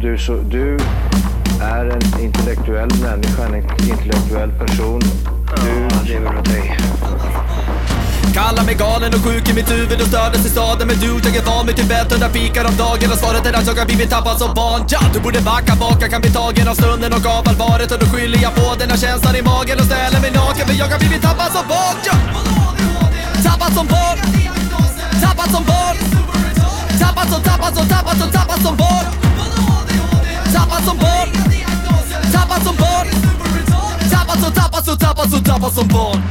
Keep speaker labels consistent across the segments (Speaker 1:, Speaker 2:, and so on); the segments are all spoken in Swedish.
Speaker 1: du, så, du är en intellektuell människa, en intellektuell person. Du lever av dig.
Speaker 2: Kallar mig galen och sjuk i mitt huvud och stördes i staden Men du, jag är van vid Tibet, hundra fikar om dagen Och svaret är att jag har blivit tappad som barn ja, Du borde backa bak, jag kan bli tagen av stunden och av allvaret Och då skyller jag på den här känslan i magen och ställer mig naken För jag har blivit tappad som barn ja. Tappad som barn Tappad som barn Tappad som, tappad som, tappad som, tappad som barn Tappad som barn Tappad som barn Tappad som, tappad som, tappad som, tappad som barn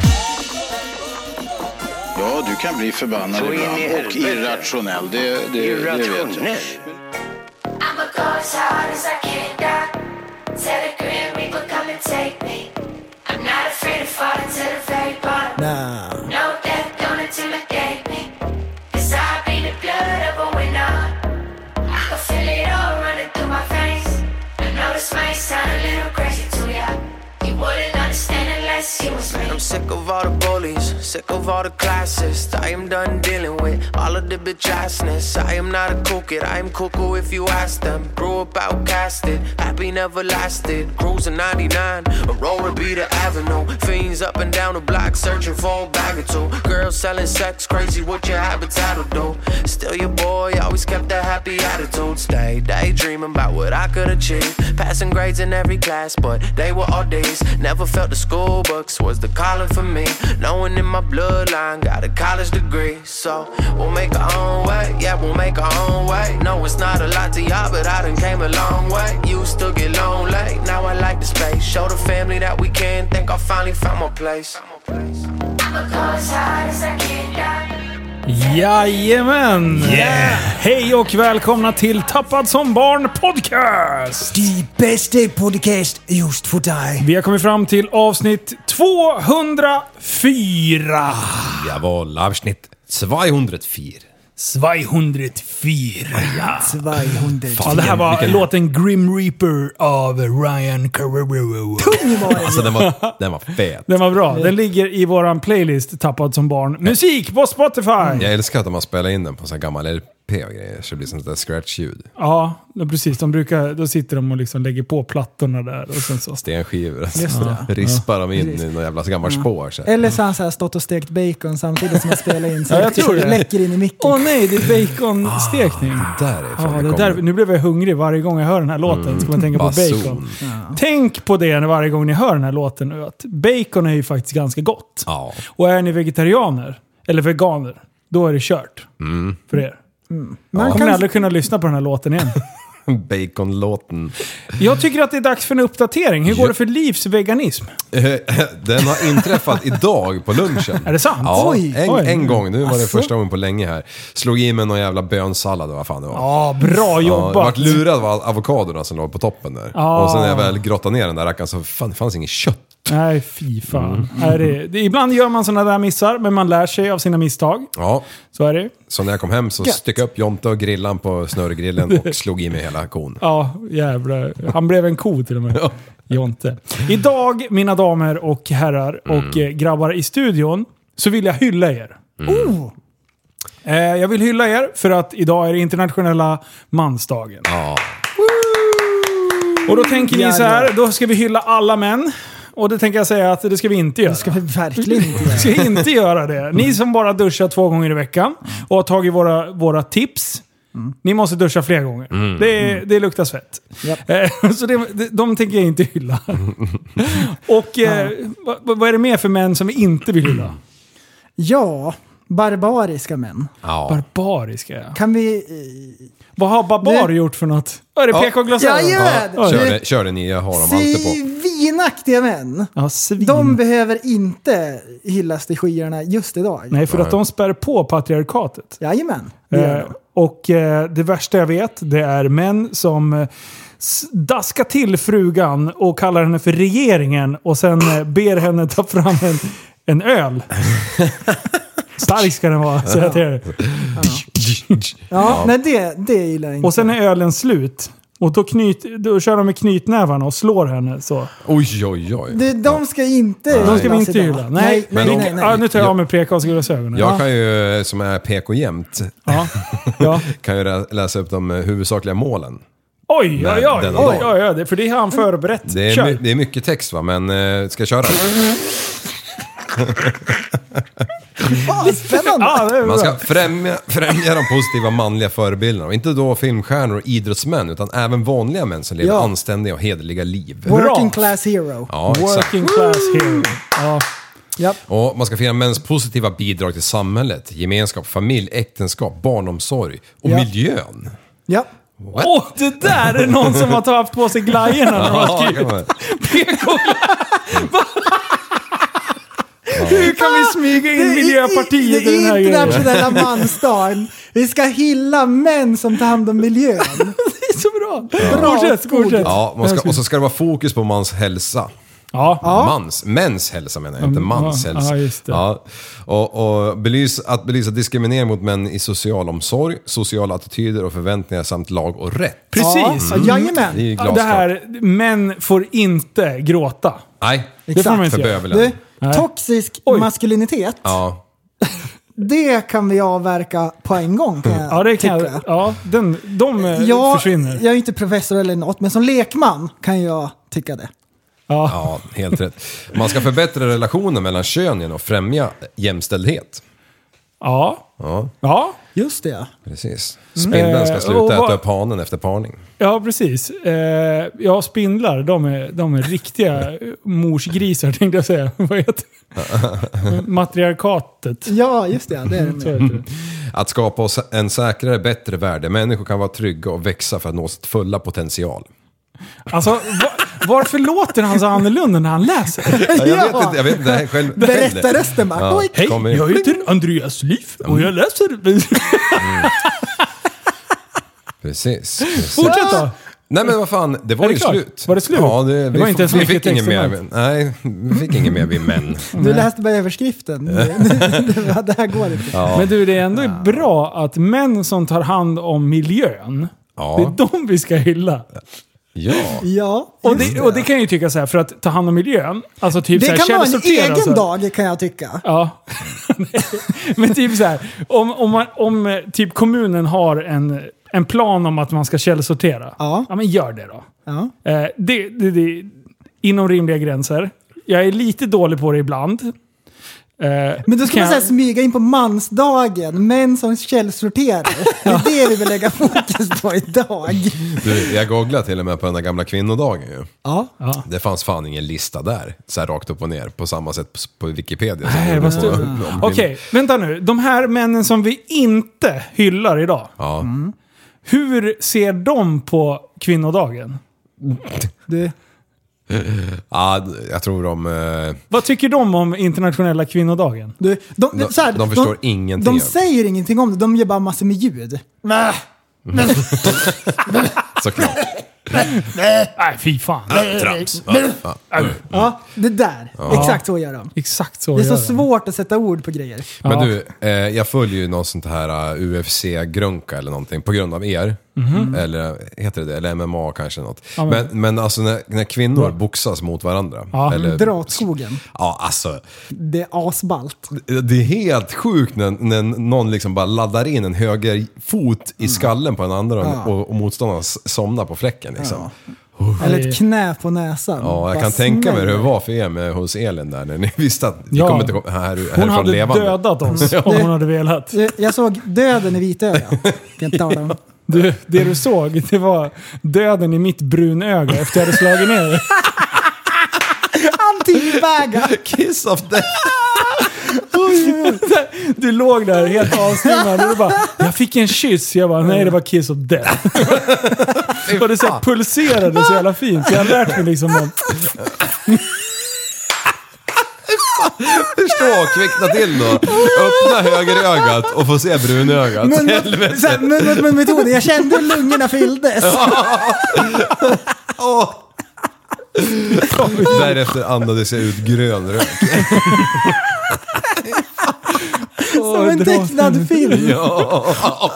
Speaker 3: Ja, du kan bli förbannad
Speaker 1: Så in i
Speaker 3: ibland och
Speaker 1: helvete.
Speaker 3: irrationell. Det, det, det vet jag.
Speaker 1: Irrationell.
Speaker 4: I'ma go as hard as I can down. Tell the grim reaper come and take me. I'm not afraid to fall to the very bottom.
Speaker 5: Nah.
Speaker 4: No death don't intimidate me. Cause I be the blood of a winner. I can feel it all running through my veins. I know this might sound a little crazy to ya. You wouldn't understand unless you was me.
Speaker 6: I'm sick of all the bullies, sick of all the classes. I am done dealing with all of the bitch assness. I am not a cool kid, I am cuckoo if you ask them. Grew up outcasted, happy never lasted. Cruising 99, Aurora be the avenue. Fiends up and down the block, searching for a bag or two. Girls selling sex, crazy what your habitat will do. Still your boy, always kept a happy attitude. Stay daydreaming about what I could achieve. Passing grades in every class, but they were all D's. Never felt the school books was the calling for me. No one in my bloodline got a college degree. So we'll make our own way, yeah, we'll make our own way. No, it's not a lot to y'all, but I done came a long way. Used to get lonely, now I like the space. Show the family that we can, think I finally found my place.
Speaker 4: I'ma go as hard as I can down.
Speaker 7: Jajamän! Hej och välkomna till Tappad som barn podcast!
Speaker 5: Die bästa podcast just för dig.
Speaker 7: Vi har kommit fram till avsnitt 204.
Speaker 8: Jawohl, Abschnitt 204.
Speaker 7: 204.
Speaker 5: 200.
Speaker 7: Ja, det här var
Speaker 8: Vilken-
Speaker 7: låten Grim Reaper av Ryan Carrero.
Speaker 8: Alltså den var, den var fet.
Speaker 7: Den var bra. Den ligger i våran playlist Tappad som barn. Musik på Spotify!
Speaker 8: Jag älskar att de har spelat in den på så här gammal LP och grejer, så det blir sånt där scratch-ljud.
Speaker 7: Ja, då precis. De brukar, då sitter de och liksom lägger på plattorna där. Och sen så
Speaker 8: Stenskivor. Alltså. Rispar de in i några jävla gamla
Speaker 7: Mm.
Speaker 8: spår. Så. här.
Speaker 9: Eller så har han så här stått och stekt bacon samtidigt som han spelar in. Så liksom
Speaker 7: Ja, jag tror det.
Speaker 9: Läcker in i micken.
Speaker 7: Åh nej, det är baconstekning.
Speaker 8: Där är fan
Speaker 7: Ja,
Speaker 8: Ah, det
Speaker 7: det
Speaker 8: kommer.
Speaker 7: där, nu blev jag hungrig varje gång jag hör den här låten. Ska man tänka på
Speaker 8: Bason.
Speaker 7: bacon. Tänk på det varje gång ni hör den här låten. Att bacon är ju faktiskt ganska gott.
Speaker 8: Ja.
Speaker 7: Och är ni vegetarianer, eller veganer, då är det kört.
Speaker 8: Mm.
Speaker 7: För er.
Speaker 9: Mm. Man
Speaker 7: Kommer ni
Speaker 9: kan,
Speaker 7: aldrig kunna lyssna på den här låten igen.
Speaker 8: Baconlåten.
Speaker 7: Jag tycker att det är dags för en uppdatering. Hur går det för Livs veganism?
Speaker 8: Eh, Den har inträffat idag på lunchen.
Speaker 7: Är det sant?
Speaker 8: Ja,
Speaker 7: Oj,
Speaker 8: en,
Speaker 7: oj. Alltså.
Speaker 8: en gång. Nu var det
Speaker 7: Asså.
Speaker 8: första gången på länge här. Slog i mig någon jävla bönsallad och vad fan det var.
Speaker 7: Ja, Ah, bra
Speaker 8: Ja, jag
Speaker 7: jobbat!
Speaker 8: vart lurad av avokadorna som låg på toppen där.
Speaker 7: Ah.
Speaker 8: Och sen när jag väl grottade ner den där rackaren så fan, det fanns inget kött.
Speaker 7: Nej, fy fan.
Speaker 8: Mm.
Speaker 7: Nej, det, det, ibland gör man sådana där missar, men man lär sig av sina misstag.
Speaker 8: Ja,
Speaker 7: Så är det
Speaker 8: så när jag kom hem så
Speaker 7: Gött.
Speaker 8: styckade jag upp Jonte och grillan på snurrgrillen och slog i mig hela kon.
Speaker 7: Ja, jävlar. Han blev en ko till och med. Jonte. Idag, mina damer och herrar och eh, grabbar i studion, så vill jag hylla er. Oh! Eh, jag vill hylla er för att idag är det internationella mansdagen. Woo! Och då tänker ni så här, då ska vi hylla alla män. Och det tänker jag säga att det ska vi inte göra.
Speaker 9: ska vi verkligen inte göra.
Speaker 7: Ska inte göra det. Ni som bara duschar två gånger i veckan och har tagit våra, våra tips. Ni måste duscha fler gånger. Det, är- det luktar svett.
Speaker 9: Japp.
Speaker 7: Eh, Så det, det- de tänker jag inte hylla. Och eh, vad- vad, vad är det mer för män som vi inte vill hylla?
Speaker 9: Ja, barbariska män.
Speaker 8: Ja.
Speaker 7: Barbariska ja.
Speaker 9: Kan vi... eh,
Speaker 7: Vad har Babar
Speaker 9: Det-
Speaker 7: gjort för något? Vad Är det
Speaker 8: Ja.
Speaker 7: PK-glasögon?
Speaker 9: Jajamän!
Speaker 7: Ja,
Speaker 8: Kör, det, kör det nya har de alltid på.
Speaker 9: Svinaktiga män.
Speaker 7: Ja, svin.
Speaker 9: De behöver inte hyllas till skyarna just idag.
Speaker 7: Nej, för att de spär på patriarkatet.
Speaker 9: Jajamän, det gör
Speaker 7: Eh,
Speaker 9: de.
Speaker 7: och eh, det värsta jag vet, det är män som eh, s- daskar till frugan och kallar henne för regeringen och sen eh, ber henne ta fram en, en öl. Stark ska den vara, säger jag till er.
Speaker 9: Ja, nej det, det gillar jag inte.
Speaker 7: Och sen är ölen slut. Och då, knyt, då kör de med knytnävarna och slår henne så.
Speaker 8: Oj, oj, oj.
Speaker 9: det, de ska inte
Speaker 7: De ska vi
Speaker 9: hyllas
Speaker 7: inte
Speaker 9: idag.
Speaker 7: hylla. Nej,
Speaker 9: nej,
Speaker 8: Men
Speaker 9: nej.
Speaker 8: de-
Speaker 9: nej, nej.
Speaker 7: Ja, nu tar jag av mig prekasglasögonen.
Speaker 8: Jag kan ju, som är PK jämt,
Speaker 7: Ja. Ja.
Speaker 8: kan ju rä- läsa upp de eh, huvudsakliga målen
Speaker 7: Oj, oj, oj,
Speaker 8: denna
Speaker 7: oj,
Speaker 8: dag.
Speaker 7: oj, oj, det- för det har han förberett.
Speaker 8: Det är,
Speaker 7: Kör.
Speaker 8: my- det är mycket text va, men eh, ska jag köra?
Speaker 9: Fan, spännande!
Speaker 7: Ja, Ah, det är
Speaker 8: Man
Speaker 7: bra.
Speaker 8: ska främja, främja de positiva manliga förebilderna. Och Inte då filmstjärnor och idrottsmän, utan även vanliga män som lever
Speaker 9: Ja.
Speaker 8: anständiga och hederliga liv.
Speaker 9: Working
Speaker 7: Bra.
Speaker 9: class hero.
Speaker 8: Ja, exakt.
Speaker 7: Working class hero. Ja.
Speaker 9: Japp.
Speaker 8: Och man ska fira mäns positiva bidrag till samhället, gemenskap, familj, äktenskap, barnomsorg och
Speaker 9: Ja.
Speaker 8: miljön.
Speaker 9: Ja.
Speaker 8: What?
Speaker 7: Åh, det där är någon som har haft på sig glajjorna när de har
Speaker 8: Ja, kan
Speaker 7: skrivit.
Speaker 8: man-
Speaker 7: PK. Hur kan vi smyga in Miljöpartiet i den här grejen?
Speaker 9: internationella mansdagen. Vi ska hylla män som tar hand om miljön.
Speaker 7: Det är så bra!
Speaker 9: Bra
Speaker 7: Fortsätt, fortsätt.
Speaker 8: Ja, man ska, och så ska det vara fokus på mans hälsa.
Speaker 7: Ja.
Speaker 8: Mans, mäns hälsa menar jag, inte
Speaker 7: Mm,
Speaker 8: mans
Speaker 7: ja,
Speaker 8: hälsa.
Speaker 7: ja, just det.
Speaker 8: Ja. Och, och belys, att belysa diskriminering mot män i social omsorg, sociala attityder och förväntningar samt lag och rätt. Mm.
Speaker 7: Precis!
Speaker 9: Ja,
Speaker 8: Det är
Speaker 9: jajamän.
Speaker 8: ju
Speaker 7: Det
Speaker 8: glasklart.
Speaker 7: här, män får inte gråta.
Speaker 8: Nej,
Speaker 7: Det får man
Speaker 8: för
Speaker 7: inte göra.
Speaker 8: bövelen.
Speaker 9: Du,
Speaker 7: Nej.
Speaker 9: toxisk
Speaker 7: Oj.
Speaker 9: maskulinitet,
Speaker 8: Ja.
Speaker 9: det kan vi avverka på en gång kan jag
Speaker 7: Ja, det kan
Speaker 9: tycka.
Speaker 7: jag. Ja, den, de eh,
Speaker 9: Jag,
Speaker 7: försvinner.
Speaker 9: jag är inte professor eller något, men som lekman kan jag tycka det.
Speaker 7: Ja.
Speaker 8: ja, helt rätt. Man ska förbättra relationen mellan könen och främja jämställdhet.
Speaker 7: Ja.
Speaker 8: Ja,
Speaker 7: Ja.
Speaker 9: Just det.
Speaker 8: precis. Spindeln ska
Speaker 7: Eh, och
Speaker 8: sluta
Speaker 7: vad-
Speaker 8: äta upp hanen efter parning.
Speaker 7: Ja, precis. Eh, ja, spindlar, de är, de är riktiga morsgrisar tänkte jag säga. Vad heter det? Matriarkatet.
Speaker 9: Ja, just det. det, är det
Speaker 7: Så
Speaker 9: med.
Speaker 7: heter det.
Speaker 8: Att skapa oss en säkrare, bättre värld där människor kan vara trygga och växa för att nå sitt fulla potential.
Speaker 7: Alltså, va, varför låter han så annorlunda när han läser?
Speaker 8: Ja, jag vet
Speaker 9: Ja.
Speaker 8: inte, jag vet inte det här själv.
Speaker 9: Berätta rösten bara. Oj.
Speaker 8: Hej, Kom igen.
Speaker 7: heter Andreas Liv och jag läser...
Speaker 8: Precis. precis.
Speaker 7: Fortsätt då!
Speaker 8: Nej men vad fan, det var
Speaker 7: Är det
Speaker 8: ju
Speaker 7: klart?
Speaker 8: slut.
Speaker 7: Var det slut?
Speaker 8: Ja,
Speaker 7: Det
Speaker 8: det, vi,
Speaker 7: var inte ens
Speaker 8: vi
Speaker 7: mycket
Speaker 8: fick ingen
Speaker 7: text i
Speaker 8: mer. Nej, vi fick ingen mer vi män.
Speaker 9: Du läste bara överskriften. Det var- det här går inte.
Speaker 7: Men du, det är ändå bra att män som tar hand om miljön,
Speaker 8: Ja.
Speaker 7: det är de vi ska hylla.
Speaker 8: Ja.
Speaker 9: Ja,
Speaker 7: Och
Speaker 9: just
Speaker 7: det, och det kan jag ju tycka så här, för att ta hand om miljön, alltså typ
Speaker 9: Det
Speaker 7: så här,
Speaker 9: kan vara en
Speaker 7: källsortera och
Speaker 9: egen
Speaker 7: så här.
Speaker 9: dag kan jag tycka.
Speaker 7: Ja. Nej. Men typ så här, om, om, man, om eh, typ kommunen har en, en plan om att man ska källsortera.
Speaker 9: Ja.
Speaker 7: men gör det då.
Speaker 9: Ja.
Speaker 7: Eh, det, det, det, inom rimliga gränser. Jag är lite dålig på det ibland. Eh,
Speaker 9: Men då ska
Speaker 7: kan
Speaker 9: man så här
Speaker 7: jag-
Speaker 9: smyga in på mansdagen, män som källsorterar. Det är det vi vill lägga fokus på idag.
Speaker 8: Du, jag googlade till och med på den där gamla kvinnodagen ju.
Speaker 9: Ja.
Speaker 8: Det fanns fan ingen lista där, så här rakt upp och ner, på samma sätt på- på Wikipedia. som
Speaker 7: Nej,
Speaker 8: det
Speaker 7: Eh, vad
Speaker 8: på-
Speaker 7: stort.
Speaker 8: om-
Speaker 7: Okej, vänta nu. De här männen som vi inte hyllar idag.
Speaker 8: Ja.
Speaker 9: Mm.
Speaker 7: Hur ser de på kvinnodagen?
Speaker 9: Du,
Speaker 8: ja, jag tror de... eh,
Speaker 7: Vad tycker de om internationella kvinnodagen?
Speaker 9: du, de,
Speaker 8: De-
Speaker 9: så här,
Speaker 8: de förstår ingenting av
Speaker 9: De
Speaker 8: det.
Speaker 9: säger ingenting om det, de gör bara massor med ljud.
Speaker 8: Såklart.
Speaker 7: Nej, fy fan.
Speaker 8: Trams. Ja, ja.
Speaker 9: Ja, det där. Exakt så gör de.
Speaker 7: Exakt så
Speaker 9: Det är
Speaker 7: gör
Speaker 9: så
Speaker 7: de.
Speaker 9: svårt att sätta ord på grejer.
Speaker 8: Men
Speaker 7: Ja.
Speaker 8: du, eh, jag följer ju någon sånt här eh, UFC-grunka eller någonting på grund av er.
Speaker 7: Mhm.
Speaker 8: Eller heter det det? Eller MMA kanske något. men... Men, alltså när, när kvinnor boxas mot varandra.
Speaker 7: Ja,
Speaker 8: eller,
Speaker 9: Dra åt skogen.
Speaker 8: Ja, alltså.
Speaker 9: Det är asballt.
Speaker 8: Det är helt sjukt när, när någon liksom bara laddar in en höger fot
Speaker 7: Mm.
Speaker 8: i skallen på den andra och, och motståndaren s- somnar på fläcken liksom. Ja,
Speaker 9: Eller ett knä på näsan.
Speaker 8: jag
Speaker 9: Bara
Speaker 8: kan tänka mig hur det
Speaker 9: smäller.
Speaker 8: var för er med, hos Elin där när ni visste att ni
Speaker 7: Ja.
Speaker 8: kommer inte komma här, härifrån
Speaker 7: Hon hade
Speaker 8: levande.
Speaker 7: dödat oss om hon hade velat.
Speaker 9: Jag- Jag såg döden i vitögat. Kan inte tala om.
Speaker 7: Du, det du såg, det var döden i mitt brunöga efter jag hade slagit ner dig.
Speaker 9: Antivägar!
Speaker 8: Kiss of death!
Speaker 7: Du låg där helt avsvimmad och du bara “Jag fick en kyss”. Jag bara “Nej, det var kiss of death”. Och det så här pulserade så jävla fint. Så jag har lärt mig liksom den.
Speaker 8: Förstå, kvickna till då. Öppna högerögat och få se brunögat.
Speaker 9: Men,
Speaker 8: Helvete.
Speaker 9: så här, men, men, men metoden, jag kände hur lungorna fylldes.
Speaker 8: Därefter andades jag ut grön rök.
Speaker 9: som en en tecknad film.
Speaker 8: Ja,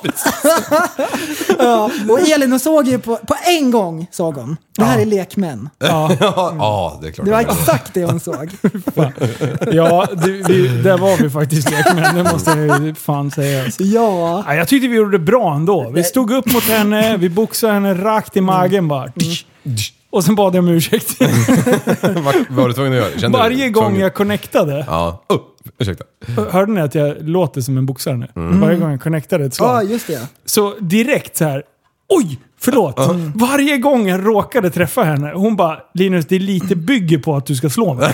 Speaker 8: precis.
Speaker 9: Ja. Och Elin hon såg ju på, på en gång, såg hon. Det här är lekmän.
Speaker 8: ja, ja, det är klart.
Speaker 9: Det var exakt det hon såg.
Speaker 7: Ja, det, vi, där var vi faktiskt lekmän, det måste jag ju fan säga.
Speaker 9: Ja.
Speaker 7: Ja, jag tyckte vi gjorde det bra ändå. Vi stod upp mot henne, vi boxade henne rakt i magen bara. Mm. Och sen bad jag om ursäkt.
Speaker 8: Vad var du tvungen att göra? Kände du
Speaker 7: Varje
Speaker 8: dig
Speaker 7: gång
Speaker 8: tvungen?
Speaker 7: jag connectade,
Speaker 8: Ja. Oh, ursäkta.
Speaker 7: hörde ni att jag låter som en boxare nu?
Speaker 8: Mm.
Speaker 7: Varje gång jag connectade ett
Speaker 9: Ah, Ja,
Speaker 7: slag.
Speaker 9: just det.
Speaker 7: Så direkt så här. Oj! Förlåt! Varje gång jag råkade träffa henne, hon bara “Linus, det är lite bygger på att du ska slå mig”.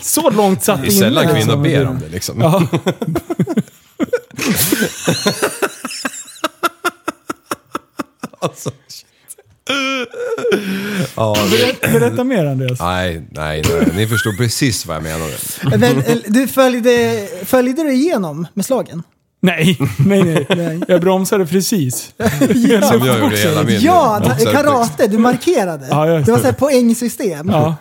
Speaker 7: så långt satt
Speaker 8: Det är sällan
Speaker 7: inne,
Speaker 8: kvinnor
Speaker 7: liksom.
Speaker 8: ber om det liksom.
Speaker 7: Ja.
Speaker 8: Alltså, shit. Ja, det,
Speaker 7: Berätta mer Andreas.
Speaker 8: nej, nej, nej, ni förstår precis vad jag menade.
Speaker 9: Men, eh, du följde, följde du igenom med slagen?
Speaker 7: Nej, nej, nej.
Speaker 9: Nej.
Speaker 7: Jag bromsade precis. ja.
Speaker 8: Som jag gjorde hela min eh,
Speaker 9: Ja, ta-
Speaker 8: motsatta text.
Speaker 9: karate. Du markerade.
Speaker 7: Ja, just
Speaker 9: Det var
Speaker 7: det.
Speaker 9: så här poängsystem.
Speaker 7: Ja,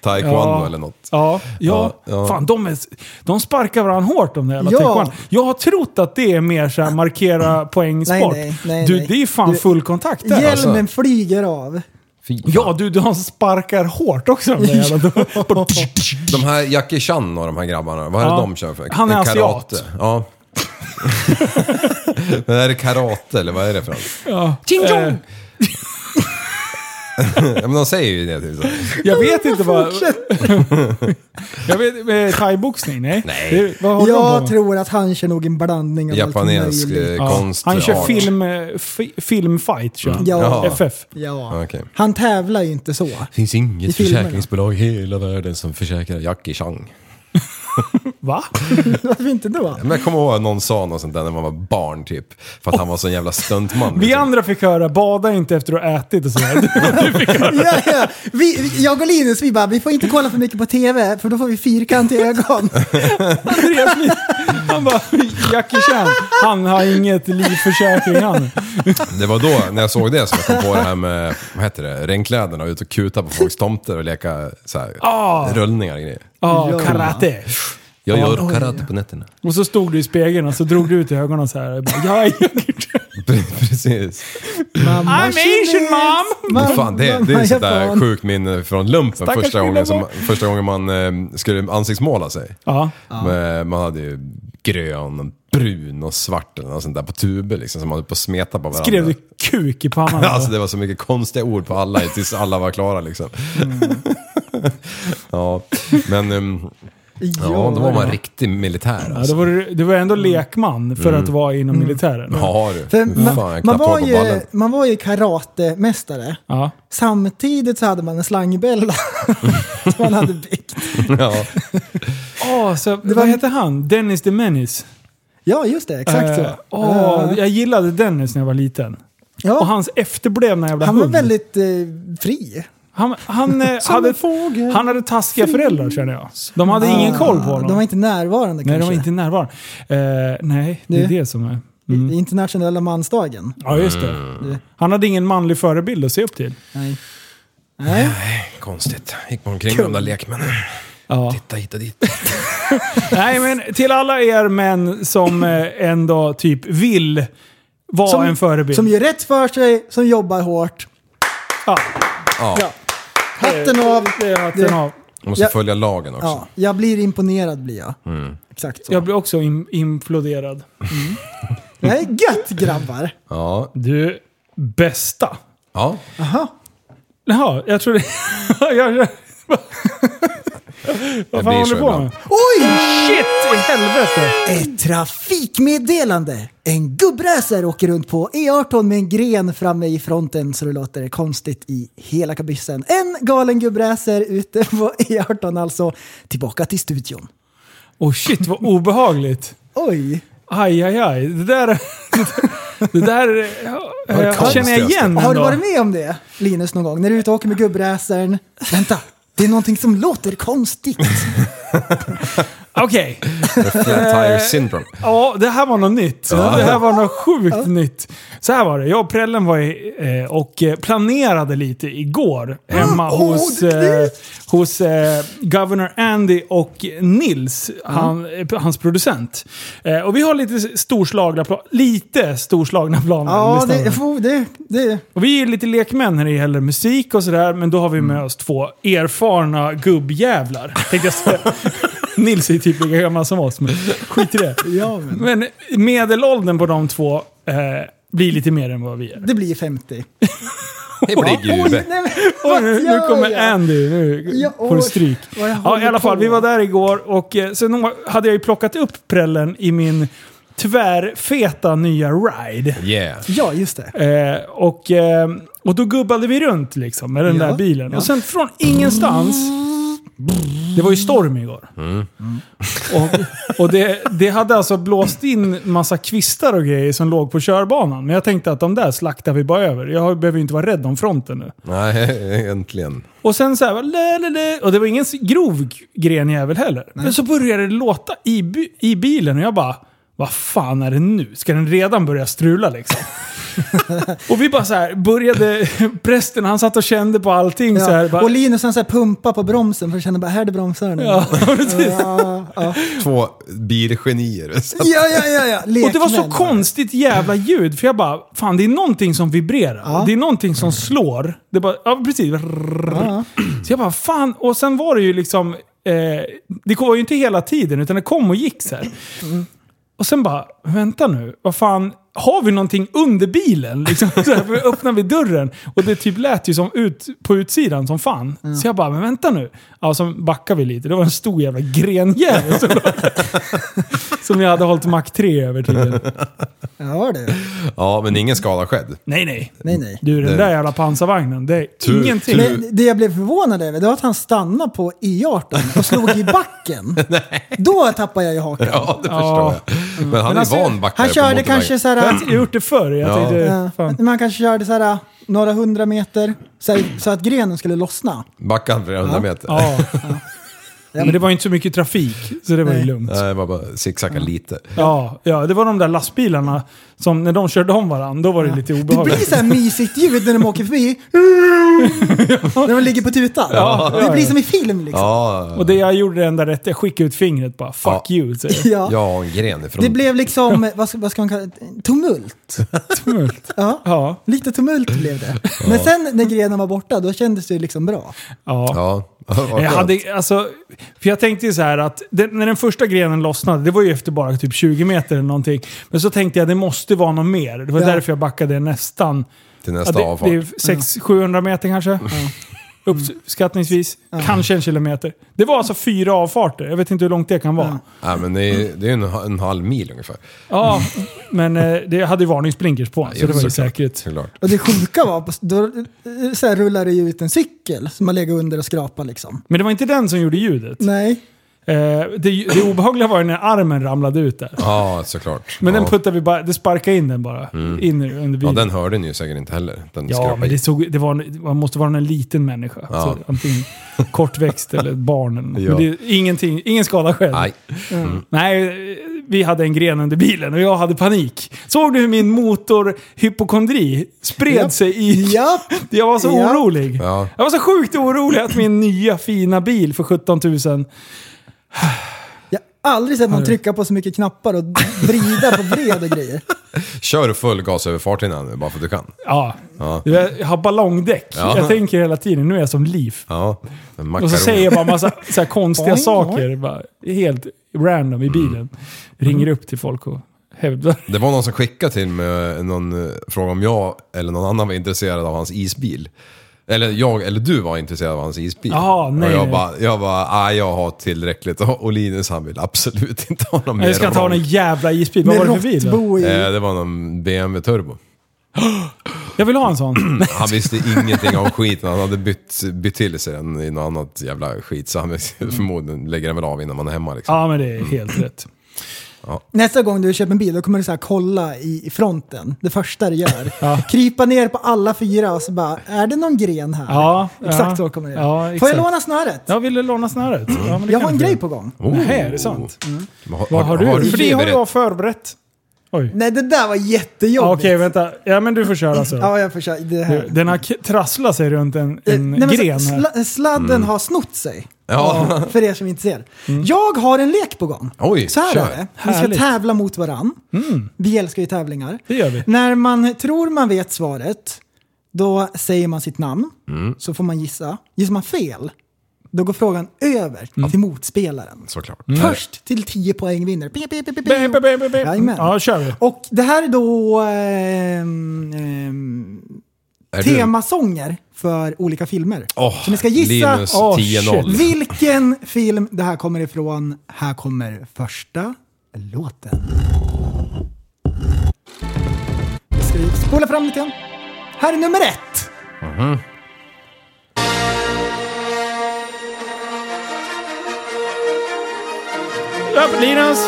Speaker 8: Taekwondo
Speaker 7: Ja.
Speaker 8: eller något.
Speaker 7: ja, ja.
Speaker 8: Ja, ja.
Speaker 7: Fan, de, är, de sparkar varandra hårt de där jävla
Speaker 9: Ja.
Speaker 7: taekwondo. Jag har trott att det är mer så här markera poängsport.
Speaker 9: Nej, nej, nej,
Speaker 7: du,
Speaker 9: nej.
Speaker 7: det är fan
Speaker 9: Du-
Speaker 7: full kontakt där. alltså.
Speaker 9: Hjälmen flyger av.
Speaker 8: Fy fan.
Speaker 7: Ja, du, de sparkar hårt också. De där jävla- Bara-
Speaker 8: De här Jackie Chan och de här grabbarna, vad är det
Speaker 7: Ja.
Speaker 8: de kör för?
Speaker 7: Han är
Speaker 8: Eh,
Speaker 7: asiat.
Speaker 8: karate. Ja. Men är det karate eller vad är det för något?
Speaker 7: Eh,
Speaker 8: Ja, men de säger ju det typ så.
Speaker 7: Jag vet inte vad... jag vet, eh, thaiboxning? Nej. nej. Det, vad håller de på
Speaker 9: Jag
Speaker 7: med?
Speaker 9: tror att han kör nog en blandning av
Speaker 8: Japansk
Speaker 9: allt möjligt.
Speaker 8: eh,
Speaker 7: Ja.
Speaker 8: konst.
Speaker 7: Han kör
Speaker 8: art.
Speaker 7: film, eh, fi, filmfight. Kör. han.
Speaker 9: Ja.
Speaker 8: Jaha.
Speaker 7: FF.
Speaker 9: Ja.
Speaker 8: Ja, okej.
Speaker 9: Han tävlar ju inte så.
Speaker 8: finns
Speaker 9: I
Speaker 8: inget
Speaker 9: filmerna.
Speaker 8: försäkringsbolag i hela världen som försäkrar Jackie Chang.
Speaker 7: Va?
Speaker 9: Varför inte då?
Speaker 8: Men jag kommer ihåg att någon sa något sånt där när man var barn typ. För att han var sån jävla stuntman.
Speaker 7: Vi
Speaker 8: liksom.
Speaker 7: andra fick höra “bada inte efter att ha ätit” och sådär.
Speaker 9: Ja, ja. Vi, vi- jag och Linus, vi bara, vi får inte kolla för mycket på TV för då får vi fyrkantiga ögon.
Speaker 7: Andreas Lee- Han bara “Jackie Chan, han har inget livförsäkring han”.
Speaker 8: Det var då, när jag såg det, som jag kom på det här med, vad heter det, regnkläderna och ut och kuta på folks tomter och leka så här,
Speaker 7: Ah.
Speaker 8: rullningar och grejer.
Speaker 7: Ja,
Speaker 9: Ja.
Speaker 7: karate.
Speaker 8: Jag
Speaker 7: Ja,
Speaker 8: gör karate på nätterna.
Speaker 7: Och så stod du i spegeln och så drog du ut ögonen så här. Bara, "Jag är Jackie Chan."
Speaker 8: Precis.
Speaker 9: Mamma
Speaker 7: I'm Asian
Speaker 9: kines,
Speaker 7: mom!
Speaker 9: mamma-
Speaker 8: Fan, det, det är
Speaker 9: mamma
Speaker 8: sånt där
Speaker 9: japan.
Speaker 8: sjukt minne från lumpen
Speaker 7: Stackars
Speaker 8: första
Speaker 7: lilla
Speaker 8: gången, som,
Speaker 7: barn.
Speaker 8: första gången man eh, skulle ansiktsmåla sig.
Speaker 7: Ja.
Speaker 8: Men eh, man hade ju grön, och brun och svart eller något sånt där på tuber liksom, som man höll på att smeta på varandra.
Speaker 7: Skrev du “kuk” i pannan?
Speaker 8: Alltså det var så mycket konstiga ord på alla tills alla var klara liksom.
Speaker 7: Mm.
Speaker 8: ja, men ehm, ja, då var man riktig militär
Speaker 7: Ja, då
Speaker 8: alltså.
Speaker 7: var du, du var ändå lekman för att vara inom militären.
Speaker 8: Mm. Ja du,
Speaker 9: För
Speaker 8: fan jag
Speaker 9: man,
Speaker 8: knappt
Speaker 9: man, var
Speaker 8: var på
Speaker 9: ju,
Speaker 8: ballen.
Speaker 9: man var ju karatemästare.
Speaker 7: Ja.
Speaker 9: Samtidigt så hade man en slangbella som man hade byggt.
Speaker 8: Ja.
Speaker 7: Åh, så, vad hette han? Dennis the Menace.
Speaker 9: Ja, just det. Exakt
Speaker 7: Eh,
Speaker 9: så.
Speaker 7: åh,
Speaker 9: Eh,
Speaker 7: jag gillade Dennis när jag var liten. Och
Speaker 9: ja,
Speaker 7: hans efterblivna jävla
Speaker 9: han var
Speaker 7: hund.
Speaker 9: väldigt eh, fri.
Speaker 7: Han, han, eh,
Speaker 9: Som
Speaker 7: hade,
Speaker 9: en fågel.
Speaker 7: han hade taskiga föräldrar känner jag. De hade ingen koll på honom.
Speaker 9: Ah, De var inte närvarande
Speaker 7: nej, de
Speaker 9: kanske.
Speaker 7: var inte närvarande. Eh, nej, det är
Speaker 9: Du?
Speaker 7: det som är...
Speaker 9: I- Internationella mansdagen.
Speaker 7: Ja, just det.
Speaker 9: Mm.
Speaker 7: Han hade ingen manlig förebild att se upp till.
Speaker 9: Nej. Nej.
Speaker 8: Konstigt. Gick man omkring med de där lekmännen.
Speaker 7: Ja.
Speaker 8: Titta hit och dit.
Speaker 7: Nej, men till alla er män som eh, ändå typ vill vara
Speaker 9: Som-
Speaker 7: en förebild.
Speaker 9: Som gör rätt för sig, som jobbar hårt.
Speaker 7: ja,
Speaker 8: Ja,
Speaker 9: Hatten av.
Speaker 7: det är hatten
Speaker 9: Det-
Speaker 7: av.
Speaker 8: måste
Speaker 9: Ja.
Speaker 8: följa lagen också.
Speaker 9: Ja, jag blir imponerad blir jag. Exakt så.
Speaker 7: Jag blir också im- imploderad.
Speaker 9: Det här är gött grabbar.
Speaker 8: Ja.
Speaker 7: Du, bästa.
Speaker 8: ja.
Speaker 7: Jaha, jag trodde... jag, jag, vad fan
Speaker 8: blir
Speaker 7: håller
Speaker 8: så
Speaker 7: du på
Speaker 8: ibland.
Speaker 7: med?
Speaker 9: Oj!
Speaker 7: Shit i helvete!
Speaker 9: Ett trafikmeddelande! En gubbräser åker runt på E18 med en gren framme i fronten så det låter konstigt i hela kabyssen. En galen gubbräser ute på E18 alltså. Tillbaka till studion.
Speaker 7: Oh shit vad obehagligt.
Speaker 9: Oj!
Speaker 7: Aj, aj, aj. Det där... Det där eh, eh, känner jag igen
Speaker 9: Har du
Speaker 7: ändå.
Speaker 9: varit med om det Linus någon gång? När du är ute och åker med gubbräsaren. Vänta! Det är någonting som låter konstigt.
Speaker 7: Okej.
Speaker 8: Flat tire syndrome.
Speaker 7: Ja, det här var något nytt.
Speaker 8: Ja.
Speaker 7: Det här var något sjukt nytt. Så här var det. Jag och Prellen var i, eh, och eh, planerade lite igår hemma hos, eh, hos eh, Governor Andy och Nils, han, eh, hans producent. Eh, och vi har lite storslagna, pla- lite storslagna planer.
Speaker 9: Ja,
Speaker 7: Lyssna
Speaker 9: det,
Speaker 7: nu.
Speaker 9: fo- det, det,
Speaker 7: Och vi är lite lekmän när det gäller musik och sådär, men då har vi
Speaker 9: Mm.
Speaker 7: med oss två erfarna gubbjävlar. Tänkte jag säga. Nils är typ lika gammal som oss, men skit i det.
Speaker 9: ja, men.
Speaker 7: Men medelåldern på de två eh, blir lite mer än vad vi är.
Speaker 9: det blir 50.
Speaker 8: Det blir gubbe.
Speaker 9: Nej, men,
Speaker 7: Oj, nu, nu
Speaker 9: gör
Speaker 7: kommer
Speaker 9: jag?
Speaker 7: Andy. Nu
Speaker 9: Ja,
Speaker 7: får du
Speaker 9: oj,
Speaker 7: stryk.
Speaker 9: vad jag
Speaker 7: Ja, i
Speaker 9: håller
Speaker 7: alla fall.
Speaker 9: på.
Speaker 7: Vi var där igår och eh, sen hade jag ju plockat upp prällen i min tvärfeta nya ride.
Speaker 8: Yeah.
Speaker 9: Ja, just det.
Speaker 7: Eh, och, eh, och då gubbade vi runt liksom med den
Speaker 9: Ja,
Speaker 7: där bilen.
Speaker 9: ja.
Speaker 7: Och sen från ingenstans... Det var ju storm igår. Och, och det, det hade alltså blåst in massa kvistar och grejer som låg på körbanan. Men jag tänkte att de där slaktar vi bara över. Jag behöver ju inte vara rädd om fronten nu.
Speaker 8: Nej, äntligen.
Speaker 7: Och sen så här, va, lä, lä, lä. och det var ingen grov grenjävel heller. Men så började det låta i, bi- i bilen och jag bara, vad fan är det nu? Ska den redan börja strula liksom? och vi bara så här, började, prästen han satt och kände på allting så här.
Speaker 9: Ja.
Speaker 7: Bara,
Speaker 9: Och Linus han så här pumpar på bromsen för att känna bara här är det bromsar nu.
Speaker 7: ja, precis.
Speaker 9: Ja, ja.
Speaker 8: Två bilgenier.
Speaker 9: ja, ja, ja, ja.
Speaker 7: Och det var så
Speaker 9: Lekmän bara.
Speaker 7: konstigt jävla ljud, för jag bara, fan det är någonting som vibrerar.
Speaker 9: Ja.
Speaker 7: Det är någonting som slår. Det bara, ja precis.
Speaker 9: Ja,
Speaker 7: Så jag bara, fan. Och sen var det ju liksom... Eh, det var ju inte hela tiden, utan det kom och gick så här.
Speaker 9: Mm.
Speaker 7: Och sen bara, vänta nu, vad fan, har vi någonting under bilen? Liksom, så här, för öppnar vi dörren och det typ lät ju som ut, på utsidan som fan. Så jag bara, men vänta nu. Ja, så backar vi lite. Det var en stor jävla grenjävel som, som jag hade hållit Mac 3 över tiden.
Speaker 9: ja. ja det.
Speaker 8: Ja, men ingen skada skedd.
Speaker 7: Nej, nej.
Speaker 9: Nej, nej.
Speaker 7: Du, den
Speaker 8: Nej.
Speaker 7: där jävla pansarvagnen, det är
Speaker 8: Tur-
Speaker 7: ingenting.
Speaker 8: tur-
Speaker 9: Men det jag blev förvånad över det var att han stannade på E18 och slog i backen. Då tappade jag ju hakan.
Speaker 8: Ja, det
Speaker 7: Ja.
Speaker 8: förstår jag. Men han är
Speaker 7: alltså,
Speaker 8: van backare
Speaker 9: Han
Speaker 8: på
Speaker 9: körde
Speaker 8: motorvägen.
Speaker 9: kanske så här...
Speaker 7: Jag har gjort det förr. Jag
Speaker 8: Ja.
Speaker 7: tänkte,
Speaker 9: Ja,
Speaker 7: fan.
Speaker 9: man kanske körde så här, eh, några hundra meter så, här, så att grenen skulle lossna.
Speaker 8: Backade han flera hundra meter.
Speaker 7: Ja. Men det var ju inte så mycket trafik, så det var ju
Speaker 9: Nej.
Speaker 7: lugnt.
Speaker 8: Nej, det var bara zigzacka lite.
Speaker 7: Ja, ja, det var de där lastbilarna som när de körde om varandra, då var det lite
Speaker 9: Det blir
Speaker 7: obehagligt.
Speaker 9: så här mysigt ljud när de åker förbi. när de ligger på tutan. det blir som i film liksom.
Speaker 8: Ja,
Speaker 7: Och det jag gjorde det enda rätt, jag skickade ut fingret bara fuck
Speaker 8: Ja.
Speaker 7: you. Så jag,
Speaker 9: Ja.
Speaker 8: ja en gren ifrån.
Speaker 9: Det blev liksom, vad ska, vad ska man kalla det? Tumult.
Speaker 7: tumult.
Speaker 9: Ja.
Speaker 7: Ja,
Speaker 9: Lite tumult blev det. Men sen när grenen var borta, då kändes det liksom bra.
Speaker 7: ja.
Speaker 8: Ja, vad skönt.
Speaker 7: Jag, hade, alltså, för jag tänkte ju så här att den, när den första grenen lossnade, det var ju efter bara typ 20 meter eller någonting. Men så tänkte jag det måste vara något mer. Det var
Speaker 9: Ja.
Speaker 7: därför jag backade nästan
Speaker 8: till
Speaker 7: Ja,
Speaker 8: nästa
Speaker 7: det,
Speaker 8: avfart.
Speaker 7: det är 600-700 meter kanske. Uppskattningsvis. Kanske en kilometer. Det var alltså fyra avfarter. Jag vet inte hur långt det kan vara.
Speaker 8: Ja, men det är det är en, en halv mil ungefär.
Speaker 7: Ja, men eh, det hade ju varningsblinkers på. så
Speaker 8: Ja,
Speaker 7: det var ju
Speaker 8: såklart.
Speaker 7: säkert.
Speaker 8: Såklart.
Speaker 9: Och det sjuka var, på- då eh, så här, rullade det ju ut en cykel som man legat under och skrapat liksom.
Speaker 7: Men det var inte den som gjorde ljudet.
Speaker 9: Nej.
Speaker 7: Eh, det, det obehagliga var ju när armen ramlade ut där.
Speaker 8: Ja, såklart.
Speaker 7: Men
Speaker 8: ja. Mm.
Speaker 7: den puttade vi bara... Det sparkade in den bara. In i- under
Speaker 8: Ja,
Speaker 7: bilen.
Speaker 8: den hörde ni ju säkert inte heller. Den
Speaker 7: Mm. Ja,
Speaker 8: skrapade
Speaker 7: men
Speaker 8: i.
Speaker 7: det, såg, det, var, en- man måste vara en liten människa.
Speaker 8: Ja.
Speaker 7: Så antingen kortväxt eller ett barn. Eller något.
Speaker 8: Ja.
Speaker 7: Men det, är ingenting, ingen skada själv. Mm.
Speaker 8: Nej. Mm.
Speaker 7: Nej, vi hade en gren under bilen och jag hade panik. Såg du hur min motorhypokondri spred
Speaker 9: Japp.
Speaker 7: sig i...
Speaker 9: Japp.
Speaker 7: Jag var så
Speaker 9: Japp.
Speaker 7: orolig.
Speaker 8: Ja.
Speaker 7: Jag var så sjukt orolig att min nya fina bil för 17 000...
Speaker 9: Jag har aldrig sett någon trycka på så mycket knappar och vrida på bred och grejer.
Speaker 8: Kör full gas över farten nu bara för att du kan.
Speaker 7: Ja.
Speaker 8: Ja.
Speaker 7: Jag har ballongdäck.
Speaker 8: Ja.
Speaker 7: Jag tänker hela tiden, nu är jag som liv.
Speaker 8: Ja. Men
Speaker 7: Och så
Speaker 8: makaroner.
Speaker 7: säger jag bara massa så här konstiga
Speaker 9: Oj, oj.
Speaker 7: saker. Bara, helt random i bilen.
Speaker 8: Mm.
Speaker 7: Ringer upp till folk och hävdar.
Speaker 8: Det var någon som skickade till mig någon eh, fråga om jag eller någon annan var intresserad av hans isbil. Eller jag eller du var intresserad av hans isbil.
Speaker 7: Jaha, nej,
Speaker 8: och jag
Speaker 7: nej.
Speaker 8: bara, jag bara, ah, jag har tillräckligt. Och och Linus han vill absolut inte ha någon mer.
Speaker 7: Jag ska ta
Speaker 8: roll.
Speaker 7: en jävla isbil. Vad
Speaker 9: Med
Speaker 7: var det för bil? då?
Speaker 9: råttbo i.
Speaker 8: Eh, Det var någon BMW Turbo.
Speaker 7: Jag vill ha en sån.
Speaker 8: Han visste ingenting om skiten. Han hade bytt, bytt till sig den i något annat jävla skit. Så han förmodligen lägger den väl av innan man är hemma liksom.
Speaker 7: Ja, men det är helt rätt.
Speaker 9: Nästa gång du köper en bil, då kommer du så här kolla i i fronten. Det första du gör. Krypa ner på alla fyra och så bara, är det någon gren här?
Speaker 7: Ja,
Speaker 9: Exakt
Speaker 7: ja.
Speaker 9: så kommer det
Speaker 7: Ja,
Speaker 9: Får
Speaker 7: exakt.
Speaker 9: jag låna snöret?
Speaker 7: Jag ville låna snöret. Ja, men det
Speaker 9: Jag
Speaker 7: kan
Speaker 9: har en
Speaker 7: du.
Speaker 9: grej på gång.
Speaker 8: Oh.
Speaker 7: Nej, är det sant? Mm.
Speaker 8: Vad
Speaker 7: Vad har, du? För
Speaker 8: för
Speaker 7: det har
Speaker 8: berätt-
Speaker 7: jag förberett. Oj.
Speaker 9: Nej, det där var
Speaker 7: Ja,
Speaker 9: jättejobbigt.
Speaker 7: Okej, vänta. Ja, men alltså. du får köra så.
Speaker 9: Ja, jag försöker. Det här.
Speaker 7: Den har k- trasslat sig runt en,
Speaker 9: Eh,
Speaker 7: en
Speaker 9: nej, men så-
Speaker 7: gren här.
Speaker 9: sla- eh, sladden har snott sig.
Speaker 8: Mm. Ja.
Speaker 9: Ja, För er som inte ser. Jag har en lek på gång.
Speaker 8: Oj,
Speaker 9: så här
Speaker 8: kör.
Speaker 9: är det. Vi ska
Speaker 7: Mm. Härligt. Mm.
Speaker 9: tävla mot varann. Vi älskar ju tävlingar.
Speaker 7: Det gör vi.
Speaker 9: När man tror man vet svaret, då säger man sitt namn.
Speaker 8: Mm.
Speaker 9: Så får man gissa. Gissar man fel, då går frågan över
Speaker 7: Mm.
Speaker 9: till motspelaren.
Speaker 8: Såklart.
Speaker 9: Först till 10 poäng vinner. Ping, ping, ping, ping, ping.
Speaker 7: Bä, bä, bä, bä, bä.
Speaker 9: Jajamän.
Speaker 7: Ja, kör vi.
Speaker 9: Och det här är då ehm, ehm,
Speaker 8: Är du-
Speaker 9: temasånger för olika filmer.
Speaker 8: Åh,
Speaker 9: så ni ska gissa
Speaker 8: Linus
Speaker 7: Åh,
Speaker 8: 10-0.
Speaker 9: vilken film det här kommer ifrån. Här kommer första låten. Jag ska spola fram lite grann. Här är nummer ett.
Speaker 7: Upp, Linus!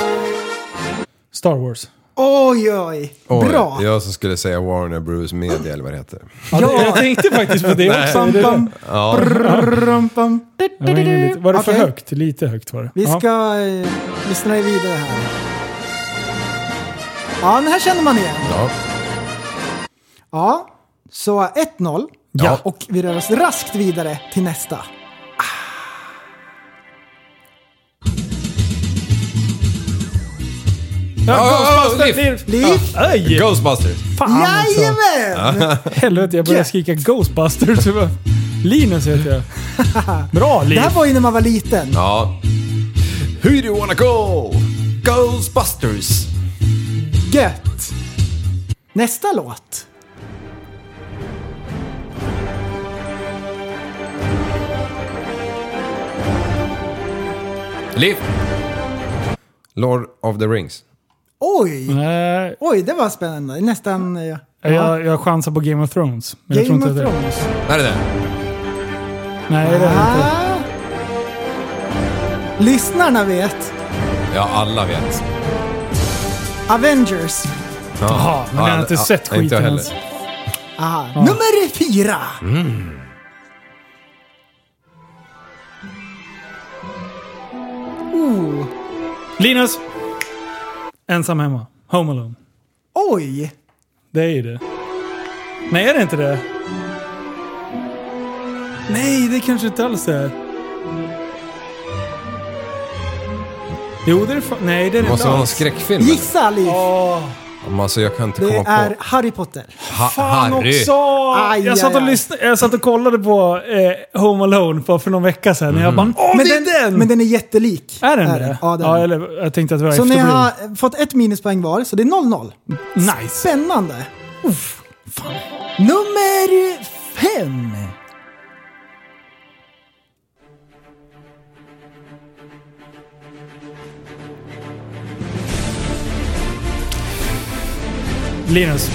Speaker 7: Star Wars.
Speaker 9: Oj, oj.
Speaker 8: Oj,
Speaker 9: Bra.
Speaker 8: Jag som skulle säga Warner Bros Media eller vad det heter.
Speaker 7: Ja, det- Jag tänkte faktiskt på det också.
Speaker 9: Pam,
Speaker 7: Det-
Speaker 9: pam, brrrrum, pam.
Speaker 7: Jag var inne lite- Var det för
Speaker 9: Okej.
Speaker 7: högt? Lite högt var det.
Speaker 9: Vi
Speaker 7: Ja.
Speaker 9: ska eh, lyssna vidare här. Ja, den här känner man igen.
Speaker 8: Ja.
Speaker 9: Ja, så 1-0.
Speaker 8: Ja.
Speaker 9: Och vi rör oss raskt vidare till nästa.
Speaker 8: Ja, Ghostbusters! Liv.
Speaker 9: Liv?
Speaker 7: Aj!
Speaker 8: Ghostbusters!
Speaker 7: Fan alltså.
Speaker 9: Jajamän!
Speaker 7: Helvete, jag började skrika Ghostbusters. Jag bara, Linus heter jag. Bra
Speaker 9: Det
Speaker 7: Liv!
Speaker 9: här var ju när man var liten.
Speaker 8: Ja. Who do you wanna go? Ghostbusters!
Speaker 9: Gött! Nästa låt.
Speaker 8: Liv! Lord of the Rings.
Speaker 9: Oj!
Speaker 7: Nej,
Speaker 9: Oj, det var spännande. Nästan... eh, Ja.
Speaker 7: jag, jag chansar på Game of Thrones. Men jag tror
Speaker 9: Game
Speaker 7: inte
Speaker 9: of
Speaker 7: att det-
Speaker 9: Thrones.
Speaker 8: Är det det?
Speaker 7: Nej, det är det inte.
Speaker 9: Ah. Lyssnarna vet.
Speaker 8: Ja, alla vet.
Speaker 9: Avengers.
Speaker 8: Ja.
Speaker 7: Jaha, men jag har inte sett skiten
Speaker 8: Inte jag
Speaker 7: ens.
Speaker 8: heller.
Speaker 9: Aha. Nummer fyra.
Speaker 7: Mm.
Speaker 9: Oh,
Speaker 7: Linus! Ensam hemma. Home Alone.
Speaker 9: oj!
Speaker 7: Det är ju det. Nej, är det inte det? Nej, det kanske inte alls är. Jo, det är fa- Nej, det är det
Speaker 8: Det måste
Speaker 7: inte
Speaker 8: vara någon
Speaker 7: alls.
Speaker 8: skräckfilm.
Speaker 9: Gissa Liv.
Speaker 7: Åh,
Speaker 8: Men Alltså, jag kan inte
Speaker 9: Det
Speaker 8: komma
Speaker 9: är
Speaker 8: på...
Speaker 9: Harry Potter.
Speaker 8: Ha-
Speaker 7: fan
Speaker 8: Harry.
Speaker 7: också!
Speaker 9: Aj,
Speaker 7: jag, satt och
Speaker 9: aj, aj.
Speaker 7: lyssnade, jag satt och kollade på eh, Home Alone för, för någon vecka sedan. Jag bara Åh,
Speaker 9: Men
Speaker 7: det är den!
Speaker 9: men den är jättelik.
Speaker 7: är den det?
Speaker 9: Ja, den. är den.
Speaker 7: eller, jag tänkte att det var
Speaker 9: Så ni
Speaker 7: efterbliven.
Speaker 9: har fått ett minuspoäng var, så det är 0-0.
Speaker 7: Nice!
Speaker 9: Spännande! Uff, fan. Nummer fem.
Speaker 7: Linus.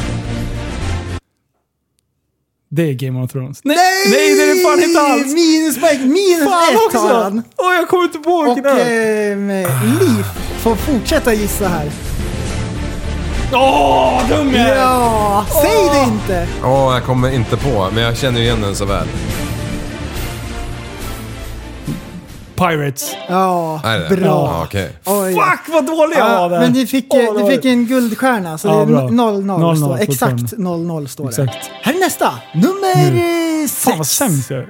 Speaker 7: Det är Game of Thrones. Nej! Nej, det är det fan inte alls!
Speaker 9: Minuspoäng! Minus
Speaker 7: Fan
Speaker 9: ett
Speaker 7: också!
Speaker 9: har han.
Speaker 7: Åh, jag kommer inte ihåg
Speaker 9: Och
Speaker 7: den här.
Speaker 9: ehm, Liv får fortsätta gissa här.
Speaker 7: Åh, dum jag är!
Speaker 9: Ja, säg det inte!
Speaker 8: Åh, jag kommer inte på, men jag känner ju igen den så väl.
Speaker 7: Pirates.
Speaker 9: Ja,
Speaker 8: Är det det?
Speaker 9: bra.
Speaker 8: Ja, okej.
Speaker 9: Oj.
Speaker 7: Fuck vad dålig jag
Speaker 9: Ja,
Speaker 7: var där!
Speaker 9: men du fick,
Speaker 7: Åh,
Speaker 9: du
Speaker 7: dålig.
Speaker 9: fick en guldstjärna, så
Speaker 7: Ja,
Speaker 9: det
Speaker 7: bra.
Speaker 9: är 0-0.
Speaker 7: 0-0
Speaker 9: står- Exakt
Speaker 7: fortfarande.
Speaker 9: 0-0 står det.
Speaker 7: Exakt.
Speaker 9: Här är nästa, nummer eh, sex.
Speaker 7: Fan vad sämst jag är.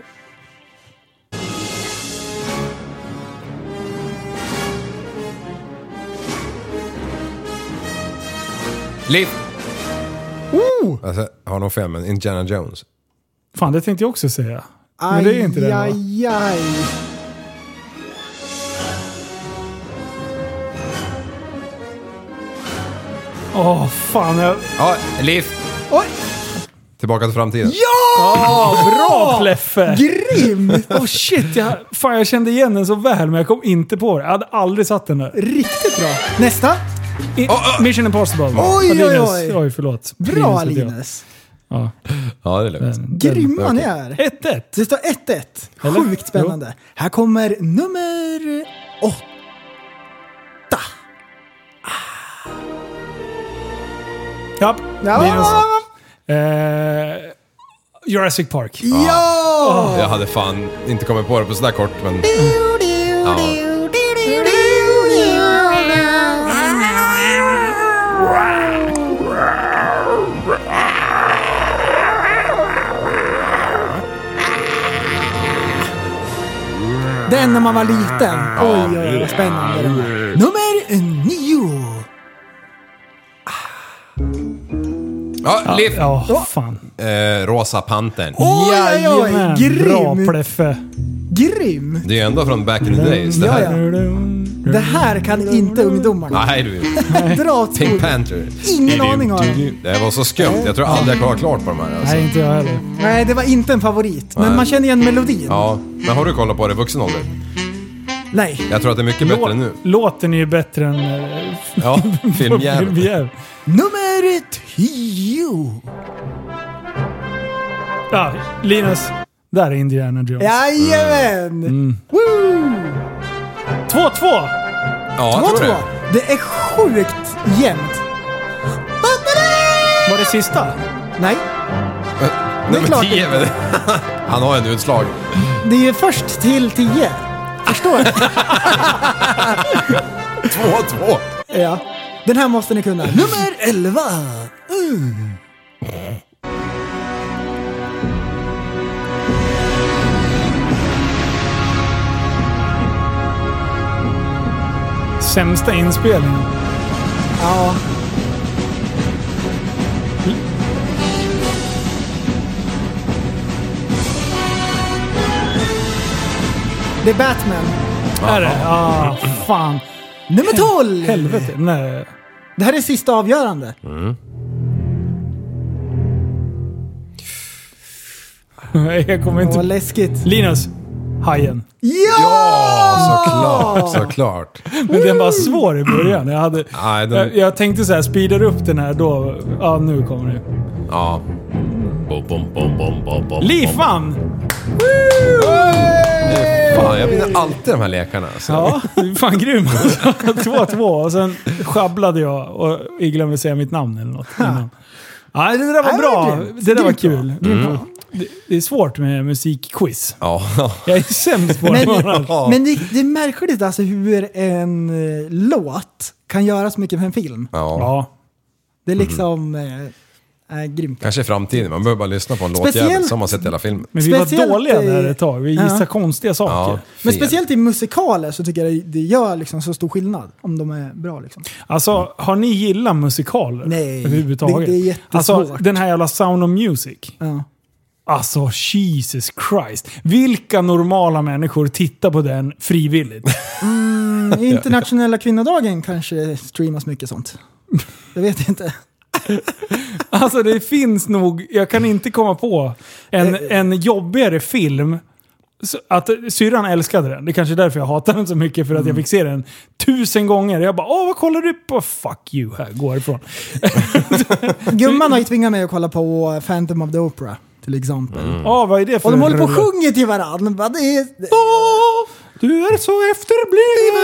Speaker 8: Liv!
Speaker 9: Oh!
Speaker 8: Alltså, jag har nog fel, men Indiana Jones.
Speaker 7: Fan, det tänkte jag också säga. Men det är inte det. va?
Speaker 9: aj, aj.
Speaker 7: Åh, fan. Jag...
Speaker 8: Ja, Liv!
Speaker 9: Oj!
Speaker 8: Tillbaka till framtiden.
Speaker 7: Bra Pleffe!
Speaker 9: Grymt!
Speaker 7: Åh Oh, shit, jag, fan, jag kände igen den så väl men jag kom inte på det. Jag hade aldrig satt den där.
Speaker 9: Riktigt bra. Nästa.
Speaker 7: I, Mission Impossible.
Speaker 9: Ah, Oj,
Speaker 7: Ja,
Speaker 9: oj,
Speaker 7: Linus.
Speaker 9: oj.
Speaker 7: Oj, förlåt.
Speaker 9: Bra
Speaker 7: heter jag.
Speaker 9: Linus.
Speaker 8: Ja, det är lugnt.
Speaker 7: Den-
Speaker 9: Grymma ni
Speaker 8: Okej.
Speaker 9: är.
Speaker 7: 1-1.
Speaker 9: Det står 1-1.
Speaker 7: Eller?
Speaker 9: Sjukt spännande. Här kommer nummer åtta. Ah.
Speaker 7: Ja,
Speaker 9: Ja.
Speaker 7: det är den så. Eh, Jurassic Park. Ah.
Speaker 9: Ja!
Speaker 8: Jag hade fan inte kommit på det på sådär kort, men... Ja.
Speaker 9: Den när man var liten.
Speaker 7: Ah.
Speaker 9: Oj, oj, oj, vad spännande det var. Nummer nio.
Speaker 8: Ja, Liv!
Speaker 7: Ja, fan.
Speaker 8: Eh, Rosa Pantern.
Speaker 9: Oj, oj, oj.
Speaker 7: Jajamän, Bra
Speaker 9: Grym.
Speaker 7: pleffe.
Speaker 9: Grym.
Speaker 8: Det är ju ändå från back in the days det här.
Speaker 9: Ja, Det här kan inte ungdomarna.
Speaker 8: Mm. Nej du,
Speaker 9: Dra åt
Speaker 8: Pink
Speaker 9: skogen.
Speaker 8: Panther.
Speaker 9: Ingen aning har jag.
Speaker 8: Det här var så skumt, jag tror aldrig jag har klart på de här alltså.
Speaker 7: Nej, inte jag heller.
Speaker 9: Nej, det var inte en favorit. Men
Speaker 8: Nej.
Speaker 9: man känner igen melodin.
Speaker 8: Ja, men har du kollat på det i vuxen ålder?
Speaker 9: Nej.
Speaker 8: Jag tror att det är mycket bättre nu.
Speaker 7: Låten är ju bättre än eh,
Speaker 8: Ja, filmjävel.
Speaker 7: Premiär.
Speaker 9: Nummer tio.
Speaker 7: Ja, Linus. Där är Indiana Jones. 2-2!
Speaker 9: Jajamän!
Speaker 8: Mm.
Speaker 7: 2-2!
Speaker 8: Ja, jag tror
Speaker 9: 2-2.
Speaker 8: det.
Speaker 9: Det är sjukt jämnt.
Speaker 7: Var det sista?
Speaker 9: Nej,
Speaker 8: Nummer
Speaker 9: klart
Speaker 8: 10 är väl... Han har en utslag.
Speaker 9: det är ju först till tio. Förstår du?
Speaker 8: 2-2!
Speaker 9: Ja. Den här måste ni kunna. Nummer 11. Mm.
Speaker 7: Sämsta inspelningen.
Speaker 9: Ja. Det är Batman.
Speaker 7: Är det? Ah, fan.
Speaker 9: Nummer 12.
Speaker 7: Helvete. Mm. Nej.
Speaker 9: Det här är sista avgörande.
Speaker 7: Jag
Speaker 9: Vad
Speaker 7: kommer inte...
Speaker 9: läskigt.
Speaker 7: Linus. Hajen.
Speaker 8: Ja, såklart, såklart.
Speaker 7: Men den var svår i början. Jag, hade,
Speaker 8: Nej, den-
Speaker 7: jag, jag tänkte så här, speedar upp den här då... Ja, nu kommer det.
Speaker 8: Ja.
Speaker 7: Lifan!
Speaker 8: Fan, jag vinner alltid de här lekarna. Alltså.
Speaker 7: Ja, du är fan grym alltså. 2-2 och sen sjabblade jag och glömde säga mitt namn eller något innan. Ja, det där var
Speaker 9: Nej,
Speaker 7: bra.
Speaker 9: det är grymt.
Speaker 7: Det där var
Speaker 9: Grymt bra.
Speaker 7: kul. Mm. Det, det är svårt med musikquiz.
Speaker 8: Ja.
Speaker 7: Jag är sämst på det.
Speaker 9: Men,
Speaker 8: Ja.
Speaker 9: men det, det är märkligt alltså hur en eh, låt kan göra så mycket med en film.
Speaker 8: ja.
Speaker 7: Ja. Mm.
Speaker 9: Det är liksom... Eh, eh, grymt.
Speaker 8: Kanske i framtiden, man behöver bara lyssna på en låtjävel
Speaker 9: Speciellt-
Speaker 8: så har man sett hela filmen.
Speaker 7: Men vi var
Speaker 9: Speciellt
Speaker 7: dåliga
Speaker 9: i-
Speaker 7: där ett tag. Vi gissade
Speaker 9: Ja.
Speaker 7: konstiga
Speaker 8: Ja,
Speaker 7: saker.
Speaker 9: Men
Speaker 8: fel.
Speaker 9: speciellt i musikaler så tycker jag det, det gör liksom så stor skillnad om de är bra. Liksom.
Speaker 7: Alltså, har ni gillat musikaler?
Speaker 9: Nej, det-
Speaker 7: Överhuvudtaget?
Speaker 9: det är jättesvårt.
Speaker 7: Alltså, den här jävla Sound of Music.
Speaker 9: Ja.
Speaker 7: Alltså Jesus Christ. Vilka normala människor tittar på den frivilligt?
Speaker 9: I Internationella kvinnodagen kanske streamas mycket sånt. Jag vet inte.
Speaker 7: Alltså det finns nog, jag kan inte komma på en, en jobbigare film. Så Att syrran älskade den. Det är kanske är därför jag hatar den så mycket. För att
Speaker 9: Mm.
Speaker 7: jag fick se den tusen gånger. Jag bara åh vad kollar du på? Fuck you, här går ifrån.
Speaker 9: Gumman har ju tvingat mig att kolla på Phantom of the Opera till exempel.
Speaker 8: Mm.
Speaker 7: Ja vad är det för
Speaker 9: Och de håller på och
Speaker 7: rulle?
Speaker 9: sjunger till varandra. Bara, Det är
Speaker 7: Åh, Du är så efterbliven!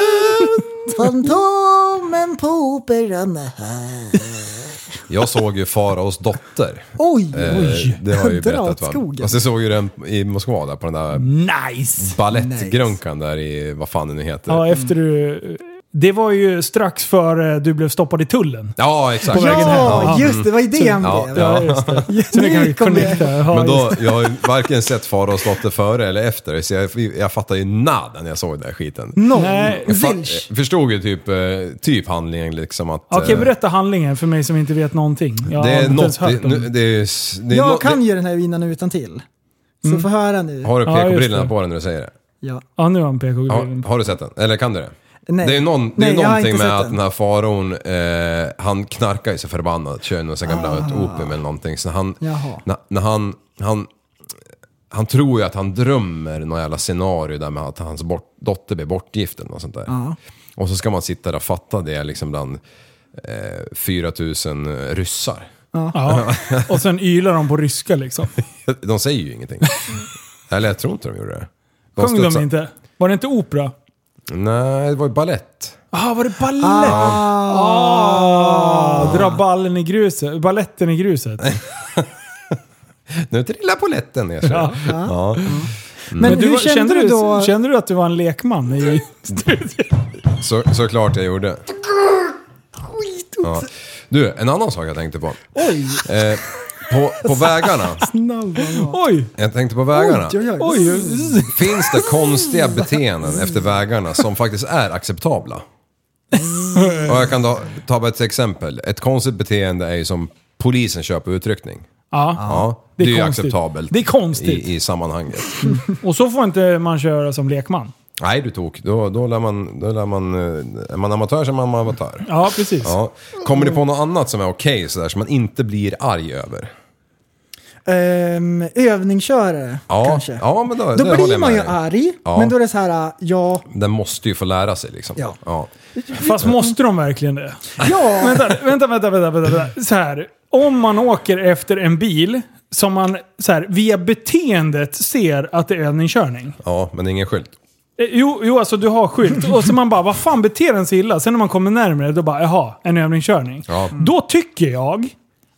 Speaker 9: Fantomen på Operan är här.
Speaker 8: Jag såg ju Faraos dotter.
Speaker 9: Oj,
Speaker 8: Eh,
Speaker 9: oj.
Speaker 8: Det har jag ju
Speaker 9: Dra åt
Speaker 8: berättat va?
Speaker 9: skogen.
Speaker 8: Fast jag såg ju den i Moskva där på den där
Speaker 7: Mm. Nice!
Speaker 8: balettgrunkan där i, vad fan den nu heter.
Speaker 7: Ja efter du... Det var ju strax före du blev stoppad i tullen.
Speaker 8: Ja, exakt.
Speaker 7: På vägen hem.
Speaker 9: Ja,
Speaker 7: Ja.
Speaker 9: just det. Det var ju det han
Speaker 8: Ja,
Speaker 9: blev.
Speaker 8: ja.
Speaker 7: Ja, just det. Så det kan
Speaker 9: Nu
Speaker 7: vi
Speaker 9: kom det.
Speaker 7: connecta. Ja,
Speaker 8: Men
Speaker 7: just
Speaker 8: då,
Speaker 7: det.
Speaker 8: jag har ju varken sett Faraos dotter före eller efter, så jag, jag fattar ju nada när jag såg den där skiten.
Speaker 9: Noll.
Speaker 7: Nej.
Speaker 8: Jag fa-
Speaker 9: Zilch.
Speaker 8: eh, förstod ju typ, eh, typ handlingen liksom att...
Speaker 7: Okej,
Speaker 8: eh,
Speaker 7: berätta handlingen för mig som inte vet någonting. Jag
Speaker 8: Det
Speaker 7: har
Speaker 8: är
Speaker 7: inte ens
Speaker 8: något...
Speaker 7: hört
Speaker 8: Det,
Speaker 7: om
Speaker 8: nu- det är, s- det är
Speaker 9: Jag
Speaker 8: något-
Speaker 9: kan
Speaker 8: det,
Speaker 9: ju den här innan och utan till. Så få höra nu.
Speaker 8: Mm. Har du
Speaker 7: Ja, just
Speaker 8: PK-brillorna
Speaker 7: det.
Speaker 8: på dig när du säger det?
Speaker 9: Ja.
Speaker 7: Ja, nu har han pk
Speaker 8: Har, har du sett den? Eller kan du det?
Speaker 9: Nej.
Speaker 8: Det är, någon, det
Speaker 9: Nej,
Speaker 8: är
Speaker 9: jag har
Speaker 8: någonting
Speaker 9: inte
Speaker 8: med
Speaker 9: sett
Speaker 8: att
Speaker 9: den.
Speaker 8: den här faron, eh, han knarkar ju så förbannat, kör någon sån gamla ah. opium eller någonting. Så han,
Speaker 9: Jaha.
Speaker 8: när, när han, han, han tror ju att han drömmer något jävla scenario där med att hans bort, dotter blir bortgift eller något sånt där. Och så ska man sitta där och fatta det liksom bland eh, 4000 ryssar.
Speaker 7: Ja. Och sen ylar de på ryska liksom.
Speaker 8: De säger ju ingenting. eller jag tror inte de gjorde det.
Speaker 7: Sjöng de
Speaker 8: studsar-
Speaker 7: inte? Var det inte opera?
Speaker 8: Nej, det var ju ballett.
Speaker 7: Ah, var det ballett? Ah. Dra ballen i gruset. Balletten i gruset.
Speaker 8: Nu trillar polletten ner. Ja. Ja.
Speaker 9: Men,
Speaker 7: Men du,
Speaker 9: hur
Speaker 7: var-
Speaker 9: kände, du då?
Speaker 7: Kände du att du var en lekman? I,
Speaker 8: Så, såklart jag gjorde. Ja. Du, en annan sak jag tänkte på.
Speaker 9: Oj,
Speaker 8: Eh, på, på vägarna.
Speaker 9: snabb han var.
Speaker 7: oj!
Speaker 8: Jag tänkte på vägarna.
Speaker 9: Oj, oj, oj.
Speaker 7: Oj!
Speaker 8: Finns det konstiga beteenden efter vägarna som faktiskt är acceptabla?
Speaker 7: Mm.
Speaker 8: Och jag kan ta, ta bara ett exempel. Ett konstigt beteende är ju som polisen kör på utryckning.
Speaker 7: Ja.
Speaker 8: Ja,
Speaker 7: Det
Speaker 8: det
Speaker 7: är
Speaker 8: är ju
Speaker 7: konstigt.
Speaker 8: acceptabelt
Speaker 7: Det är konstigt.
Speaker 8: I, i sammanhanget.
Speaker 7: Och så får inte man köra som lekman.
Speaker 8: Nej du tok, då, då lär man... Då lär man eh, är man amatör så är man amatör.
Speaker 7: Ja, precis.
Speaker 8: Ja. Kommer ni på något annat som är okej sådär som man inte blir arg över?
Speaker 9: Ehm, övningskörare
Speaker 8: Ja,
Speaker 9: kanske.
Speaker 8: ja, men då-
Speaker 9: då
Speaker 8: det håller
Speaker 9: blir
Speaker 8: jag
Speaker 9: man ju
Speaker 8: med dig.
Speaker 9: arg,
Speaker 8: Ja.
Speaker 9: men då är det så här, ja,
Speaker 8: Den måste ju få lära sig liksom.
Speaker 9: Ja.
Speaker 7: Fast måste de verkligen det?
Speaker 9: ja,
Speaker 7: Vänta, vänta, vänta, vänta, vänta, vänta. Så här. Om man åker efter en bil som man så här, via beteendet ser att det är övningskörning.
Speaker 8: Ja, men ingen skylt.
Speaker 7: Eh, Jo, jo, alltså du har skylt. Och så man bara, vad fan beter den sig illa? Sen när man kommer närmare, då bara, jaha, en övningskörning.
Speaker 8: Ja.
Speaker 7: Då tycker jag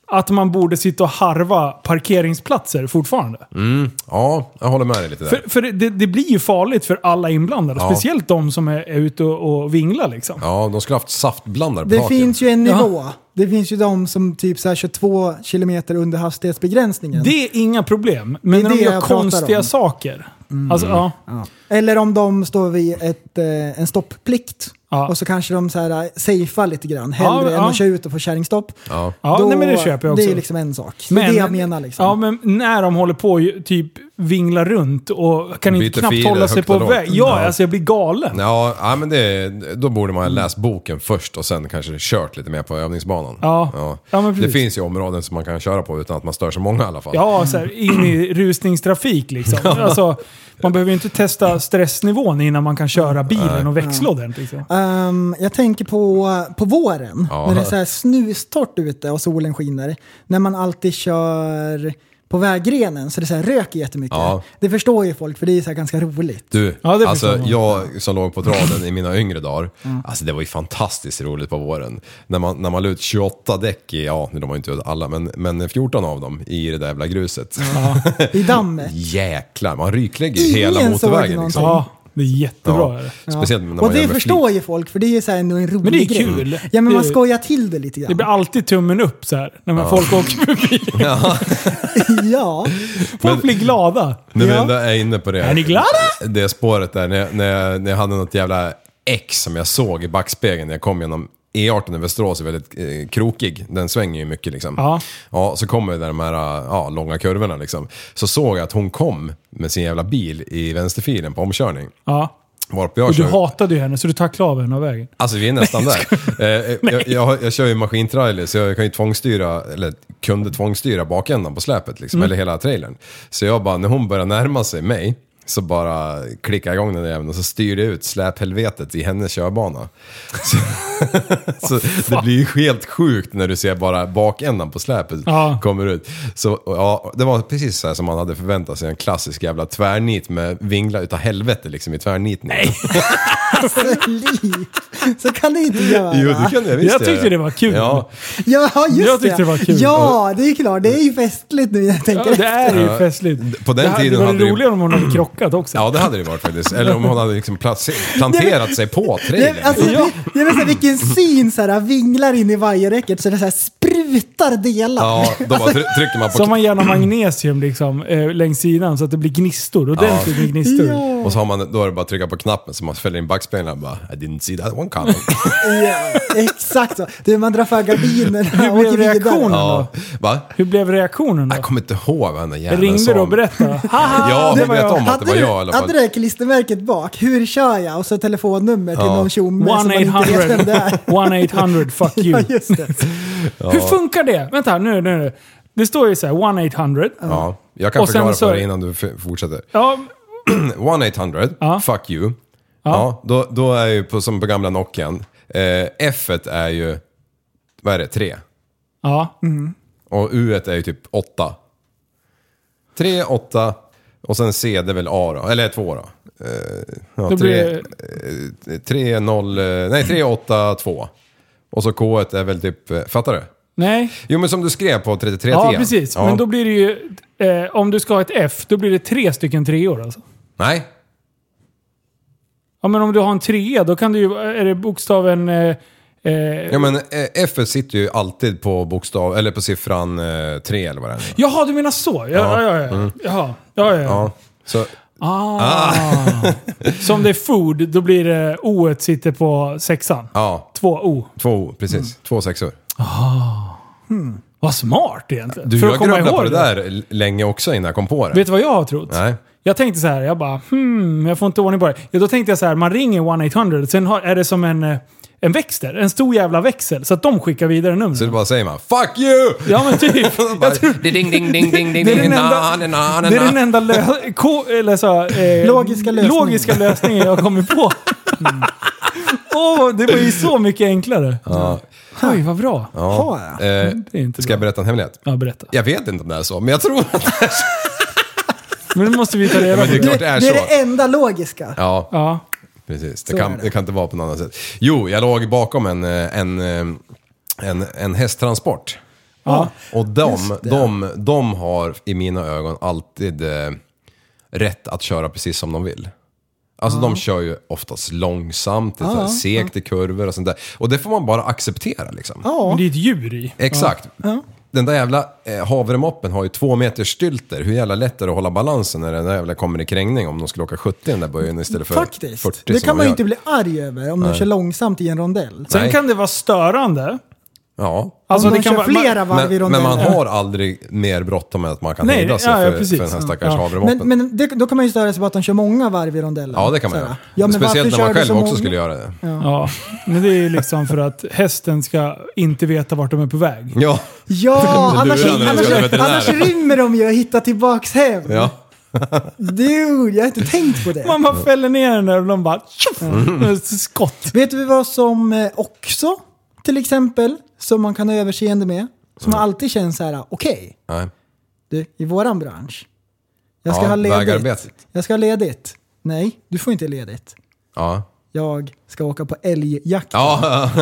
Speaker 7: att man borde sitta och harva parkeringsplatser fortfarande.
Speaker 8: Mm. Ja, jag håller med dig lite där.
Speaker 7: För, för det, det blir ju farligt för alla inblandade.
Speaker 8: Ja.
Speaker 7: Speciellt de som är, är ute och, och vinglar liksom.
Speaker 8: Ja, de skulle haft saftblandare på
Speaker 9: det
Speaker 8: taket.
Speaker 9: finns ju en nivå. Det finns ju de som typ så här 22 kilometer under hastighetsbegränsningen.
Speaker 7: Det är inga problem.
Speaker 9: Det
Speaker 7: Men
Speaker 9: är
Speaker 7: när de
Speaker 9: det
Speaker 7: gör
Speaker 9: jag pratar
Speaker 7: konstiga
Speaker 9: om. Mm.
Speaker 7: saker. Alltså, ja.
Speaker 9: Eller om de står vid ett, eh, en stopplikt.
Speaker 7: Ja.
Speaker 9: Och så kanske de så här, eh, safear lite grann. Hellre
Speaker 7: Ja,
Speaker 9: än
Speaker 7: ja.
Speaker 9: att köra ut och få kärringstopp.
Speaker 8: Ja.
Speaker 7: Ja, nej, men det köper jag också.
Speaker 9: Det är liksom en sak. det är det jag menar liksom.
Speaker 7: Ja, men när de håller på och ju- typ vinglar runt och kan
Speaker 8: Byter
Speaker 7: inte knappt
Speaker 8: filer
Speaker 7: hålla sig
Speaker 8: högt
Speaker 7: på
Speaker 8: och lågt.
Speaker 7: väg. Ja,
Speaker 8: Ja.
Speaker 7: alltså jag blir galen. Ja.
Speaker 8: Ja, ja men det, då borde man ha läst boken först och sen kanske kört lite mer på övningsbanan.
Speaker 7: Ja. Ja, men
Speaker 8: det
Speaker 7: precis.
Speaker 8: finns ju områden som man kan köra på utan att man stör så många i alla fall.
Speaker 7: så här, in i rusningstrafik liksom. Alltså, man behöver ju inte testa stressnivån innan man kan köra bilen och växla ordentligt. Liksom.
Speaker 9: Ehm, jag tänker på, på våren,
Speaker 8: Ja.
Speaker 9: när det är så här snustort ute och solen skiner. När man alltid kör på vägrenen så det så här röker jättemycket.
Speaker 8: Ja.
Speaker 9: Det förstår ju folk för det är så här ganska roligt.
Speaker 8: Du,
Speaker 7: Ja, det
Speaker 8: alltså
Speaker 7: förstår man.
Speaker 8: jag som låg på traden i mina yngre dagar, alltså det var ju fantastiskt roligt på våren. När man, när man la ut 28 däck i, ja nu de var ju inte alla, men, men 14 av dem i det där jävla gruset.
Speaker 9: I dammet.
Speaker 8: Jäklar, man ryklägger ju
Speaker 9: Ingen
Speaker 8: hela
Speaker 9: såg
Speaker 8: motorvägen
Speaker 9: någonting.
Speaker 8: liksom.
Speaker 7: Ja, det är jättebra.
Speaker 8: Ja.
Speaker 7: är det.
Speaker 8: Speciellt när man
Speaker 9: Och
Speaker 8: gör
Speaker 9: det
Speaker 8: med flit.
Speaker 9: förstår ju folk för det är ju så här ändå en rolig
Speaker 7: Men det är
Speaker 9: grej.
Speaker 7: kul.
Speaker 9: Ja men man
Speaker 7: Det-
Speaker 9: skojar till det lite
Speaker 7: Det blir
Speaker 9: grann.
Speaker 7: alltid tummen upp så här när man folk åker förbi.
Speaker 9: ja.
Speaker 7: Folk blir glada.
Speaker 8: Nu
Speaker 9: Ja.
Speaker 8: vänder jag inne på det.
Speaker 7: Är ni glada?
Speaker 8: Det spåret där, när jag, när, jag, när jag hade något jävla X som jag såg i backspegeln när jag kom genom E18 i Västerås är väldigt eh, krokig. Den svänger ju mycket liksom.
Speaker 7: Ja.
Speaker 8: ja så kommer det där de här eh, ja, långa kurvorna liksom. Så såg jag att hon kom med sin jävla bil i vänsterfilen på omkörning.
Speaker 7: Ja.
Speaker 8: Varpå jag
Speaker 7: Och du
Speaker 8: kör-
Speaker 7: hatade ju henne så du tacklade av henne av vägen.
Speaker 8: Alltså vi är nästan där. Eh, jag, jag, har- jag kör ju maskintrailer så jag kan ju tvångsstyra, eller kunde tvångsstyra bakändan på släpet liksom,
Speaker 7: Mm.
Speaker 8: eller hela trailern. Så jag bara, när hon börjar närma sig mig så bara klickar jag igång den där jäveln och så styr jag ut släphelvetet i hennes körbana. Så, så det blir ju helt sjukt när du ser bara bakändan på släpet
Speaker 7: Ja.
Speaker 8: kommer ut. Så och ja, det var precis så här som man hade förväntat sig, en klassisk jävla tvärnit med vinglar utav helvete liksom i tvärnitning.
Speaker 9: Alltså, liv. så kan du inte göra.
Speaker 8: Jo, det kan jag visst
Speaker 7: Jag tyckte
Speaker 8: göra.
Speaker 7: det var kul.
Speaker 8: Ja,
Speaker 9: Ja just
Speaker 7: Jag tyckte det var kul.
Speaker 9: Ja det är klart, det är ju festligt nu när jag
Speaker 7: Ja,
Speaker 9: tänker
Speaker 7: det är ju
Speaker 8: Ja.
Speaker 7: festligt.
Speaker 8: På den
Speaker 7: det, här-
Speaker 8: tiden
Speaker 7: det var
Speaker 8: hade
Speaker 7: det
Speaker 8: du-
Speaker 7: roligare om hon hade krockat också.
Speaker 8: Ja, det hade det varit faktiskt. Eller om hon hade liksom placer- planterat sig på
Speaker 9: Nej,
Speaker 8: trailern.
Speaker 9: men alltså, det, det är väl så här, vilken syn så här, vinglar in i vajerräcket så det så här, sprutar delar. Alltså,
Speaker 8: Ja, då bara try- trycker man på
Speaker 7: Som man gärna magnesium liksom, eh, längs sidan så att det blir gnistor. Ordentligt med gnistor.
Speaker 9: Ja.
Speaker 8: Och så har man, då är det bara att trycka på knappen så man fäller in backspegeln och bara I didn't see that one coming.
Speaker 9: Ja, exakt så. Du, man drar för gardinerna
Speaker 7: Hur
Speaker 9: och
Speaker 7: blev
Speaker 9: åker
Speaker 7: reaktionen?
Speaker 9: vidare.
Speaker 8: ja. Va?
Speaker 7: Hur blev reaktionen då?
Speaker 8: Jag kommer inte ihåg vad den där jäveln
Speaker 7: Ringde
Speaker 8: sa.
Speaker 7: du och berättade? Haha,
Speaker 9: Ah,
Speaker 8: Ja,
Speaker 7: det
Speaker 8: hon
Speaker 7: var
Speaker 8: vet
Speaker 7: jag.
Speaker 8: om att det var
Speaker 9: du-
Speaker 8: jag i alla fall.
Speaker 9: hade du det klistermärket bak, hur kör jag? Och så telefonnummer till någon tjomme som man inte vet vem det är.
Speaker 7: 1-800 fuck you.
Speaker 9: Ja, just det.
Speaker 7: Hur funkar det? Vänta, nu, nu, nu. Det står ju så här 1-800.
Speaker 8: Ja, jag kan
Speaker 7: Och sen
Speaker 8: förklara
Speaker 7: så-
Speaker 8: för dig innan du f- fortsätter.
Speaker 7: Ja,
Speaker 8: 1800,
Speaker 7: Ja.
Speaker 8: fuck you. Ja. då, då är ju på, som på gamla Nokian, eh, F är ju, vad är det, 3?
Speaker 7: ja.
Speaker 8: Och U är ju typ 8. 3, 8 och sen C det är väl A då, eller 2 då. Ja,
Speaker 7: Då
Speaker 8: tre-
Speaker 7: blir
Speaker 8: 3-0, eh, nej 3-8-2. Och så K1 är väl typ, eh, fattar du?
Speaker 7: Nej,
Speaker 8: Jo men som du skrev på 33
Speaker 7: ja precis. Men då blir det ju... Eh, om du ska ha ett F, då blir det tre stycken treor alltså.
Speaker 8: Nej,
Speaker 7: Ja, men om du har en trea, då kan du ju... Är det bokstaven... Eh, eh,
Speaker 8: ja, men eh, F sitter ju alltid på bokstav, eller på siffran 3 eller vad det är. nu.
Speaker 7: Jaha, du menar så? Ja, ja, ja. ja. Jaha. Ja, ja, ja.
Speaker 8: Mm. Ja, så
Speaker 7: Ah. Som det är food, då blir det o sitter på sexan.
Speaker 8: ja,
Speaker 7: Två o.
Speaker 8: två,
Speaker 7: Mm.
Speaker 8: precis. Två sexor.
Speaker 7: Vad smart egentligen.
Speaker 8: Du,
Speaker 7: För att
Speaker 8: jag
Speaker 7: komma
Speaker 8: grubblade på
Speaker 7: ihåg
Speaker 8: det där l- länge också innan jag kom på det.
Speaker 7: Vet du vad jag har trott?
Speaker 8: Nej.
Speaker 7: Jag tänkte så här, jag bara hmm, jag får inte ordning på det. Ja, då tänkte jag så här, man ringer 1-800, sen har, är det som en, eh, en växter. En stor jävla växel, så att de skickar vidare
Speaker 8: Så det
Speaker 7: numren.
Speaker 8: bara säger man “Fuck you!”
Speaker 7: Ja men typ.
Speaker 8: Bara,
Speaker 7: Jag tror,
Speaker 8: ding, ding, ding, ding, ding, ding,
Speaker 7: det är den
Speaker 8: na, na, na,
Speaker 7: enda,
Speaker 8: na.
Speaker 7: det är den enda lö- ko, eller så, eh,
Speaker 9: Logiska lösningen. Mm.
Speaker 7: logiska lösningen jag har kommit på. Åh, det var ju så mycket enklare. Oj, vad bra.
Speaker 8: Ja.
Speaker 9: Ha.
Speaker 8: Eh,
Speaker 7: Det är inte
Speaker 8: Ska jag
Speaker 7: bra.
Speaker 8: berätta en hemlighet?
Speaker 7: Ja, berätta.
Speaker 8: Jag vet inte om det är så, men jag tror att
Speaker 7: Men nu måste vi ta reda
Speaker 8: men
Speaker 7: på
Speaker 8: det är
Speaker 7: det.
Speaker 8: klart det
Speaker 9: Det
Speaker 8: är
Speaker 9: är
Speaker 8: så.
Speaker 9: det enda logiska.
Speaker 8: Ja,
Speaker 7: Ja.
Speaker 8: precis.
Speaker 9: Så
Speaker 8: Det kan,
Speaker 9: är det.
Speaker 8: det kan inte vara på något annat sätt. Jo, jag låg bakom en, eh, en, eh, en, en hästtransport.
Speaker 7: Ja.
Speaker 8: Och de, de, de har i mina ögon alltid eh, rätt att köra precis som de vill. Alltså de kör ju oftast långsamt, det är så här segt i kurvor och sånt där. Och det får man bara acceptera liksom.
Speaker 7: Men det är ett djur i.
Speaker 8: Exakt. Den där jävla eh, havremoppen har ju två meters stylter. Hur jävla lätt är det att hålla balansen när den där jävla kommer i krängning om de skulle åka 70 i den där böjen istället för
Speaker 9: Faktiskt.
Speaker 8: 40
Speaker 9: det
Speaker 8: som
Speaker 9: kan
Speaker 8: de
Speaker 9: man ju
Speaker 8: gör.
Speaker 9: inte bli arg över om de kör långsamt i en rondell.
Speaker 7: Sen
Speaker 8: Nej.
Speaker 7: kan det vara störande.
Speaker 8: Ja.
Speaker 7: Alltså,
Speaker 9: om de
Speaker 7: det kan
Speaker 9: kör
Speaker 7: vara- man-
Speaker 9: flera varv
Speaker 8: Men, men
Speaker 9: i rondellen.
Speaker 8: man har aldrig mer bråttom än att man kan
Speaker 7: Nej,
Speaker 8: hejda sig
Speaker 7: ja, ja,
Speaker 8: för,
Speaker 7: precis.
Speaker 8: för den här stackars
Speaker 7: Ja.
Speaker 8: havremoppen.
Speaker 9: Men, men det, då kan man ju störa sig på att de kör många varv i rondellen.
Speaker 8: ja, det kan man
Speaker 9: Så här.
Speaker 8: göra.
Speaker 9: Ja, men
Speaker 8: Speciellt
Speaker 9: varför
Speaker 8: när man
Speaker 9: kör
Speaker 8: själv
Speaker 9: du så
Speaker 8: också
Speaker 9: många-
Speaker 8: skulle göra det.
Speaker 7: Ja. men det är ju liksom för att hästen ska inte veta vart de är på väg.
Speaker 8: Ja.
Speaker 9: Ja,
Speaker 8: Du
Speaker 9: annars,
Speaker 8: lurar när du
Speaker 9: annars,
Speaker 8: ska till veterinären.
Speaker 9: annars rymmer de ju och hittar tillbaks hem.
Speaker 8: ja.
Speaker 9: Dude, jag har inte tänkt på det.
Speaker 7: Man bara fäller ner den där och de bara... Tjoff!
Speaker 8: Mm.
Speaker 7: Skott.
Speaker 9: Vet du vad som eh, också, till exempel, som man kan ha överseende med? Som alltid känns så här, okej,
Speaker 8: Mm. Nej.
Speaker 9: du, i våran bransch. Jag ska
Speaker 8: Ja,
Speaker 9: ha ledigt.
Speaker 8: vägarbetet.
Speaker 9: Jag ska ha ledigt. Nej, du får inte ledigt.
Speaker 8: Ja.
Speaker 9: Jag ska åka på älgjakt.
Speaker 8: Ja.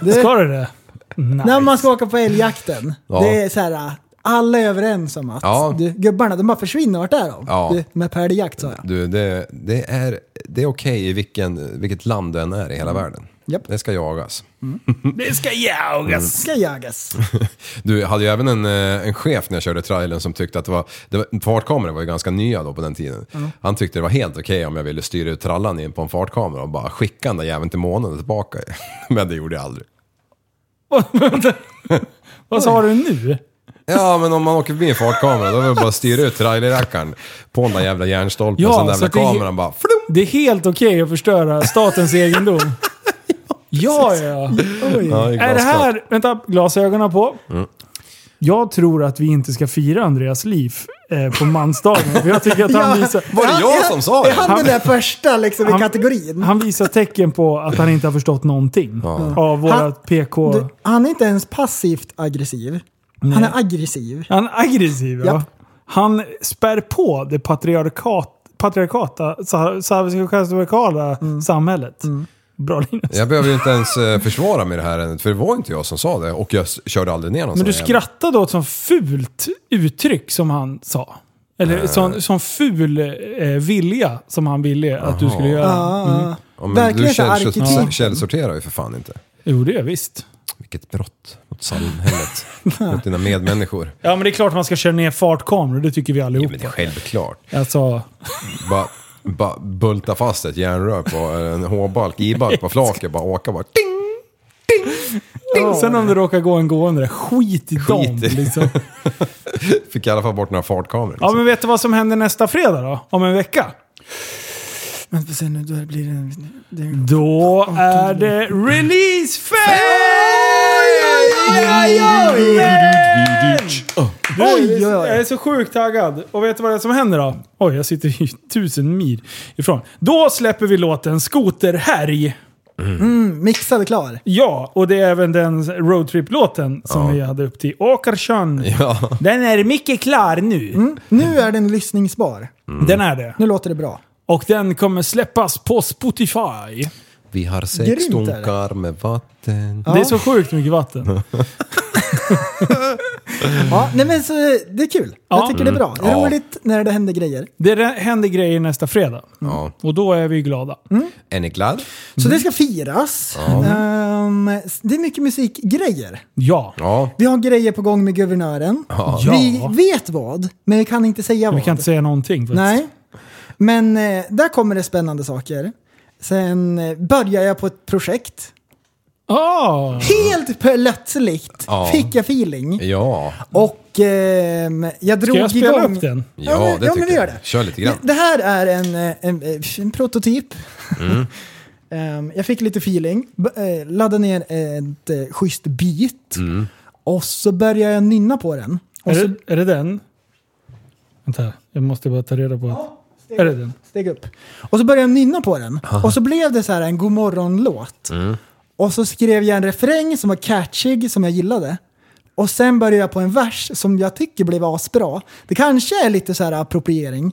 Speaker 9: Du,
Speaker 7: Ska du det?
Speaker 9: När
Speaker 7: Nej.
Speaker 9: man ska åka på älgjakten,
Speaker 8: Ja.
Speaker 9: det är så här, alla är överens om att
Speaker 8: Ja.
Speaker 9: du, gubbarna, de bara försvinner, vart är de?
Speaker 8: Ja.
Speaker 9: Du, med päljakt sa jag.
Speaker 8: Du, det, det är, det är okej i vilken, vilket land du än är i hela världen.
Speaker 9: Mm. Japp.
Speaker 8: Det ska jagas.
Speaker 7: Det ska jagas.
Speaker 9: Ska jagas.
Speaker 8: Du, jag hade ju även en, eh, en chef när jag körde trailern som tyckte att det var... Det var fartkameror var ju ganska nya då på den tiden. Han tyckte det var helt okej om jag ville styra ut trallan in på en fartkamera och bara skicka den där jäveln till månen och tillbaka. Men det gjorde jag aldrig.
Speaker 7: Vad sa du nu?
Speaker 8: Ja, men om man åker förbi en fartkamera då är det bara att styra ut trailerrackaren på den där jävla järnstolpen
Speaker 7: Ja,
Speaker 8: och sen den
Speaker 7: så
Speaker 8: jävla
Speaker 7: att det är he-
Speaker 8: kameran bara... Flum!
Speaker 7: Det är helt okej att förstöra statens egendom. Ja, ja. Oj.
Speaker 8: Ja, det är
Speaker 7: är det
Speaker 8: glasklart. Mm.
Speaker 7: här... Vänta, glasögonen på. Jag tror att vi inte ska fira Andreas liv eh, på mansdagen. För jag tycker att han visar...
Speaker 8: Var det jag som sa det?
Speaker 9: Är han den där första liksom, i kategorin?
Speaker 7: Han visar tecken på att han inte har förstått någonting av
Speaker 9: Han-
Speaker 7: våra PK...
Speaker 9: Du, han är inte ens passivt aggressiv. Han är aggressiv.
Speaker 7: Han är aggressiv, ja.
Speaker 9: Japp.
Speaker 7: Han spär på det patriarkat, patriarkata, sa- patriarkala
Speaker 8: Mm.
Speaker 7: samhället. Bra Linus.
Speaker 8: Jag behöver ju inte ens eh, försvara mig i det här ärendet, för det var inte jag som sa det och jag s- körde aldrig ner någon
Speaker 7: Men
Speaker 8: sån
Speaker 7: du
Speaker 8: jävel.
Speaker 7: skrattade åt sånt fult uttryck som han sa. Eller sån, sån ful eh, vilja som han ville att du skulle göra.
Speaker 9: Ja.
Speaker 8: Ja, men
Speaker 9: Verkligen
Speaker 8: du
Speaker 9: så
Speaker 8: källsort-
Speaker 9: arketyp.
Speaker 8: källsorterar ju för fan inte.
Speaker 7: Jo, det är visst.
Speaker 8: Vilket brott mot samhället, mot dina medmänniskor.
Speaker 7: Ja, men det är klart man ska köra ner fartkameror. Det tycker vi
Speaker 8: Ja,
Speaker 7: allihopa.
Speaker 8: men det är självklart.
Speaker 7: Alltså,
Speaker 8: Bara, bara bulta fast ett järnrör på en H-balk, I-balk på flaket, bara åka bara ding!
Speaker 7: Sen om det råkar gå en gående, skit i dem.
Speaker 8: i-
Speaker 7: Liksom.
Speaker 8: Fick i alla fall bort några fartkameror.
Speaker 7: Ja,
Speaker 8: Liksom.
Speaker 7: men vet du vad som händer nästa fredag då? Om en vecka?
Speaker 9: Men sen nu då blir det... en- det är
Speaker 7: Mm.
Speaker 9: en-
Speaker 7: Då är det releasefest!
Speaker 9: Oj, oj, oj.
Speaker 7: Jag är så sjukt taggad. Och vet du vad det är som händer då? Oj, jag sitter ju tusen mil ifrån. Då släpper vi låten Skoterhärj.
Speaker 9: Mixad och klar.
Speaker 7: Ja, och det är även den roadtrip-låten som vi hade upp till Åkarsjön.
Speaker 8: Ja.
Speaker 7: Den är mycket klar nu.
Speaker 9: Mm. Nu är den lyssningsbar. Mm.
Speaker 7: Den är det.
Speaker 9: Nu låter det bra.
Speaker 7: Och den kommer släppas på Spotify.
Speaker 8: Vi har sex
Speaker 9: Grymt är det.
Speaker 8: dunkar med vatten.
Speaker 7: Det är så sjukt mycket vatten.
Speaker 9: Ja, nej men så, det är kul.
Speaker 7: Ja.
Speaker 9: Jag tycker det är bra. Det är
Speaker 8: Ja.
Speaker 9: roligt när det händer grejer.
Speaker 7: Det re- händer grejer nästa fredag.
Speaker 8: Ja.
Speaker 7: Och då är vi glada.
Speaker 9: Mm.
Speaker 8: Är ni glad?
Speaker 9: Så det ska firas. Ehm, s- det är mycket musikgrejer.
Speaker 7: Ja.
Speaker 8: Ja.
Speaker 9: Vi har grejer på gång med guvernören.
Speaker 7: Ja.
Speaker 9: Vi vet vad, men vi kan inte säga vad.
Speaker 7: Vi kan inte säga någonting. faktiskt.
Speaker 9: Nej. Men eh, där kommer det spännande saker. Sen eh, börjar jag på ett projekt.
Speaker 7: Ah!
Speaker 9: Helt plötsligt
Speaker 8: Ja.
Speaker 9: fick jag feeling.
Speaker 8: Ja.
Speaker 9: Och ehm, jag drog
Speaker 7: Ska jag spela
Speaker 9: igång...
Speaker 7: upp den?
Speaker 8: Ja,
Speaker 9: men-
Speaker 8: det
Speaker 9: ja, men
Speaker 8: tycker
Speaker 9: vi gör
Speaker 8: jag.
Speaker 9: det.
Speaker 8: Kör lite grann.
Speaker 9: Det- Det här är en, eh, en, eh, en prototyp.
Speaker 8: Mm.
Speaker 9: Ehm, jag fick lite feeling, B- eh, laddade ner ett eh, schysst beat
Speaker 8: Mm.
Speaker 9: och så började jag nynna på den.
Speaker 7: Är
Speaker 9: Och så,
Speaker 7: det, är det den? Vänta, jag måste bara ta reda på. att- Är det den?
Speaker 9: steg upp. Och så började jag nynna på den och så blev det så här en godmorgon-låt.
Speaker 8: Mm.
Speaker 9: Och så skrev jag en refräng som var catchig, som jag gillade. Och sen började jag på en vers som jag tycker blev asbra. Det kanske är lite så här appropriering.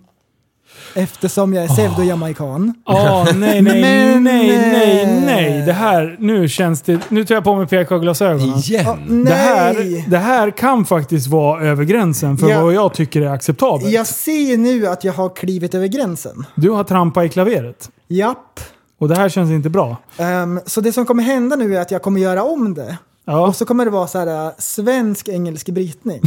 Speaker 9: Eftersom jag är pseudo-jamaican.
Speaker 7: Ah, nej, nej,
Speaker 9: Men,
Speaker 7: nej, nej,
Speaker 9: eh,
Speaker 7: nej. Det här, nu känns det... Nu tar jag på mig PK-glasögonen.
Speaker 9: Ja,
Speaker 8: Igen?
Speaker 9: nej.
Speaker 7: Det här, det här kan faktiskt vara över gränsen för
Speaker 9: Ja.
Speaker 7: vad jag tycker är acceptabelt.
Speaker 9: Jag ser nu att jag har klivit över gränsen.
Speaker 7: Du har trampat i klaveret.
Speaker 9: Japp.
Speaker 7: Och det här känns inte bra.
Speaker 9: Ehm, så det som kommer hända nu är att jag kommer göra om det.
Speaker 7: Ja.
Speaker 9: Och så kommer det vara så här äh, svensk-engelsk brytning.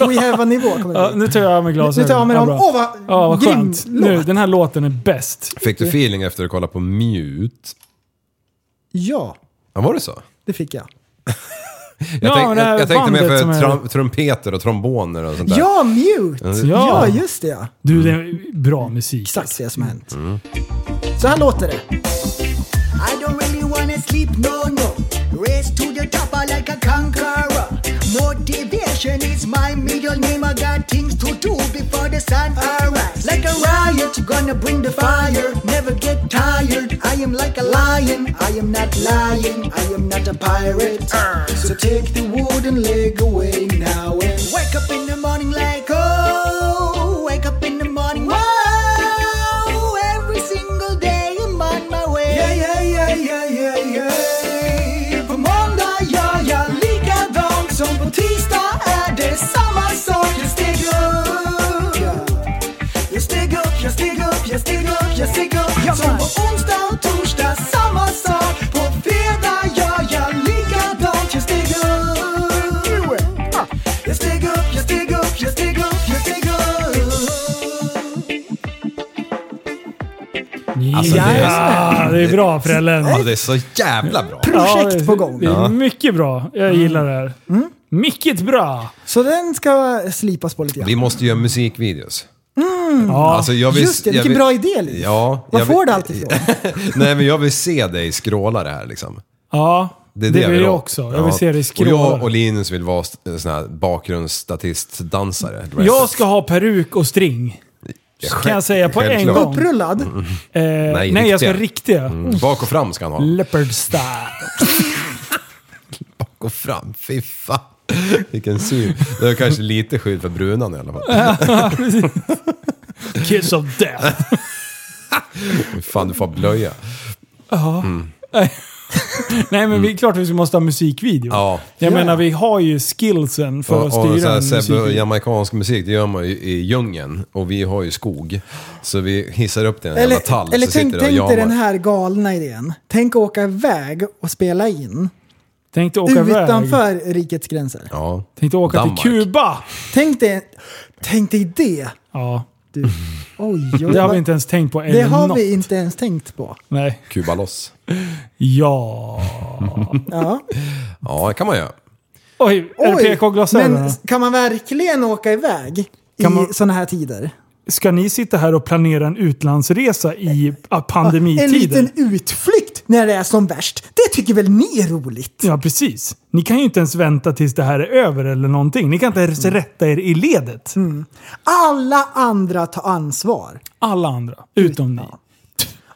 Speaker 9: We have a nivå kommer
Speaker 7: Ja,
Speaker 9: det bli.
Speaker 7: nu tar jag av mig
Speaker 9: Nu
Speaker 7: glasögonen.
Speaker 9: tar jag av mig dem.
Speaker 7: Ja,
Speaker 9: Åh
Speaker 7: bra.
Speaker 9: vad,
Speaker 7: Ja, vad
Speaker 9: grym
Speaker 7: skönt.
Speaker 9: låt!
Speaker 7: Nu, den här låten är bäst.
Speaker 8: Fick du feeling efter att kolla på Mute?
Speaker 9: Ja,
Speaker 8: Ja, var det så?
Speaker 9: det fick jag.
Speaker 8: Jag,
Speaker 7: Ja,
Speaker 8: tänk,
Speaker 7: det här
Speaker 8: jag, jag tänkte mer för
Speaker 7: bandet som är-
Speaker 8: trum, trumpeter och tromboner och sånt där.
Speaker 9: Ja, mute!
Speaker 8: Ja.
Speaker 9: Ja. just det ja.
Speaker 7: Du, det är bra musik.
Speaker 9: Exakt det som har hänt. Så här låter det.
Speaker 10: I don't really wanna sleep, no, no. Race to the top I like a conqueror. Motivation is my middle name. I got things to do before the sun arise. Like a riot, gonna bring the fire. Never get tired. I am like a lion. I am not lying. I am not a pirate. So take the wooden leg away now and wake up in the morning like oh, wake up in the morning. Wow, every single day I'm on my way. Yeah, yeah, yeah, yeah, yeah, yeah. På måndag gör jag likadant som på tisdag är det samma sak. Jag steg upp. Jag steg upp, jag steg upp, jag steg upp, jag steg upp. Ja, som på onsdag och torsdag samma sak. På fredag gör jag likadant. Jag steg upp. Jag steg upp, jag steg upp, jag steg upp, jag steg upp.
Speaker 8: Alltså, det är,
Speaker 7: Ja, det är bra Frällen.
Speaker 8: ja, det är så jävla bra.
Speaker 9: Projekt
Speaker 7: Ja, det-
Speaker 9: på gång.
Speaker 7: Det är mycket bra. Jag gillar det här. Mycket bra!
Speaker 9: Så den ska slipas på lite grann.
Speaker 8: Vi måste göra musikvideos.
Speaker 7: Ja.
Speaker 8: Alltså, jag vill,
Speaker 9: Just det,
Speaker 8: jag
Speaker 9: vilken
Speaker 8: vill-
Speaker 9: bra idé Liv.
Speaker 8: Ja,
Speaker 9: Var
Speaker 8: jag
Speaker 9: får
Speaker 8: vill-
Speaker 9: du allt ifrån?
Speaker 8: Nej, men jag vill se dig skråla det här liksom.
Speaker 7: ja.
Speaker 8: Det, är det,
Speaker 7: det vill
Speaker 8: vill
Speaker 7: jag
Speaker 8: åt.
Speaker 7: också. Jag vill se dig
Speaker 8: Och jag
Speaker 7: skråla.
Speaker 8: och Linus vill vara st- sån här bakgrundsstatistdansare. Du vet.
Speaker 7: Jag ska ha peruk och string.
Speaker 8: Själv-
Speaker 7: Kan jag säga på en
Speaker 8: självklart.
Speaker 7: gång. Eh,
Speaker 9: Upprullad?
Speaker 8: Mm,
Speaker 7: nej,
Speaker 8: riktiga.
Speaker 7: jag ska ha riktiga.
Speaker 8: Mm, Bak och fram ska han ha.
Speaker 7: Leopard style.
Speaker 8: Bak och fram, fy fan. Vilken syn. Det är kanske lite skydd för brunan i alla fall.
Speaker 7: Kiss of death.
Speaker 8: Fy Fan, du får blöja.
Speaker 7: Nej men vi, klart vi måste ha musikvideo.
Speaker 8: Mm. Ja.
Speaker 7: Jag menar vi har ju skillsen för
Speaker 8: Och,
Speaker 7: att
Speaker 8: och så
Speaker 7: styra
Speaker 8: här,
Speaker 7: en
Speaker 8: Sebbe,
Speaker 7: musikvideo.
Speaker 8: jamaicansk musik, det gör man ju i djungeln. Och vi har ju skog. Så vi hissar upp den i en
Speaker 9: Eller,
Speaker 8: jävla tall.
Speaker 9: eller
Speaker 8: så
Speaker 9: tänk,
Speaker 8: sitter det
Speaker 9: tänk
Speaker 8: och
Speaker 9: dig
Speaker 8: jamar.
Speaker 9: den här galna idén. Tänk åka iväg och spela in
Speaker 7: Tänkte åka iväg.
Speaker 9: utanför rikets gränser.
Speaker 8: Ja.
Speaker 7: Tänkte åka
Speaker 8: Danmark.
Speaker 7: till Kuba.
Speaker 9: Tänk dig, tänk dig det!
Speaker 7: Ja.
Speaker 9: Du. Oj, oj,
Speaker 7: Det har
Speaker 9: vad-
Speaker 7: vi inte ens tänkt på.
Speaker 9: det
Speaker 7: eller
Speaker 9: har
Speaker 7: något.
Speaker 9: vi inte ens tänkt på.
Speaker 7: Nej.
Speaker 8: Kuba loss.
Speaker 7: Ja.
Speaker 9: Ja.
Speaker 8: Ja, det kan man göra.
Speaker 7: Oj, är det PK-glasögonen?
Speaker 9: men kan man verkligen åka iväg
Speaker 7: Kan
Speaker 9: i
Speaker 7: man-
Speaker 9: sådana här tider?
Speaker 7: Ska ni sitta här och planera en utlandsresa i ah,
Speaker 9: Eh, En
Speaker 7: pandemitiden?
Speaker 9: liten utflykt när det är som värst. Det tycker väl ni är roligt?
Speaker 7: Ja, precis. Ni kan ju inte ens vänta tills det här är över eller någonting. Ni kan inte ens
Speaker 9: Mm.
Speaker 7: rätta er i ledet.
Speaker 9: Alla andra tar ansvar.
Speaker 7: Alla andra, utom ni.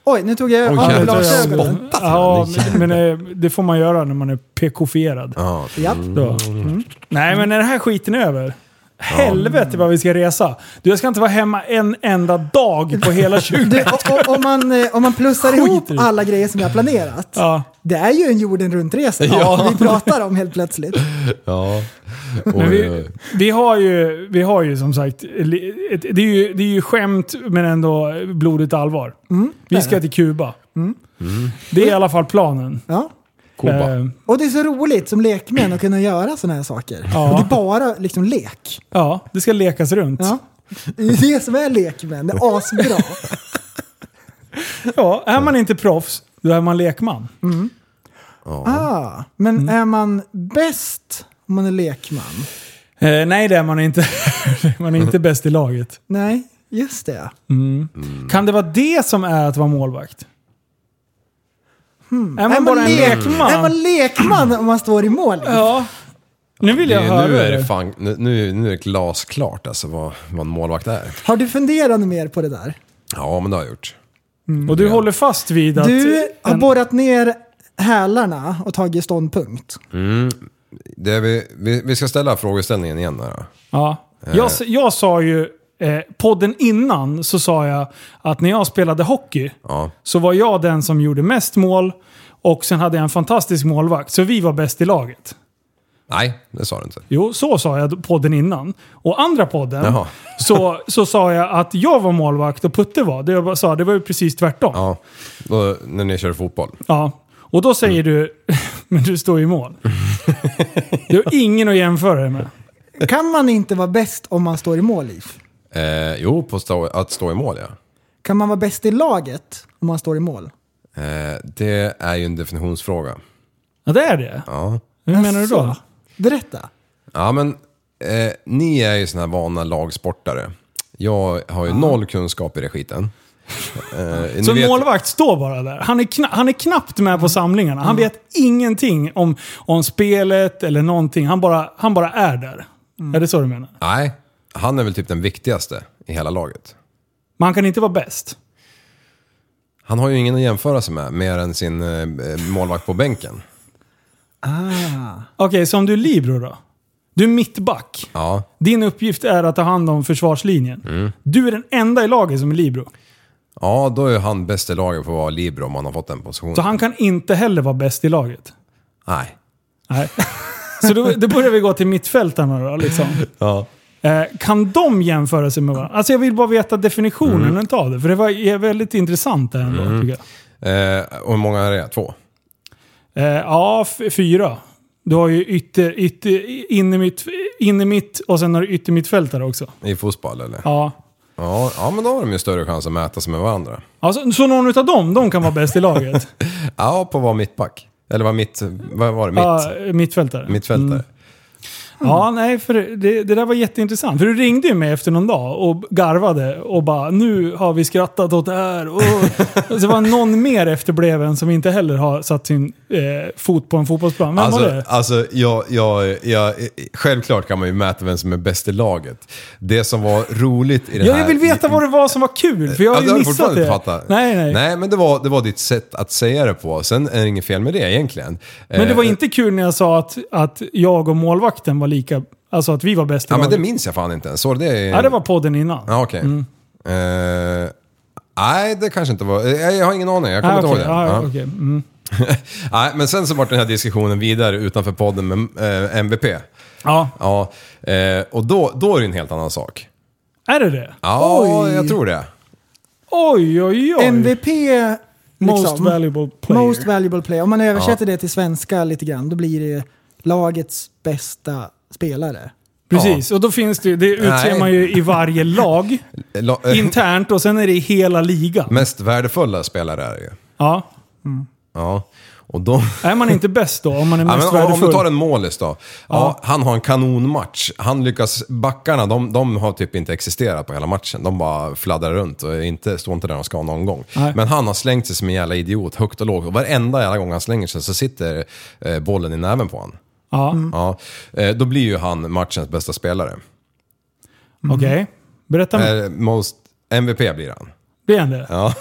Speaker 9: Oj, nu tog jag
Speaker 8: Oj,
Speaker 9: av mig
Speaker 8: jävlar.
Speaker 9: glasögonen.
Speaker 7: Ja, men eh, det får man göra när man är PK-fierad.
Speaker 8: Ja.
Speaker 9: Ja.
Speaker 7: Mm. Då. Nej, men när den här skiten är över, Helvete vad vi ska resa. Du, jag ska inte vara hemma en enda dag på hela 2021.
Speaker 9: Du, o- o- om, man, eh, om man plussar
Speaker 7: Skit
Speaker 9: ihop
Speaker 7: i det.
Speaker 9: alla grejer som jag har planerat.
Speaker 7: Ja.
Speaker 9: Det är ju en jorden runt-resa
Speaker 8: Ja.
Speaker 9: vi pratar om helt plötsligt.
Speaker 8: Ja.
Speaker 7: Men
Speaker 8: Oj,
Speaker 7: vi,
Speaker 8: oj.
Speaker 7: vi, har ju, vi har ju som sagt, li- ett, det, är ju, det är ju skämt men ändå blodigt allvar. vi ska till Kuba.
Speaker 8: Mm.
Speaker 7: Det är i alla fall planen.
Speaker 9: Ja.
Speaker 8: Kuba.
Speaker 7: Eh,
Speaker 9: Och det är så roligt som lekmän att kunna göra sådana här saker.
Speaker 7: Ja.
Speaker 9: Och det är bara liksom lek.
Speaker 7: ja, det ska lekas runt.
Speaker 9: Ja. Det är det som är lekmän, det är asbra.
Speaker 7: Ja, är man inte proffs, då är man lekman.
Speaker 9: Ah, men
Speaker 7: Mm.
Speaker 9: är man bäst om man är lekman?
Speaker 7: Eh, nej, det är man inte. man är inte bäst i laget.
Speaker 9: Nej, just det.
Speaker 8: Mm.
Speaker 7: Kan det vara det som är att vara målvakt? Hmm. Är man
Speaker 9: Är
Speaker 7: bara en lekman?
Speaker 9: Är man lekman om man står i mål?
Speaker 7: Ja. Nu vill jag höra
Speaker 8: Det- Nu är
Speaker 7: det.
Speaker 8: det fan, nu, nu, nu är det glasklart alltså vad, vad en målvakt är.
Speaker 9: Har du funderat mer på det där?
Speaker 8: Ja, men det har jag gjort.
Speaker 7: Och du håller fast vid att...
Speaker 9: Du har
Speaker 7: en-
Speaker 9: borrat ner hälarna och tagit ståndpunkt.
Speaker 8: Det är vi, vi, vi ska ställa frågeställningen igen här. då.
Speaker 7: Ja.
Speaker 8: Eh.
Speaker 7: Jag, s- jag sa ju, eh, podden innan så sa jag att när jag spelade hockey
Speaker 8: Ja.
Speaker 7: så var jag den som gjorde mest mål och sen hade jag en fantastisk målvakt. Så vi var bäst i laget.
Speaker 8: Nej, det sa du inte.
Speaker 7: Jo, så sa jag podden innan. Och andra podden
Speaker 8: Jaha.
Speaker 7: så, så sa jag att jag var målvakt och Putte var. Det jag bara sa, det var ju precis tvärtom. Ja.
Speaker 8: Ja, då, när ni körde fotboll.
Speaker 7: Och då säger du, men du står ju i mål. Du har ingen att jämföra dig med.
Speaker 9: Kan man inte vara bäst om man står i mål, Liv?
Speaker 8: Eh, jo, på stå, att stå i mål ja.
Speaker 9: Kan man vara bäst i laget om man står i mål?
Speaker 8: Eh, det är ju en definitionsfråga.
Speaker 7: Ja, det är det.
Speaker 8: Ja,
Speaker 7: Hur menar du då?
Speaker 9: Alltså, Berätta.
Speaker 8: ja men eh, ni är ju såna här vana lagsportare. Jag har
Speaker 7: Ah.
Speaker 8: ju noll kunskap i det skiten. Eh, ni
Speaker 7: Så en
Speaker 8: vet-
Speaker 7: målvakt står bara där. Han är, kna- han är knappt med på samlingarna. Han vet ingenting om, om spelet eller någonting. Han bara, han bara är där. Är det så du menar?
Speaker 8: Nej, han är väl typ den viktigaste i hela laget.
Speaker 7: Men han kan inte vara bäst.
Speaker 8: Han har ju ingen att jämföra sig med, mer än sin eh, målvakt på bänken.
Speaker 7: Okej, så om du är libero då? Du är mittback.
Speaker 8: Ja,
Speaker 7: Din uppgift är att ta hand om försvarslinjen. Du är den enda i laget som är libero.
Speaker 8: ja då är ju han bäst i laget på att vara libero om han har fått den positionen.
Speaker 7: Så han kan inte heller vara bäst i laget.
Speaker 8: Nej.
Speaker 7: Nej. Så då, då börjar vi gå till mittfältarna då. Liksom.
Speaker 8: Ja.
Speaker 7: Eh, kan de jämföra sig med varandra? Alltså jag vill bara veta definitionen utav det. För det var är väldigt intressant det här ändå tycker jag.
Speaker 8: Eh, och hur många är det? Två?
Speaker 7: Eh, ja, f- fyra. Du har ju ytter, ytter, innermitt, innermitt och sen har du yttermittfältare också.
Speaker 8: I fotboll eller?
Speaker 7: Ja.
Speaker 8: Ja, ja, men då har de ju större chans att mäta sig med varandra.
Speaker 7: Alltså, så någon utav dem, de kan vara bäst i laget?
Speaker 8: Ja, på att vara mittback. Eller vad mitt... Vad var det? Mitt?
Speaker 7: Ja, Mm. mittfältare.
Speaker 8: Mittfältare.
Speaker 7: Ja, nej, för det, det där var jätteintressant. För du ringde ju mig efter någon dag och garvade och bara nu har vi skrattat åt det här. Och, och så var det någon mer efterbleven som inte heller har satt sin eh, fot på en fotbollsplan. Vem var
Speaker 8: Alltså,
Speaker 7: det?
Speaker 8: alltså jag, jag, jag, självklart kan man ju mäta vem som är bäst i laget. Det som var roligt i den
Speaker 7: Ja,
Speaker 8: här...
Speaker 7: jag vill veta vad det var som var kul, för jag
Speaker 8: Ja,
Speaker 7: har ju
Speaker 8: det har du
Speaker 7: missat
Speaker 8: Alltså, fortfarande
Speaker 7: det.
Speaker 8: inte fattat.
Speaker 7: Nej, nej,
Speaker 8: Nej, men det var, det var ditt sätt att säga det på. Sen är det inget fel med det egentligen.
Speaker 7: Men det var
Speaker 8: Eh,
Speaker 7: inte kul när jag sa att, att jag och målvakten var lika, alltså att vi var bäst i
Speaker 8: Ja, men
Speaker 7: laget.
Speaker 8: det minns jag fan inte ens. Så det är...
Speaker 7: Ja, det var Mm. podden innan.
Speaker 8: Ja, okej. Eh, nej, det kanske inte var... eh, Jag har ingen aning, jag kommer
Speaker 7: Ah,
Speaker 8: inte
Speaker 7: okej.
Speaker 8: ihåg det.
Speaker 7: Ah,
Speaker 8: Ja.
Speaker 7: okej. Mm.
Speaker 8: Nej, men sen så var den här diskussionen vidare utanför podden med eh, MVP.
Speaker 7: ja,
Speaker 8: Ja, eh, och då, då är det en helt annan sak.
Speaker 7: är det det?
Speaker 8: Ja, jag tror det.
Speaker 7: Oj, oj, oj.
Speaker 9: MVP...
Speaker 7: Most
Speaker 9: liksom,
Speaker 7: valuable player.
Speaker 9: Most valuable player. Om man översätter det till svenska lite grann, då blir det ju lagets bästa spelare.
Speaker 7: Precis, och då finns det ju, det utser
Speaker 8: Nej.
Speaker 7: man ju i varje lag
Speaker 8: La, eh,
Speaker 7: internt och sen är det i hela ligan.
Speaker 8: mest värdefulla spelare är det ju.
Speaker 7: ja.
Speaker 8: Ja, och då...
Speaker 7: Är man inte bäst då? Om man är
Speaker 8: Ja,
Speaker 7: mest
Speaker 8: men om- om
Speaker 7: värdefull?
Speaker 8: du tar en målis då. Ja, Han har en kanonmatch. Han lyckas... Backarna, de, de har typ inte existerat på hela matchen. De bara fladdrar runt och är inte, står inte där de ska någon gång.
Speaker 7: Nej.
Speaker 8: Men han har slängt sig som en jävla idiot, högt och lågt. Och varenda jävla gång han slänger sig så sitter eh, bollen i näven på honom.
Speaker 7: Ja,
Speaker 8: Ja, eh, då blir ju han matchens bästa spelare. Mm.
Speaker 7: okej. Berätta mer.
Speaker 8: Eh, most MVP blir han.
Speaker 7: Blir han det?
Speaker 8: Ja,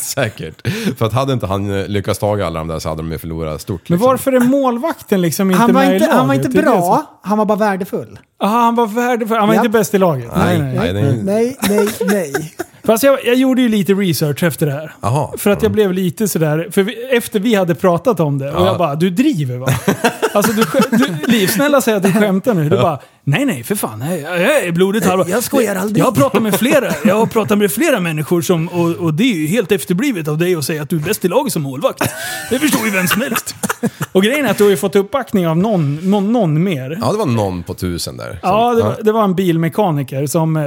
Speaker 8: säkert. För att hade inte han eh, lyckats ta alla de där så hade de ju förlorat stort. liksom.
Speaker 7: Men varför är målvakten liksom inte
Speaker 9: Han var
Speaker 7: med
Speaker 9: inte,
Speaker 7: i laget?
Speaker 9: han var inte
Speaker 7: Det är det som-
Speaker 9: bra, han var bara värdefull.
Speaker 7: Aha, han var värdefull. Han var
Speaker 9: Ja.
Speaker 7: inte bäst i laget.
Speaker 8: Nej, nej, nej.
Speaker 9: Nej, nej, nej.
Speaker 7: Fast jag, jag gjorde ju lite research efter det här.
Speaker 8: Jaha.
Speaker 7: För att jag blev lite sådär, för vi, efter vi hade pratat om det och
Speaker 8: Ja.
Speaker 7: jag bara du driver va? Alltså du, skä- du Liv, snälla säg att du skämtar nu. Du bara nej nej för fan, nej, jag jag är blodigt halva.
Speaker 9: Jag skojar aldrig.
Speaker 7: Jag har pratat med flera, jag har pratat med flera människor som, och, och det är ju helt efterblivet av dig att säga att du är bäst i laget som målvakt. Det förstår ju vem som helst. Och grejen är att du har ju fått uppbackning av någon, någon, någon mer.
Speaker 8: Ja, det var någon på tusen där. Som-
Speaker 7: Ja, det var, det var en bilmekaniker som eh,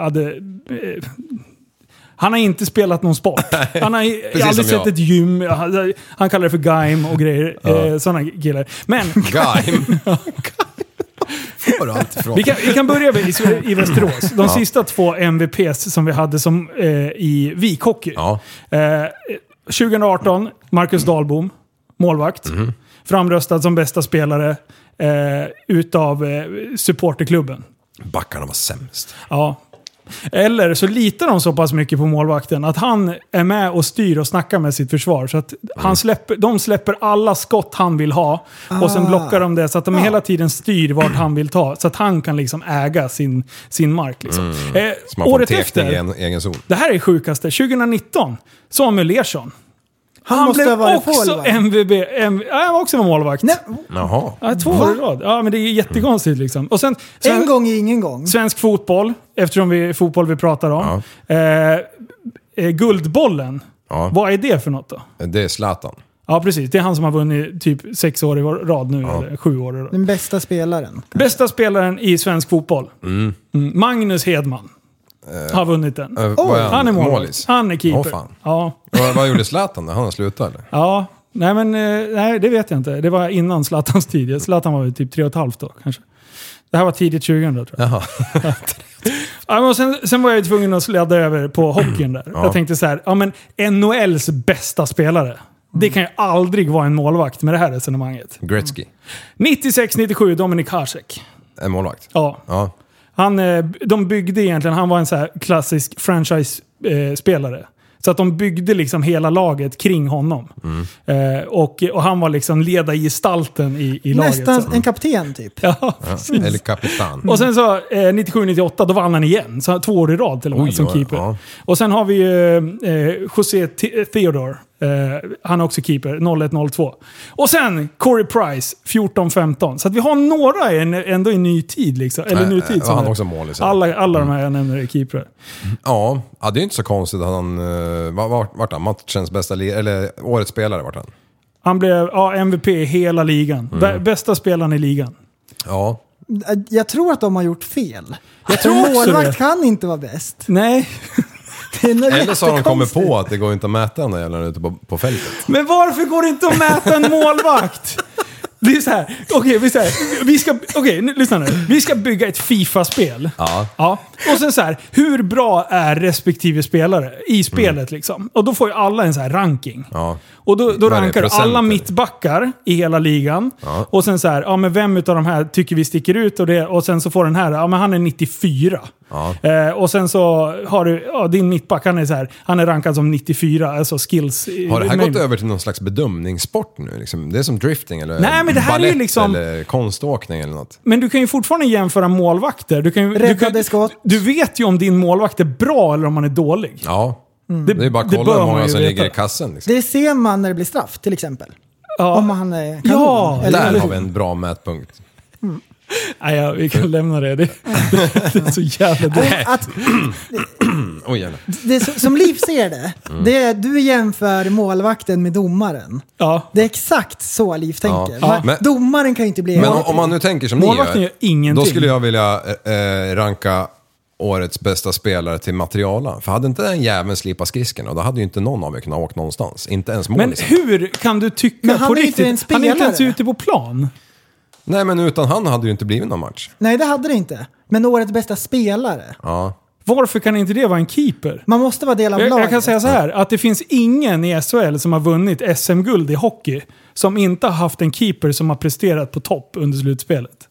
Speaker 7: hade... Eh, han har inte spelat någon sport. Han har i-
Speaker 8: precis
Speaker 7: aldrig
Speaker 8: som
Speaker 7: sett
Speaker 8: jag.
Speaker 7: ett gym. Han, han kallar det för gaim och grejer. Eh, Sådana killar. Men
Speaker 8: Gaim. Var du allt ifrån?
Speaker 7: vi kan, vi kan börja med i, i Västerås. De sista två MVPs som vi hade som, eh, i Vikhockey.
Speaker 8: Ja.
Speaker 7: Eh, 2018, Marcus Dahlbom, målvakt.
Speaker 8: Mhm.
Speaker 7: Framröstad som bästa spelare eh, utav eh, supporterklubben.
Speaker 8: Backarna var sämst.
Speaker 7: Ja. Eller så litar de så pass mycket på målvakten att han är med och styr och snackar med sitt försvar. Så att
Speaker 9: Mm.
Speaker 7: han släpper, de släpper alla skott han vill ha och
Speaker 9: Ah.
Speaker 7: sen blockar de det så att de hela tiden styr vart han vill ta. Så att han kan liksom äga sin, sin mark. Liksom.
Speaker 9: Mm.
Speaker 7: Eh,
Speaker 8: Så man
Speaker 7: året
Speaker 8: får TFT i
Speaker 7: efter,
Speaker 8: en egen zon.
Speaker 7: det här är sjukaste, 2019, Samuel Larsson.
Speaker 9: Han, måste ha
Speaker 7: blev
Speaker 9: varit
Speaker 7: också
Speaker 9: forward.
Speaker 7: MVB, M, ja, han var också målvakt.
Speaker 9: Nej,
Speaker 8: Jaha.
Speaker 7: Ja, två år i rad. Ja, men det är jättekonstigt liksom. Och sen, sen,
Speaker 9: en gång är ingen gång.
Speaker 7: Svensk fotboll, eftersom vi är fotboll vi pratar om. Eh, eh, guldbollen,
Speaker 8: Ja.
Speaker 7: vad är det för något då?
Speaker 8: Det är Zlatan.
Speaker 7: Ja, precis. Det är han som har vunnit typ sex år i rad nu, eller sju år i rad.
Speaker 9: Den bästa spelaren.
Speaker 7: Bästa spelaren i svensk fotboll? Mm. Magnus Hedman. Har vunnit den.
Speaker 8: Eh, vad
Speaker 7: han är målis.
Speaker 8: Målis.
Speaker 7: Han är keeper.
Speaker 8: Åh, fan.
Speaker 7: Ja.
Speaker 8: Vad, vad gjorde Zlatan då? Han slutade eller?
Speaker 7: ja. Nej, men eh, nej, det vet jag inte. Det var innan Zlatans tid. Zlatan var väl typ tre och ett halvt då, kanske. Det här var tidigt 2000 tror jag.
Speaker 8: Jaha.
Speaker 7: Ja, men och sen, sen var jag ju tvungen att släda över på hockeyn där. Jag tänkte så här, ja men NHLs bästa spelare. Det kan ju aldrig vara en målvakt med det här resonemanget.
Speaker 8: Gretzky.
Speaker 7: 96-97, Dominik Hasek.
Speaker 8: En målvakt.
Speaker 7: Ja.
Speaker 8: Ja.
Speaker 7: Han, eh, de byggde egentligen, han var en så här klassisk franchise-spelare. Så att de byggde liksom hela laget kring honom. Eh, och, och han var liksom ledargestalten i, i laget. så.
Speaker 9: Nästan en kapten typ.
Speaker 7: Ja,
Speaker 8: ja. Eller kapitan.
Speaker 7: Och sen så eh, 97-98, då vann han igen. Så två år i rad till och med
Speaker 8: Oj,
Speaker 7: som
Speaker 8: ja,
Speaker 7: keeper.
Speaker 8: ja.
Speaker 7: Och sen har vi ju eh, José Te- Theodore. Eh, han är också keeper, 01-02. Och sen Corey Price, 14-15. Så att vi har några i en, ändå i ny tid. Liksom. Eller
Speaker 8: Nej,
Speaker 7: ny
Speaker 8: eh,
Speaker 7: tid
Speaker 8: var
Speaker 7: som
Speaker 8: han
Speaker 7: är-
Speaker 8: också målis, eller?
Speaker 7: Alla, alla
Speaker 8: Mm.
Speaker 7: de här jag nämner är keeprar.
Speaker 8: Ja. ja, det är inte så konstigt att han... eh, var- Vart, vart han? Matchens bästa... li- Eller årets spelare vart han.
Speaker 7: Han blev ja, MVP i hela ligan.
Speaker 8: Mm.
Speaker 7: Bä- Bästa spelaren i ligan.
Speaker 8: Ja.
Speaker 9: Jag tror att de har gjort fel. Jag
Speaker 7: tror också
Speaker 9: målvakt
Speaker 7: det.
Speaker 9: kan inte vara bäst.
Speaker 7: Nej,
Speaker 9: Det är nog
Speaker 8: Eller så har de kommit
Speaker 9: jättekonstigt.
Speaker 8: på att det går inte att mäta den där jävla ute på, på fältet.
Speaker 7: Men varför går det inte att mäta en målvakt? Det är så här. Okej, vi, så här. vi ska... Okej, nu, lyssna nu. Vi ska bygga ett Fifa-spel.
Speaker 8: Ja.
Speaker 7: Ja. Och sen så här, hur bra är respektive spelare i spelet liksom? Och då får ju alla en så här ranking.
Speaker 8: Mm. Ja.
Speaker 7: Och då, då
Speaker 8: Vad är det,
Speaker 7: rankar du alla
Speaker 8: procenter?
Speaker 7: mittbackar i hela ligan. Och sen så här, ja men vem utav de här tycker vi sticker ut? Och, det, och sen så får den här, ja men han är 94. Eh, och sen så har du, ja din mittback han är så här, han är rankad som 94, alltså skills.
Speaker 8: Har det här
Speaker 7: men-
Speaker 8: gått över till någon slags bedömningssport nu? Liksom, det är som drifting eller
Speaker 7: Nej, men det här är ju
Speaker 8: ballett
Speaker 7: liksom-
Speaker 8: eller konståkning eller något.
Speaker 7: Men du kan ju fortfarande jämföra målvakter. Du, kan ju, du,
Speaker 9: Räddade
Speaker 7: kan,
Speaker 9: skott.
Speaker 7: du vet ju om din målvakt är bra eller om han är dålig.
Speaker 8: Ja. Det är bara att kolla
Speaker 7: Mm. bör
Speaker 8: hur
Speaker 7: man
Speaker 8: många
Speaker 7: ju
Speaker 8: som
Speaker 7: veta.
Speaker 8: ligger i kassen. Liksom.
Speaker 9: Det ser man när det blir straff till exempel.
Speaker 7: Ja.
Speaker 9: Om han är kanon.
Speaker 7: Ja,
Speaker 9: eller,
Speaker 8: Där
Speaker 9: eller
Speaker 8: har vi
Speaker 9: hur?
Speaker 8: en bra mätpunkt.
Speaker 7: Nej, ja, vi kan lämna det. Det, det är så jävla dumt.
Speaker 9: Att,
Speaker 8: Oj, jävlar.
Speaker 9: det, är så- som Liv ser det,
Speaker 8: Mm.
Speaker 9: det är, du jämför målvakten med domaren.
Speaker 7: Ja.
Speaker 9: Det är exakt så Liv tänker.
Speaker 8: Ja.
Speaker 9: Man,
Speaker 8: Men-
Speaker 9: domaren kan ju inte bli...
Speaker 8: Men om, om man nu tänker som ni
Speaker 7: Målvakten gör ingenting.
Speaker 8: Då skulle jag vilja eh, ranka årets bästa spelare till materiala. För hade inte den jäveln slipat skridskorna, då hade ju inte någon av er kunnat åka någonstans. Inte ens liksom.
Speaker 7: Men
Speaker 8: målisen.
Speaker 7: hur kan du tycka
Speaker 9: Men han
Speaker 7: på
Speaker 9: är inte
Speaker 7: riktigt?
Speaker 9: ens
Speaker 7: han är inte ens
Speaker 9: spelare.
Speaker 7: ute på plan.
Speaker 8: Nej, men utan han hade det ju inte blivit någon match.
Speaker 9: Nej, det hade det inte. Men årets bästa spelare.
Speaker 8: Ja.
Speaker 7: Varför kan inte det vara en keeper?
Speaker 9: Man måste vara del av
Speaker 7: Jag,
Speaker 9: laget.
Speaker 7: jag kan säga så här, att det finns ingen i SHL som har vunnit SM-guld i hockey som inte har haft en keeper som har presterat på topp under slutspelet.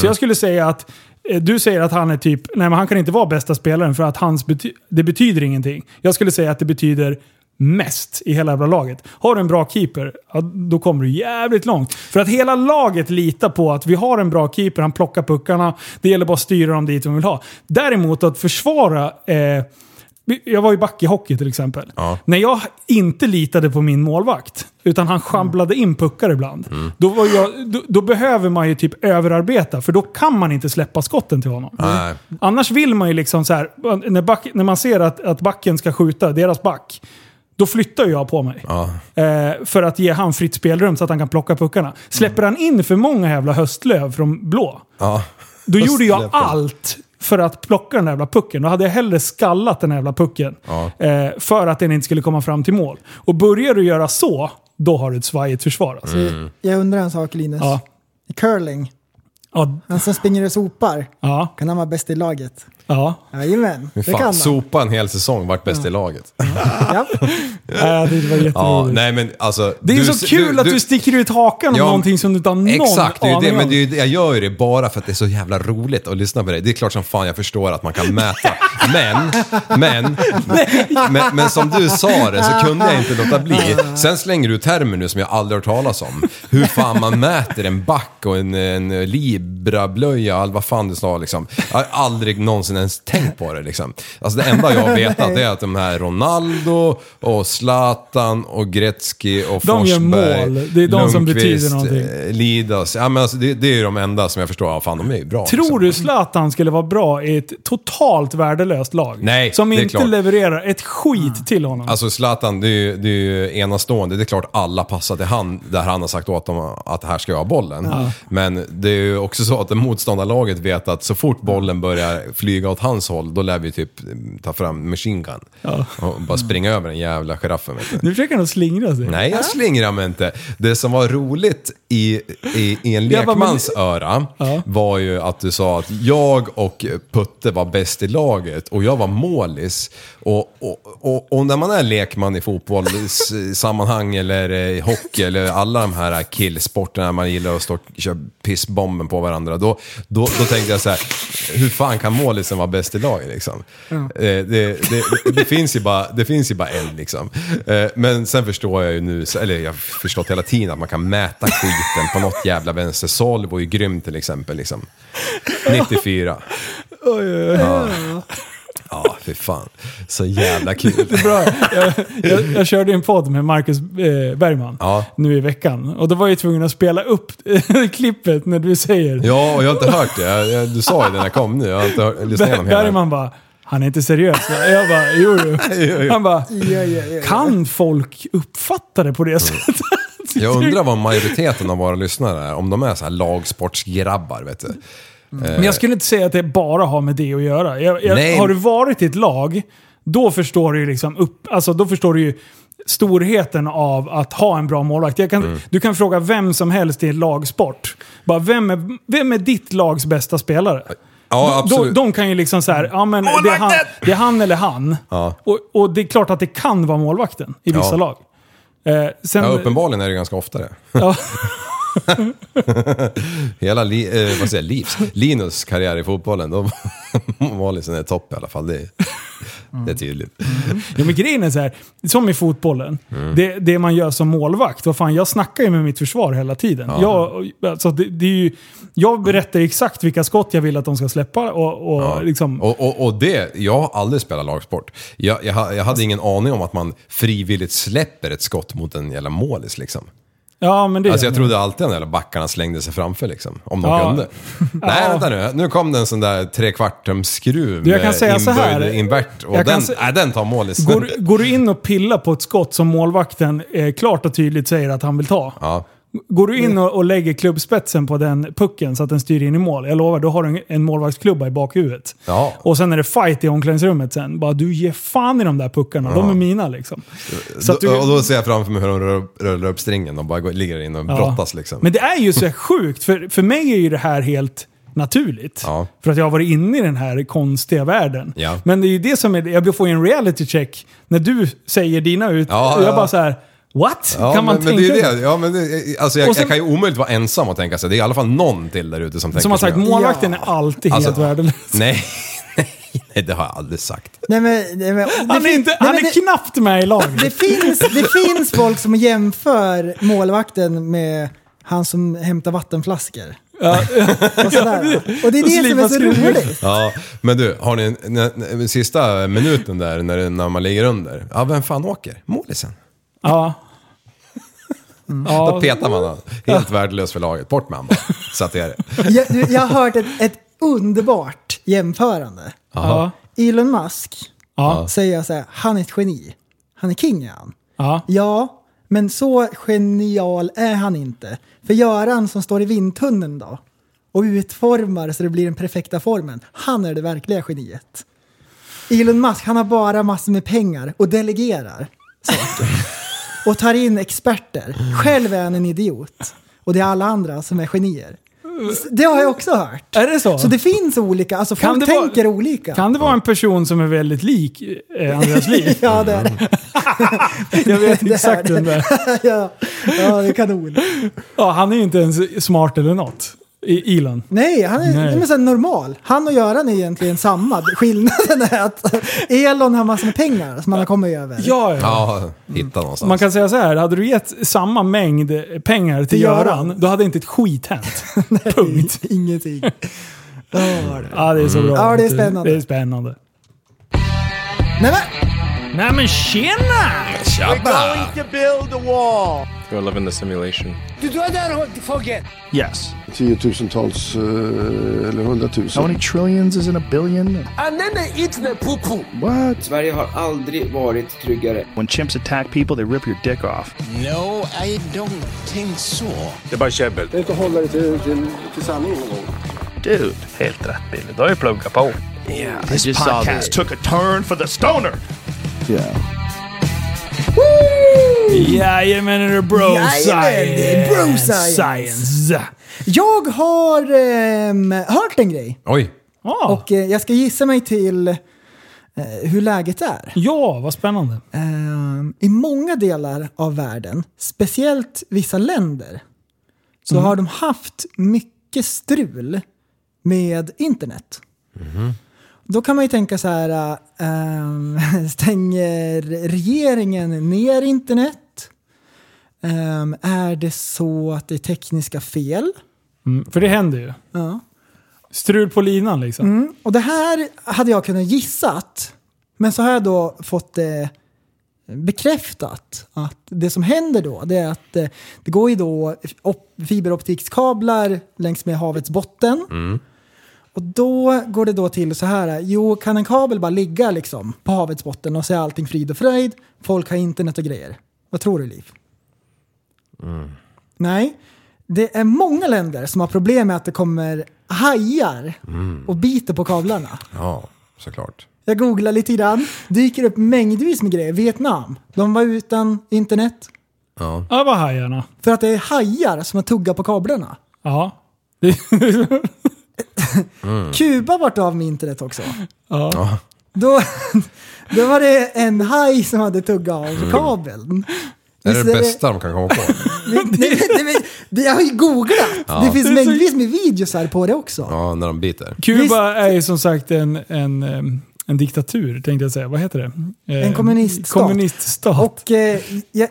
Speaker 7: Så jag skulle säga att eh, du säger att han är typ, nej men han kan inte vara bästa spelaren för att hans bety det betyder ingenting. Jag skulle säga att det betyder mest i hela jävla laget. Har du en bra keeper, ja, då kommer du jävligt långt. För att hela laget litar på att vi har en bra keeper, han plockar puckarna, det gäller bara att styra dem dit vi vill ha. Däremot att försvara eh, jag var ju back i hockey till exempel. När jag inte litade på min målvakt, utan han schamblade in puckar ibland. Då, var jag, då, då behöver man ju typ överarbeta, för då kan man inte släppa skotten till honom.
Speaker 8: Nej.
Speaker 7: Annars vill man ju liksom så här, när, back, när man ser att, att backen ska skjuta, deras back, då flyttar ju jag på mig.
Speaker 8: Ja.
Speaker 7: Eh, för att ge han fritt spelrum så att han kan plocka puckarna. Släpper han in för många jävla höstlöv från blå,
Speaker 8: Ja.
Speaker 7: då gjorde jag
Speaker 8: Släpp den.
Speaker 7: allt för att plocka den där jävla pucken. Då hade jag hellre skallat den här jävla pucken.
Speaker 8: Ja.
Speaker 7: Eh, för att den inte skulle komma fram till mål. Och börjar du göra så, då har du ett svajigt försvar. Alltså.
Speaker 9: Jag undrar en sak Linus.
Speaker 7: Ja.
Speaker 9: I curling,
Speaker 7: Ja,
Speaker 9: han som springer och sopar,
Speaker 7: ja,
Speaker 9: kan han vara bäst i laget?
Speaker 7: ja.
Speaker 9: Jajamän,
Speaker 8: Hur
Speaker 9: det kan
Speaker 8: fan,
Speaker 9: han.
Speaker 8: sopa en hel säsong, vart bäst i laget.
Speaker 9: Ja.
Speaker 7: Äh, det var jätteroligt.
Speaker 8: Ja, nej men alltså...
Speaker 7: det är ju så kul att du, sticker ut hakan om
Speaker 8: Ja,
Speaker 7: någonting som du inte har någon
Speaker 8: Exakt, det är ju det,
Speaker 7: aning
Speaker 8: men
Speaker 7: om.
Speaker 8: det är ju, det- jag gör ju det bara för att det är så jävla roligt att lyssna på dig. Det är klart som fan jag förstår att man kan mäta. Men, men, men, men som du sa det så kunde jag inte låta bli. Sen slänger du termer nu som jag aldrig har hört talas om. Hur fan man mäter en back och en, en librablöja och allt vad fan du sa liksom. Jag har aldrig någonsin ens tänkt på det liksom. Alltså det enda jag har vetat det är att de här Ronaldo och Zlatan och Gretzky och
Speaker 7: De gör
Speaker 8: Forsberg,
Speaker 7: mål. Det är de som betyder
Speaker 8: Lundqvist,
Speaker 7: någonting.
Speaker 8: eh, Lidas. Ja, men alltså, det, det är ju de enda som jag förstår, ja fan de är ju bra.
Speaker 7: Tror
Speaker 8: liksom.
Speaker 7: du Zlatan skulle vara bra i ett totalt värdelöst lag?
Speaker 8: Nej,
Speaker 7: som
Speaker 8: det är
Speaker 7: inte
Speaker 8: klart.
Speaker 7: levererar ett skit till honom?
Speaker 8: Alltså Zlatan, det är, ju, det är ju enastående. Det är klart alla passar till han där han har sagt åt dem att här ska jag ha bollen. Men det är ju också så att det motståndarlaget vet att så fort bollen börjar flyga åt hans håll, då lär vi typ ta fram machine gun. Och bara springa över den jävla giraffen. Vet du.
Speaker 7: nu försöker han att slingra sig.
Speaker 8: Nej, jag slingrar mig inte. Det som var roligt i, i, i en
Speaker 7: Jag bara,
Speaker 8: lekmans öra
Speaker 7: Ja.
Speaker 8: var ju att du sa att jag och Putte var bäst i laget och jag var målis. Och, och, och, och när man är lekman i fotbollssammanhang eller i hockey eller alla de här killsporterna man gillar att stå och köra pissbomben på varandra. Då, då, då tänkte jag så här, hur fan kan målisen vara bäst i laget liksom? Eh, Det, det, det, det, finns ju bara, det finns ju bara en liksom. Eh, Men sen förstår jag ju nu, eller jag har förstått hela tiden att man kan mäta skiten på något jävla vänster. Solvo är ju grym till exempel liksom. 94. Ja. Ja, fy fan. Så jävla kul.
Speaker 7: Bra. Jag, jag, jag körde en podd med Marcus eh, Bergman
Speaker 8: Ja.
Speaker 7: nu i veckan. Och då var jag ju tvungen att spela upp klippet när du säger...
Speaker 8: Ja, och jag har inte hört det. Jag, jag, du sa ju det när jag kom nu. Jag har inte hört, lyssnat
Speaker 7: Ber-
Speaker 8: igenom hela.
Speaker 7: Bergman bara, han är inte seriös. Jag bara, jo, jo. Han bara, kan folk uppfatta det på det sättet?
Speaker 8: Mm. Jag undrar vad majoriteten av våra lyssnare är, om de är så här lagsportsgrabbar, vet du.
Speaker 7: Men jag skulle inte säga att det bara har med det att göra. Jag, jag,
Speaker 8: Nej.
Speaker 7: har du varit i ett lag, då förstår du ju liksom upp, alltså då förstår du ju storheten av att ha en bra målvakt. Jag kan,
Speaker 8: Mm.
Speaker 7: Du kan fråga vem som helst i en lagsport. Bara, vem, är, vem är ditt lags bästa spelare?
Speaker 8: Ja,
Speaker 7: De,
Speaker 8: absolut.
Speaker 7: de kan ju liksom så här, ja men det är, han, det är han eller han.
Speaker 8: Ja.
Speaker 7: Och, och det är klart att det kan vara målvakten i vissa
Speaker 8: Ja.
Speaker 7: lag. Eh, sen,
Speaker 8: Ja, uppenbarligen är det ganska ofta det.
Speaker 7: Ja.
Speaker 8: Hela li, eh, vad säger jag, livs, Linus karriär i fotbollen, då målisen är topp i alla fall. Det är, det är tydligt.
Speaker 7: Ja, men grejen är så här, som i fotbollen,
Speaker 8: Mm.
Speaker 7: det, det man gör som målvakt, vad fan, jag snackar ju med mitt försvar hela tiden. Jag, alltså, det, det är ju, jag berättar ju exakt vilka skott jag vill att de ska släppa och, och liksom...
Speaker 8: Och, och, och det, jag har aldrig spelat lagsport. Jag, jag, ha- jag hade ingen aning om att man frivilligt släpper ett skott mot en jävla målis liksom.
Speaker 7: ja, men det
Speaker 8: Alltså jag
Speaker 7: gör man.
Speaker 8: trodde alltid att de där backarna slängde sig framför liksom, om de
Speaker 7: Ja.
Speaker 8: kunde. Nej, vänta nu. Nu kom det en sån där trekvartumsskruv
Speaker 7: Du, jag kan säga
Speaker 8: inböjd
Speaker 7: så här.
Speaker 8: invert. Och
Speaker 7: Jag kan
Speaker 8: den,
Speaker 7: se-
Speaker 8: nej, den tar målis.
Speaker 7: Går, du- går du in och pillar på ett skott som målvakten eh, klart och tydligt säger att han vill ta,
Speaker 8: Ja.
Speaker 7: går du in och, och lägger klubbspetsen på den pucken så att den styr in i mål, jag lovar, då har du en, en målvaktsklubba i bakhuvudet.
Speaker 8: Ja.
Speaker 7: Och sen är det fight i omklädningsrummet sen. Bara du ger fan i de där puckarna, de är mina liksom. Så att du-
Speaker 8: Och då ser jag framför mig hur de rör- rullar upp stringen och bara går, ligger in och brottas liksom.
Speaker 7: Men det är ju så här sjukt, för, för mig är ju det här helt naturligt.
Speaker 8: Ja.
Speaker 7: För att jag har varit inne i den här konstiga världen.
Speaker 8: Ja.
Speaker 7: Men det är ju det som är, jag får ju en reality check när du säger dina ut.
Speaker 8: Ja,
Speaker 7: och jag
Speaker 8: ja.
Speaker 7: bara så här. What?
Speaker 8: Ja,
Speaker 7: kan man
Speaker 8: men,
Speaker 7: tänka
Speaker 8: men det är
Speaker 7: det?
Speaker 8: det. Ja, men det, alltså jag,
Speaker 7: Och sen-
Speaker 8: jag kan ju omöjligt vara ensam och tänka sig. Det är i alla fall någon till där ute som tänker
Speaker 7: Som har sagt,
Speaker 8: jag.
Speaker 7: målvakten är alltid
Speaker 8: Alltså-
Speaker 7: helt värdelös.
Speaker 8: Nej, nej, det har jag aldrig sagt.
Speaker 9: Nej, men, nej, men, det
Speaker 7: Han är,
Speaker 9: fin-
Speaker 7: inte,
Speaker 9: nej,
Speaker 7: han
Speaker 9: men
Speaker 7: är
Speaker 9: det,
Speaker 7: knappt med i laget.
Speaker 9: det, finns, det finns folk som jämför målvakten med han som hämtar vattenflaskor. och, sådär. och det är
Speaker 7: Och
Speaker 9: det som är
Speaker 7: slipar
Speaker 9: så
Speaker 7: skruvar.
Speaker 9: roligt.
Speaker 8: Ja, men du, har ni när, när, sista minuten där när, det- när man ligger under? Ja, vem fan åker? Målisen.
Speaker 7: Ja.
Speaker 8: Då
Speaker 9: Mm.
Speaker 7: Ja.
Speaker 8: petar man honom. Helt värdelös för laget. Bort med honom bara. Så att det är det.
Speaker 9: Jag, du, jag har hört ett, ett underbart jämförande.
Speaker 7: Ja.
Speaker 9: Elon Musk
Speaker 7: Ja.
Speaker 9: säger jag så här, han är ett geni. Han är king är han.
Speaker 7: Ja.
Speaker 9: Ja, men så genial är han inte. För Göran som står i vindtunneln då och utformar så det blir den perfekta formen, han är det verkliga geniet. Elon Musk, han har bara massor med pengar och delegerar saker. Och tar in experter. Själv är han en idiot. Och det är alla andra som är genier. Det har jag också hört.
Speaker 7: Är det så?
Speaker 9: Så det finns olika, alltså
Speaker 7: Kan
Speaker 9: folk
Speaker 7: det vara-
Speaker 9: tänker olika.
Speaker 7: Kan det vara en person som är väldigt lik eh, Andreas liv?
Speaker 9: Ja, det är det.
Speaker 7: Jag vet
Speaker 9: Det är
Speaker 7: exakt
Speaker 9: det.
Speaker 7: vem det är.
Speaker 9: ja, ja, det är kanon.
Speaker 7: Ja, han är ju inte ens smart eller något. I Elon.
Speaker 9: Nej, han är,
Speaker 7: Nej.
Speaker 9: Nej. Men så här normal. Han och Göran är egentligen samma. Skillnaden är att Elon har massor med pengar som han har kommit över.
Speaker 7: Ja, ja.
Speaker 8: Ja, hitta någonstans.
Speaker 7: Man kan säga så här, hade du gett samma mängd pengar till
Speaker 9: Till Göran.
Speaker 7: Göran, då hade inte ett skit hänt. Punkt.
Speaker 9: Ingenting. Ja, det var det.
Speaker 7: Ja, det är så bra.
Speaker 9: Ja, det är spännande.
Speaker 7: Det är spännande.
Speaker 9: Nej, men,
Speaker 7: Nej men tjena!
Speaker 8: Tjabba!
Speaker 11: You live in the simulation. Yes.
Speaker 12: tiotusentals eh, eller hundratusen.
Speaker 11: many trillions is in a billion? What?
Speaker 1: Sverige har aldrig varit tryggare.
Speaker 11: When chimps attack people, they rip your dick off.
Speaker 12: Det är bara käbbel. Det är inte att hålla det till, till, till sanningen någon gång.
Speaker 11: Dude. Helt rätt Billy. Du har ju pluggat på. Yeah, this podcast took a turn for the stoner.
Speaker 7: Jajamän är det bro
Speaker 9: Jajamän, det är bro
Speaker 7: science.
Speaker 9: science.
Speaker 7: science.
Speaker 9: jag har ehm, hört en grej
Speaker 8: Oj.
Speaker 7: Ja.
Speaker 9: och eh, jag ska gissa mig till eh, hur läget är.
Speaker 7: ja, vad spännande.
Speaker 9: Ehm, I många delar av världen, speciellt vissa länder, så
Speaker 7: Mm.
Speaker 9: har de haft mycket strul med internet. Då kan man ju tänka så här, eh, ehm, stänger regeringen ner internet? Ehm, är det så att det är tekniska fel?
Speaker 7: Mm, för det händer ju.
Speaker 9: Ja. Mm.
Speaker 7: Strul på linan liksom.
Speaker 9: Och det här hade jag kunnat gissat. Men så har jag då fått eh, bekräftat att det som händer då det är att eh, det går ju då op- fiberoptikskablar längs med havets botten. Och då går det då till så här. Jo, kan en kabel bara ligga liksom på havets botten och så är allting frid och fröjd. Folk har internet och grejer. Vad tror du Liv? Nej. Det är många länder som har problem med att det kommer hajar och biter på kablarna.
Speaker 8: Ja, såklart.
Speaker 9: Jag googlar lite grann. Dyker upp mängdvis med grejer. Vietnam, de var utan internet.
Speaker 7: Ja, vad hajarna.
Speaker 9: För att det är hajar som har tuggat på kablarna.
Speaker 7: Ja.
Speaker 8: Mm.
Speaker 9: Kuba vart av med internet också.
Speaker 7: ja.
Speaker 9: Då, då var det en haj som hade tuggat av kabeln.
Speaker 8: Mm. Det är
Speaker 9: Visst
Speaker 8: det bästa de kan komma på.
Speaker 9: Nej, men- nej, men- jag har ju googlat. Det finns mängdvis med videos här på det också.
Speaker 8: Ja, när de biter.
Speaker 9: Visst.
Speaker 7: Kuba är ju som sagt en, en, ehm, en diktatur, tänkte jag säga. Vad heter det? Eh,
Speaker 9: En kommuniststat.
Speaker 7: kommuniststat.
Speaker 9: Och eh, jag,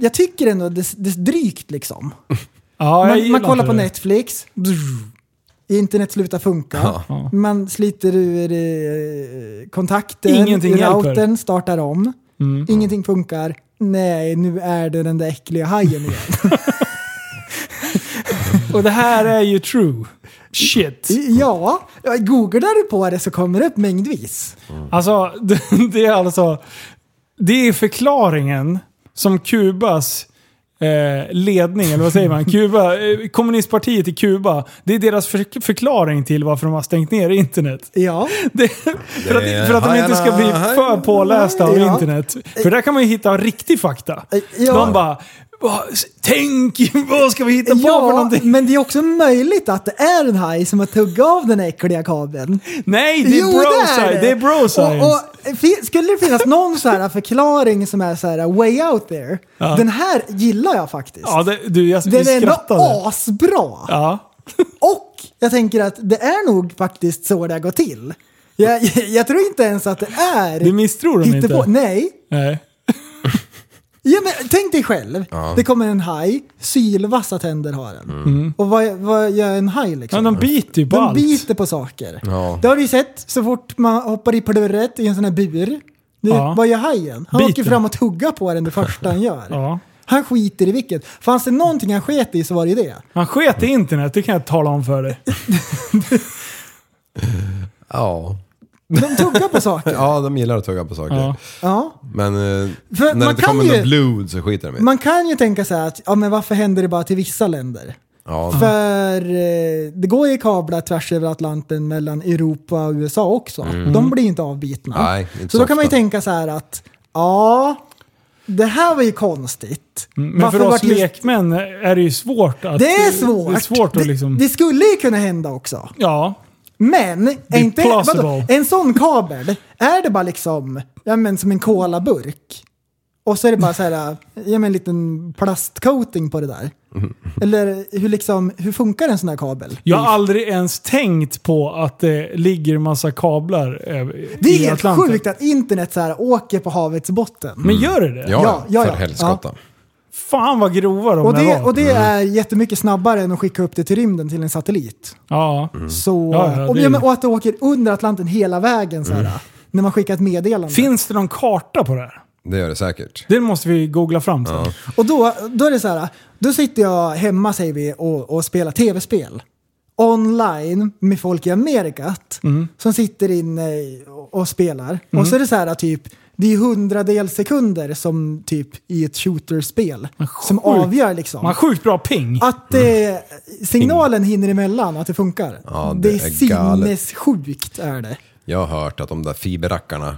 Speaker 9: jag tycker ändå det, det är drygt liksom.
Speaker 7: ja, jag
Speaker 9: Man,
Speaker 7: gillar
Speaker 9: man kollar
Speaker 7: inte
Speaker 9: på
Speaker 7: det.
Speaker 9: Netflix. Brr. Internet slutar funka.
Speaker 7: Ja.
Speaker 9: Man sliter ur eh, kontakten,
Speaker 7: Ingenting
Speaker 9: ur
Speaker 7: hjälper. Mm.
Speaker 9: routern, startar om. Ingenting funkar. Nej, nu är det den där äckliga hajen igen.
Speaker 7: Och det här är ju true. Shit.
Speaker 9: ja, googlar du på det så kommer det upp mängdvis.
Speaker 7: Alltså, det- det är alltså... Det är förklaringen som Kubas eh, ledning, eller vad säger man? Kuba, eh, kommunistpartiet i Kuba. Det är deras för, förklaring till varför de har stängt ner internet.
Speaker 9: Ja,
Speaker 7: Det, för, att, för att de inte ska bli för pålästa av
Speaker 9: Ja.
Speaker 7: internet. För där kan man ju hitta riktig fakta.
Speaker 9: Ja.
Speaker 7: De bara, vad- Tänk, vad ska vi hitta på för
Speaker 9: Ja,
Speaker 7: någonting?
Speaker 9: men det är också möjligt att det är en haj som har tuggat av den äckliga kabeln.
Speaker 7: Nej, det är
Speaker 9: Jo,
Speaker 7: bro science. Det är bro science.
Speaker 9: Och, och, fi- skulle det finnas någon så här förklaring som är så här way out there.
Speaker 7: Ja.
Speaker 9: Den här gillar jag faktiskt.
Speaker 7: Ja, det, du, jag, vi
Speaker 9: den är ändå
Speaker 7: skrattade.
Speaker 9: asbra.
Speaker 7: Ja.
Speaker 9: Jag tänker att det är nog faktiskt så det har gått till. Jag, jag, jag tror inte ens att det är...
Speaker 7: Det misstror de
Speaker 9: hittepå-
Speaker 7: inte.
Speaker 9: Nej.
Speaker 7: Nej.
Speaker 9: Ja, men, tänk dig själv.
Speaker 7: Ja.
Speaker 9: Det kommer en haj, sylvassa tänder har den.
Speaker 7: Mm.
Speaker 9: Och vad, vad gör en haj liksom?
Speaker 7: Men de biter ju på
Speaker 9: de
Speaker 7: allt.
Speaker 9: biter på saker.
Speaker 7: Ja.
Speaker 9: Det har du ju sett så fort man hoppar i plurret i en sån här bur. Det,
Speaker 7: Ja.
Speaker 9: Vad gör hajen? Han
Speaker 7: Biter.
Speaker 9: åker fram och tuggar på den det första han gör.
Speaker 7: Ja.
Speaker 9: Han skiter i vilket. Fanns det någonting han sket i så var det ju det.
Speaker 7: Han sket i internet, det kan jag tala om för dig.
Speaker 8: Ja.
Speaker 9: De tuggar på saker.
Speaker 8: ja, de gillar att tugga på saker.
Speaker 9: Ja. Ja.
Speaker 8: Men eh,
Speaker 9: För
Speaker 8: när
Speaker 9: man
Speaker 8: det inte
Speaker 9: kan
Speaker 8: kommer
Speaker 9: ju-
Speaker 8: någon blod så skiter de i det.
Speaker 9: Man kan ju tänka så här att ja, men varför händer det bara till vissa länder?
Speaker 8: Ja.
Speaker 9: För eh, det går ju kablar tvärs över Atlanten mellan Europa och USA också.
Speaker 8: Mm.
Speaker 9: De blir ju inte avbitna.
Speaker 8: Nej, inte
Speaker 9: så
Speaker 8: så
Speaker 9: då kan man ju
Speaker 8: ofta.
Speaker 9: tänka så här att ja, det här var ju konstigt.
Speaker 7: Mm, Men
Speaker 9: Varför
Speaker 7: för oss
Speaker 9: vart just-
Speaker 7: lekmän är det ju svårt att...
Speaker 9: Det är svårt.
Speaker 7: Det är svårt att liksom...
Speaker 9: Det skulle ju kunna hända också.
Speaker 7: Ja.
Speaker 9: Men, är
Speaker 7: är
Speaker 9: inte, vadå,
Speaker 7: plausible.
Speaker 9: en sån kabel, är det bara liksom ja, men som en kolaburk? Och så är det bara så här, ja, men en liten plastcoating på det där. Eller hur, liksom, hur funkar en sån här kabel?
Speaker 7: Jag har aldrig ens tänkt på att det ligger massa kablar eh,
Speaker 9: Det är
Speaker 7: i
Speaker 9: helt
Speaker 7: Atlanten.
Speaker 9: sjukt att internet så här åker på havets botten.
Speaker 7: Men gör det det?
Speaker 9: Ja, Ja, ja, för ja. helskotta.
Speaker 7: Fan vad grova de
Speaker 9: Och
Speaker 7: där
Speaker 9: det,
Speaker 7: var.
Speaker 9: och det är jättemycket snabbare än att skicka upp det till rymden till en satellit.
Speaker 7: Ja.
Speaker 9: Så,
Speaker 7: Ja, ja,
Speaker 9: och,
Speaker 7: det
Speaker 9: ja,
Speaker 7: är- Mm.
Speaker 9: men, och att det åker under Atlanten hela vägen så här, när man skickar ett meddelande.
Speaker 7: Finns det någon karta på det här?
Speaker 8: Det gör det säkert.
Speaker 7: Det måste vi googla fram sen.
Speaker 9: Och då, då är det så här, då sitter jag hemma säger vi och, och spelar tv-spel. Online med folk i Amerikat som sitter inne i- och, och spelar.
Speaker 7: Mm.
Speaker 9: Och så är det så här typ, det är hundradels sekunder som typ i ett shooterspel som avgör liksom.
Speaker 7: Man har sjukt bra ping.
Speaker 9: Att eh, signalen hinner emellan, att det funkar.
Speaker 8: Ja,
Speaker 9: det,
Speaker 8: det
Speaker 9: är
Speaker 8: är galet.
Speaker 9: sinnessjukt är det.
Speaker 8: Jag har hört att de där fiberrackarna,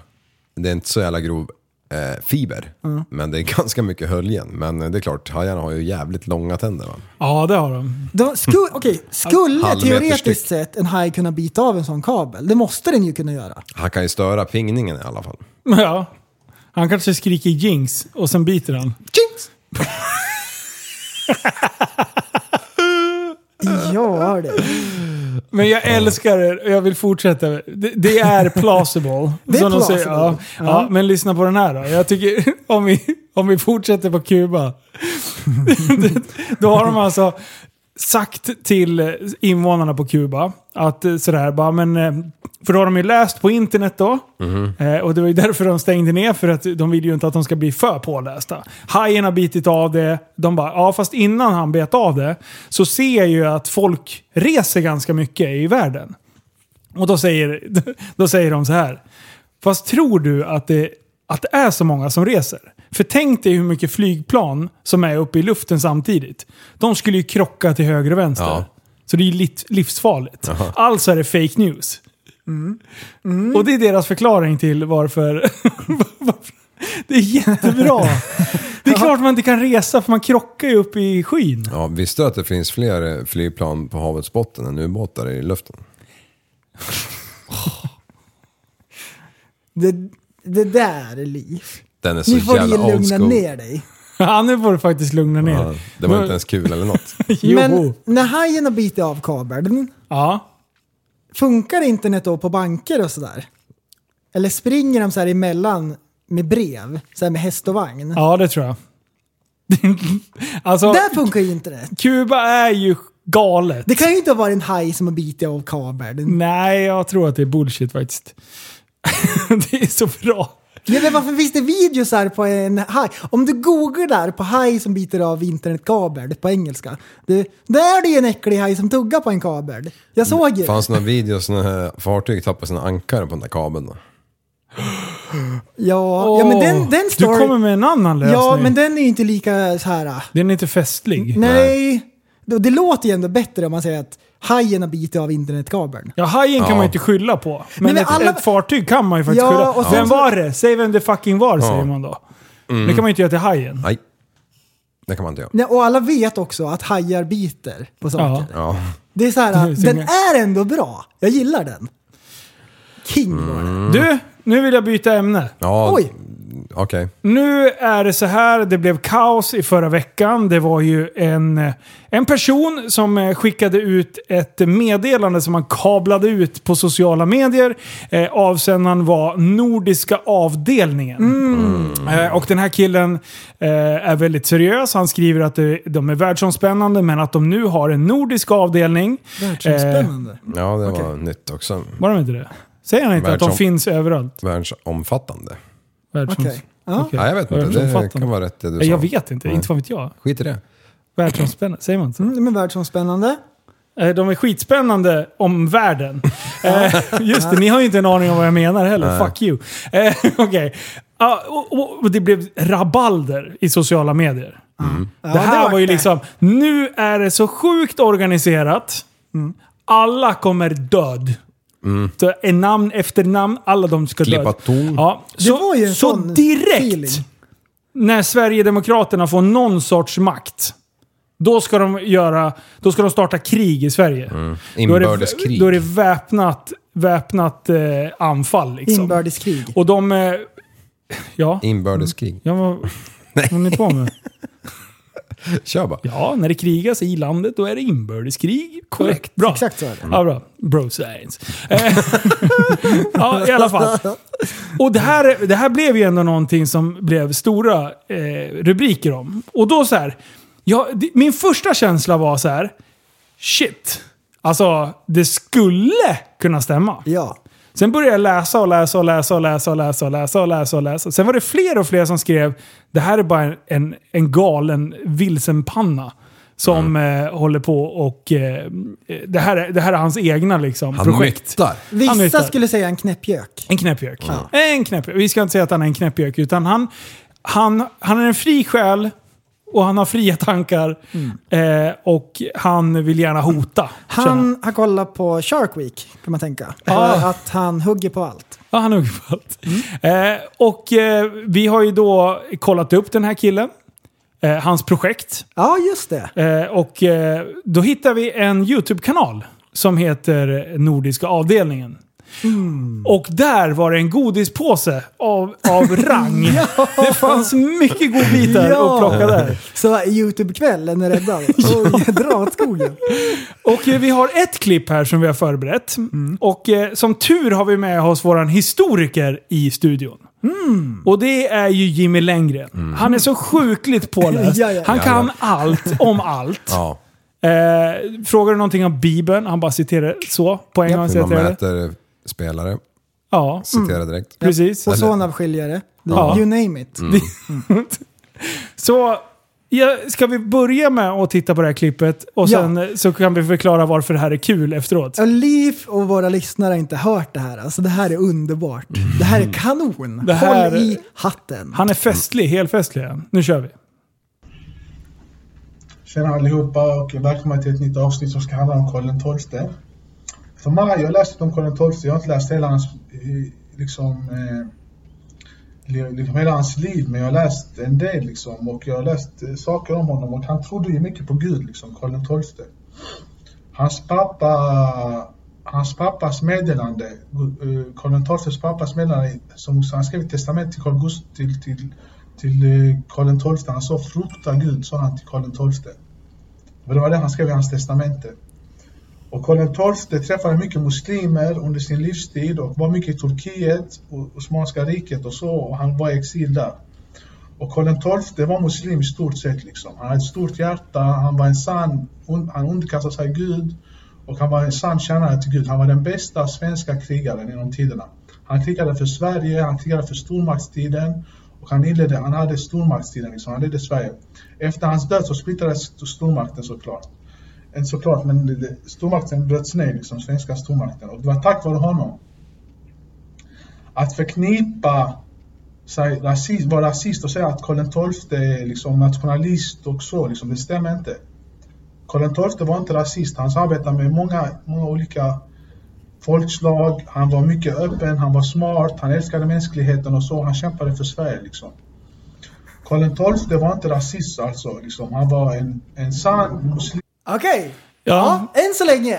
Speaker 8: det är inte så jävla grov eh, fiber,
Speaker 9: Mm.
Speaker 8: men det är ganska mycket höljen. Men eh, det är klart, hajarna har ju jävligt långa tänder va?
Speaker 7: Ja, det har de.
Speaker 9: de
Speaker 8: Mm.
Speaker 9: sku, okej, skulle
Speaker 8: Halvmeter
Speaker 9: teoretiskt
Speaker 8: styck.
Speaker 9: sett en haj kunna bita av en sån kabel? Det måste den ju kunna göra.
Speaker 8: Han kan ju störa pingningen i alla fall.
Speaker 7: Ja. Han kanske skriker jinx och sen biter han.
Speaker 9: Ja det.
Speaker 7: Men jag älskar det och jag vill fortsätta. Det, det är plausible.
Speaker 9: Det är
Speaker 7: som de säger. Ja,
Speaker 9: plausible.
Speaker 7: ja.
Speaker 9: Ja.
Speaker 7: men lyssna på den här då. Jag tycker, om vi, om vi fortsätter på Kuba. då har de alltså sagt till invånarna på Kuba att eh, sådär bara, men... eh, För då har de ju läst på internet då. Eh, och det var ju därför de stängde ner, för att de vill ju inte att de ska bli för pålästa. Hajen har bitit av det. De bara, ja fast innan han bet av det så ser jag ju att folk reser ganska mycket i världen. Och då säger, då säger de så här. Fast tror du att det, att det är så många som reser? För tänk dig hur mycket flygplan som är uppe i luften samtidigt. De skulle ju krocka till höger och vänster. Så det är ju lit- livsfarligt. Alltså är det fake news. Mm. Och det är deras förklaring till varför... varför- det är jättebra. Det är klart man inte kan resa för man krockar ju upp i skyn.
Speaker 8: Ja, visste du att det finns fler eh, flygplan på havets botten än ubåtar i luften?
Speaker 9: Det, det där är liv.
Speaker 8: Den är så jävla
Speaker 9: Nu får du
Speaker 8: old
Speaker 9: lugna
Speaker 8: school.
Speaker 9: ner dig.
Speaker 7: Ja, nu får du faktiskt lugna ner
Speaker 8: Ja, det var inte ens kul eller något.
Speaker 9: Men när hajen har bitit av kabeln,
Speaker 7: ja.
Speaker 9: funkar internet då på banker och sådär? Eller springer de så här emellan med brev, så här med häst och vagn?
Speaker 7: Ja, det tror jag. alltså,
Speaker 9: Där funkar ju internet.
Speaker 7: Kuba är ju galet.
Speaker 9: Det kan ju inte ha varit en haj som har bitit av kabeln.
Speaker 7: Nej, jag tror att det är bullshit faktiskt. det är så bra.
Speaker 9: Ja, men varför finns det videos här på en haj? Om du googlar på haj som biter av internetkabel på engelska. Det, där är det ju en äcklig haj som tuggar på en kabel. Jag såg ju.
Speaker 8: Fanns det några videos när fartyg tappade sina ankare på den där kabeln då?
Speaker 9: Ja, ja men den, den
Speaker 7: du
Speaker 9: story...
Speaker 7: kommer med en annan lösning.
Speaker 9: Ja, men den är ju inte lika så här. ah.
Speaker 7: Den är inte festlig.
Speaker 9: Nej, det, det låter ju ändå bättre om man säger att hajen har bitit av internetkabeln.
Speaker 7: Ja, hajen
Speaker 9: Ja.
Speaker 7: kan man ju inte skylla på. Men,
Speaker 9: Nej, men
Speaker 7: ett,
Speaker 9: alla-
Speaker 7: ett fartyg kan man ju faktiskt
Speaker 9: Ja,
Speaker 7: skylla
Speaker 9: och
Speaker 7: på.
Speaker 9: sen
Speaker 7: Vem
Speaker 9: så-
Speaker 7: var det? Säg vem det fucking var,
Speaker 8: Ja.
Speaker 7: säger man då.
Speaker 8: Mm.
Speaker 7: Det kan man ju inte göra till hajen.
Speaker 8: Nej. Det kan man inte göra.
Speaker 9: Nej, och alla vet också att hajar biter på saker.
Speaker 8: Ja.
Speaker 9: Det är så här, ah,
Speaker 7: Det är så
Speaker 9: den
Speaker 7: inga-
Speaker 9: är ändå bra. Jag gillar den. King var
Speaker 8: Mm.
Speaker 9: det.
Speaker 7: Du, nu vill jag byta ämne.
Speaker 8: Ja,
Speaker 7: Oj.
Speaker 8: Okej.
Speaker 7: Nu är det så här, det blev kaos i förra veckan. Det var ju en, en person som eh, skickade ut ett meddelande som han kablade ut på sociala medier. Eh, avsändaren var Nordiska avdelningen.
Speaker 8: Mm.
Speaker 7: Eh, och den här killen eh, är väldigt seriös. Han skriver att eh, de är världsomspännande men att de nu har en nordisk avdelning.
Speaker 9: Världsomspännande?
Speaker 8: Ja, det var nytt också.
Speaker 7: var de inte det? Säger han inte att de
Speaker 8: Världsom-
Speaker 7: finns överallt?
Speaker 8: Världsomfattande.
Speaker 7: Världsoms...
Speaker 9: Okej. Ja.
Speaker 7: Okej.
Speaker 8: Nej, jag vet inte. Det
Speaker 7: Världsomfattande.
Speaker 8: kan vara rätt det du sa.
Speaker 7: Nej, Jag vet inte,
Speaker 8: Nej.
Speaker 7: inte vad vet jag.
Speaker 8: Skit i det.
Speaker 7: Världsomspännande, säger man inte så?
Speaker 9: Mm, men världsomspännande.
Speaker 7: Eh, De är skitspännande om världen. Eh, Just det, ni har ju inte en aning om vad jag menar heller.
Speaker 8: Nej.
Speaker 7: Fuck you. Eh, Okej. Ja, och, och, och det blev rabalder i sociala medier. Mm. Det
Speaker 9: Mm. Ja,
Speaker 7: här
Speaker 9: vart
Speaker 7: var ju
Speaker 9: det.
Speaker 7: liksom, nu är det så sjukt organiserat.
Speaker 9: Mm.
Speaker 7: Alla kommer död. Så är namn efter namn, alla de ska död.
Speaker 8: Klippa ton.
Speaker 7: Ja, så,
Speaker 9: var ju en
Speaker 7: så
Speaker 9: sån
Speaker 7: direkt
Speaker 9: feeling.
Speaker 7: när Sverigedemokraterna får någon sorts makt, då ska de, göra, då ska de starta krig i Sverige.
Speaker 8: Inbördeskrig.
Speaker 7: Då är det, då är det väpnat, väpnat eh, anfall. Liksom.
Speaker 9: Inbördeskrig.
Speaker 7: Och de... Eh, ja,
Speaker 8: Inbördeskrig.
Speaker 7: ja vad, vad håller ni på med?
Speaker 8: Kör bara.
Speaker 7: Ja, när det krigas i landet då är det inbördeskrig. Korrekt. Bra.
Speaker 9: Exakt så är det.
Speaker 7: Ja, bra. Bro science. Eh, ja, i alla fall. Och det här, det här blev ju ändå någonting som blev stora eh, rubriker om. Och då så här, ja, det, min första känsla var så här, shit. Alltså, det skulle kunna stämma.
Speaker 9: Ja.
Speaker 7: Sen började jag läsa och läsa och läsa och läsa och läsa och läsa och läsa och läsa. Sen var det fler och fler som skrev det här är bara en, en galen vilsenpanna. Som eh, håller på och... Eh, det, här är, det här är hans egna liksom,
Speaker 8: Han
Speaker 7: projekt.
Speaker 8: myttar.
Speaker 7: Han är
Speaker 9: Vissa
Speaker 7: ute.
Speaker 9: skulle säga en knäppjök.
Speaker 7: En knäppjök. En knäppjök. Vi ska inte säga att han är en knäppjök, utan han, han, han är en fri själ och han har fria tankar. Eh, och han vill gärna hota. känner jag.
Speaker 9: Han har kollat på Shark Week, kan man tänka.
Speaker 7: Ah.
Speaker 9: Eh, Att han hugger på allt.
Speaker 7: Ja, han hugger på allt. Eh, och eh, vi har ju då kollat upp den här killen, eh, hans projekt.
Speaker 9: Ja, just det.
Speaker 7: Eh, och eh, då hittar vi en YouTube-kanal som heter Nordiska avdelningen. Och där var det en godispåse av, av rang. Det fanns mycket godbitar
Speaker 9: Ja.
Speaker 7: att plocka där.
Speaker 9: Så Youtube-kvällen är räddad. Och dra åt skogen.
Speaker 7: Och eh, vi har ett klipp här som vi har förberett.
Speaker 9: Mm.
Speaker 7: Och eh, som tur har vi med oss våran historiker i studion.
Speaker 9: Mm.
Speaker 7: Och det är ju Jimmy Lenngren. Han är så sjukligt påläst.
Speaker 9: Ja, ja.
Speaker 7: Han
Speaker 8: Mm. Ja,
Speaker 7: kan allt om allt.
Speaker 8: Ja.
Speaker 7: Eh, frågar du någonting om Bibeln, han bara citerar så. På en gång
Speaker 8: Hur man
Speaker 7: citerar det.
Speaker 8: mäter spelare.
Speaker 7: Ja,
Speaker 8: Citera direkt.
Speaker 7: precis.
Speaker 9: Ozonavskiljare.
Speaker 7: Ja.
Speaker 9: You name it.
Speaker 7: Så ja, ska vi börja med att titta på det här klippet och
Speaker 9: Ja.
Speaker 7: sen eh, så kan vi förklara varför det här är kul efteråt.
Speaker 9: Och Liv och våra lyssnare har inte hört det här. Alltså det här är underbart. Det här är kanon.
Speaker 7: Det här-
Speaker 9: Håll i hatten.
Speaker 7: Han är festlig, helfestlig. Nu kör vi.
Speaker 13: Tjena allihopa och välkomna till ett nytt avsnitt som ska handla om Karl XII. För Mara, jag har läst om Karl XII, jag har inte läst hela hans, eh, liksom, eh, li- liksom hela hans liv, men jag har läst en del liksom och jag har läst eh, saker om honom och han trodde ju mycket på Gud, liksom, Karl XII. Hans pappa, hans pappas meddelande, eh, Karl XIIs pappas meddelande, som han skrev i testamentet till Karl Gust- till, till, till eh, Karl XII, han sa frukta Gud, sa han till Karl XII. Och det var det han skrev i hans testamente. Och Karl XII träffade mycket muslimer under sin livstid och var mycket i Turkiet, och Osmanska riket och så, och han var i exil där. Och Karl XII var muslim i stort sett. Liksom. Han hade ett stort hjärta, han var en sann, un, han underkastade sig Gud och han var en sann tjänare till Gud. Han var den bästa svenska krigaren genom tiderna. Han krigade för Sverige, han krigade för stormaktstiden och han inledde, han hade stormaktstiden, liksom. han ledde Sverige. Efter hans död så splittrades stormakten såklart. Inte såklart, men det- det- stormakten bröts ner, liksom, svenska stormakten. Och det var tack vare honom. Att förknippa sig rasist, vara rasist och säga att Karl XII är liksom nationalist och så, liksom, det stämmer inte. Karl XII var inte rasist, han samarbetade med många, många olika folkslag, han var mycket öppen, han var smart, han älskade mänskligheten och så, han kämpade för Sverige liksom. Karl XII var inte rasist alltså. Liksom. Han var en, en sann muslim.
Speaker 9: Okej. Ja. än så länge.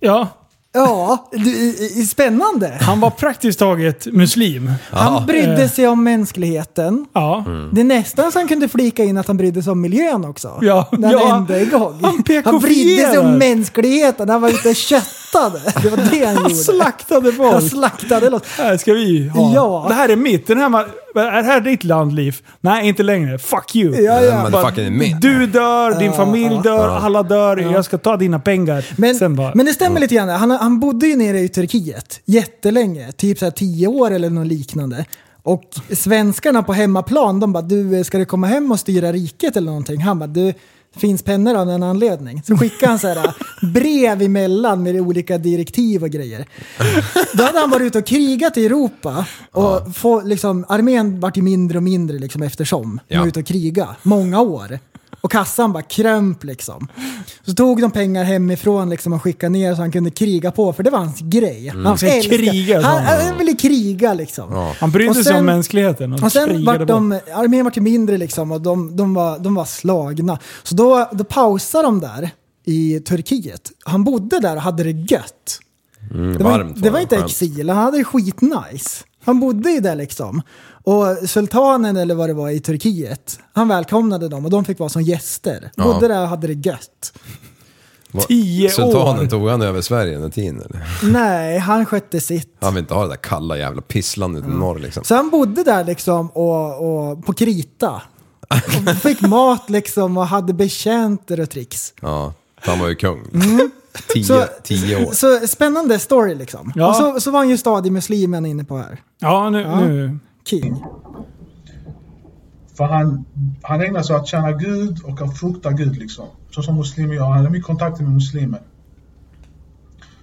Speaker 7: Ja.
Speaker 9: Ja, du, spännande.
Speaker 7: Han var praktiskt taget muslim.
Speaker 9: Han brydde sig
Speaker 7: Eh.
Speaker 9: om mänskligheten.
Speaker 7: Ja.
Speaker 2: Mm.
Speaker 9: Det är nästan så han kunde flika in att han brydde sig om miljön också.
Speaker 7: Ja,
Speaker 9: När han
Speaker 7: ja.
Speaker 9: ändå är igång.
Speaker 7: Han
Speaker 9: han brydde sig
Speaker 7: PK-fierar.
Speaker 9: om mänskligheten. Han var ute och köttade. Det var det han, gjorde.
Speaker 7: slaktade folk.
Speaker 9: Han slaktade loss.
Speaker 7: Här ska vi ha.
Speaker 9: Ja.
Speaker 7: Det här är mitt. Den här, ma- är det här ditt land, Liv? Nej, inte längre. Fuck you.
Speaker 9: Ja, ja.
Speaker 7: Bara,
Speaker 8: Motherfucking mitt.
Speaker 7: Du dör, din
Speaker 9: Ja,
Speaker 7: familj
Speaker 9: ja.
Speaker 7: dör,
Speaker 9: Ja.
Speaker 7: alla dör. Jag ska ta dina pengar.
Speaker 9: Men,
Speaker 7: Sen bara,
Speaker 9: men det stämmer lite grann. Han, han bodde ju nere i Turkiet jättelänge, typ så här tio år eller något liknande. Och svenskarna på hemmaplan, de bara du, ska du komma hem och styra riket eller någonting? Han bara du, finns pennor av en anledning. Så skickade han så här brev emellan med olika direktiv och grejer. Då hade han varit ute och krigat i Europa och få, liksom, armén vart ju mindre och mindre liksom, eftersom. De var
Speaker 14: Ja.
Speaker 9: ute och kriga många år. Och kassan bara krömp liksom. Så tog de pengar hemifrån liksom, och skickade ner så han kunde kriga på, för det var hans grej.
Speaker 7: Mm. Han ska
Speaker 9: älskar-
Speaker 7: kriga, sa
Speaker 9: Han,
Speaker 7: han.
Speaker 9: han ville kriga liksom.
Speaker 7: Han brydde
Speaker 9: Och
Speaker 7: sig om
Speaker 9: sen-
Speaker 7: mänskligheten och,
Speaker 9: Och sen
Speaker 7: krigade
Speaker 9: vart
Speaker 7: bort.
Speaker 9: de, armén vart ju mindre liksom och de, de, var, de var slagna. Så då, då pausade de där i Turkiet. Han bodde där och hade det gött.
Speaker 8: Mm,
Speaker 9: Det var,
Speaker 8: varmt
Speaker 9: det var inte
Speaker 8: skönt.
Speaker 9: exil, han hade det skitnice. Han bodde ju där liksom. Och sultanen eller vad det var i Turkiet, han välkomnade dem och de fick vara som gäster.
Speaker 8: Ja.
Speaker 9: Bodde där och hade det gött.
Speaker 8: Vad-
Speaker 9: Tio år.
Speaker 8: Sultanen, tog han över Sverige den tiden eller?
Speaker 9: Nej, han skötte sitt.
Speaker 8: Han vill inte ha det där kalla jävla pisslandet i norr liksom.
Speaker 9: Så han bodde där liksom och, och på krita. Och fick mat liksom och hade betjänter och tricks.
Speaker 8: Ja, han var ju kung.
Speaker 9: Mm.
Speaker 8: Tio,
Speaker 9: Så-
Speaker 8: tio år.
Speaker 9: Så spännande story liksom.
Speaker 8: Ja.
Speaker 9: Och så, så var han ju stadig muslim han är inne på här.
Speaker 7: Ja, nu...
Speaker 9: Ja.
Speaker 7: nu.
Speaker 9: King.
Speaker 13: För han, han ägnar sig åt att tjäna Gud och att frukta Gud liksom. Så som muslimer gör. Han har mycket kontakter med muslimer.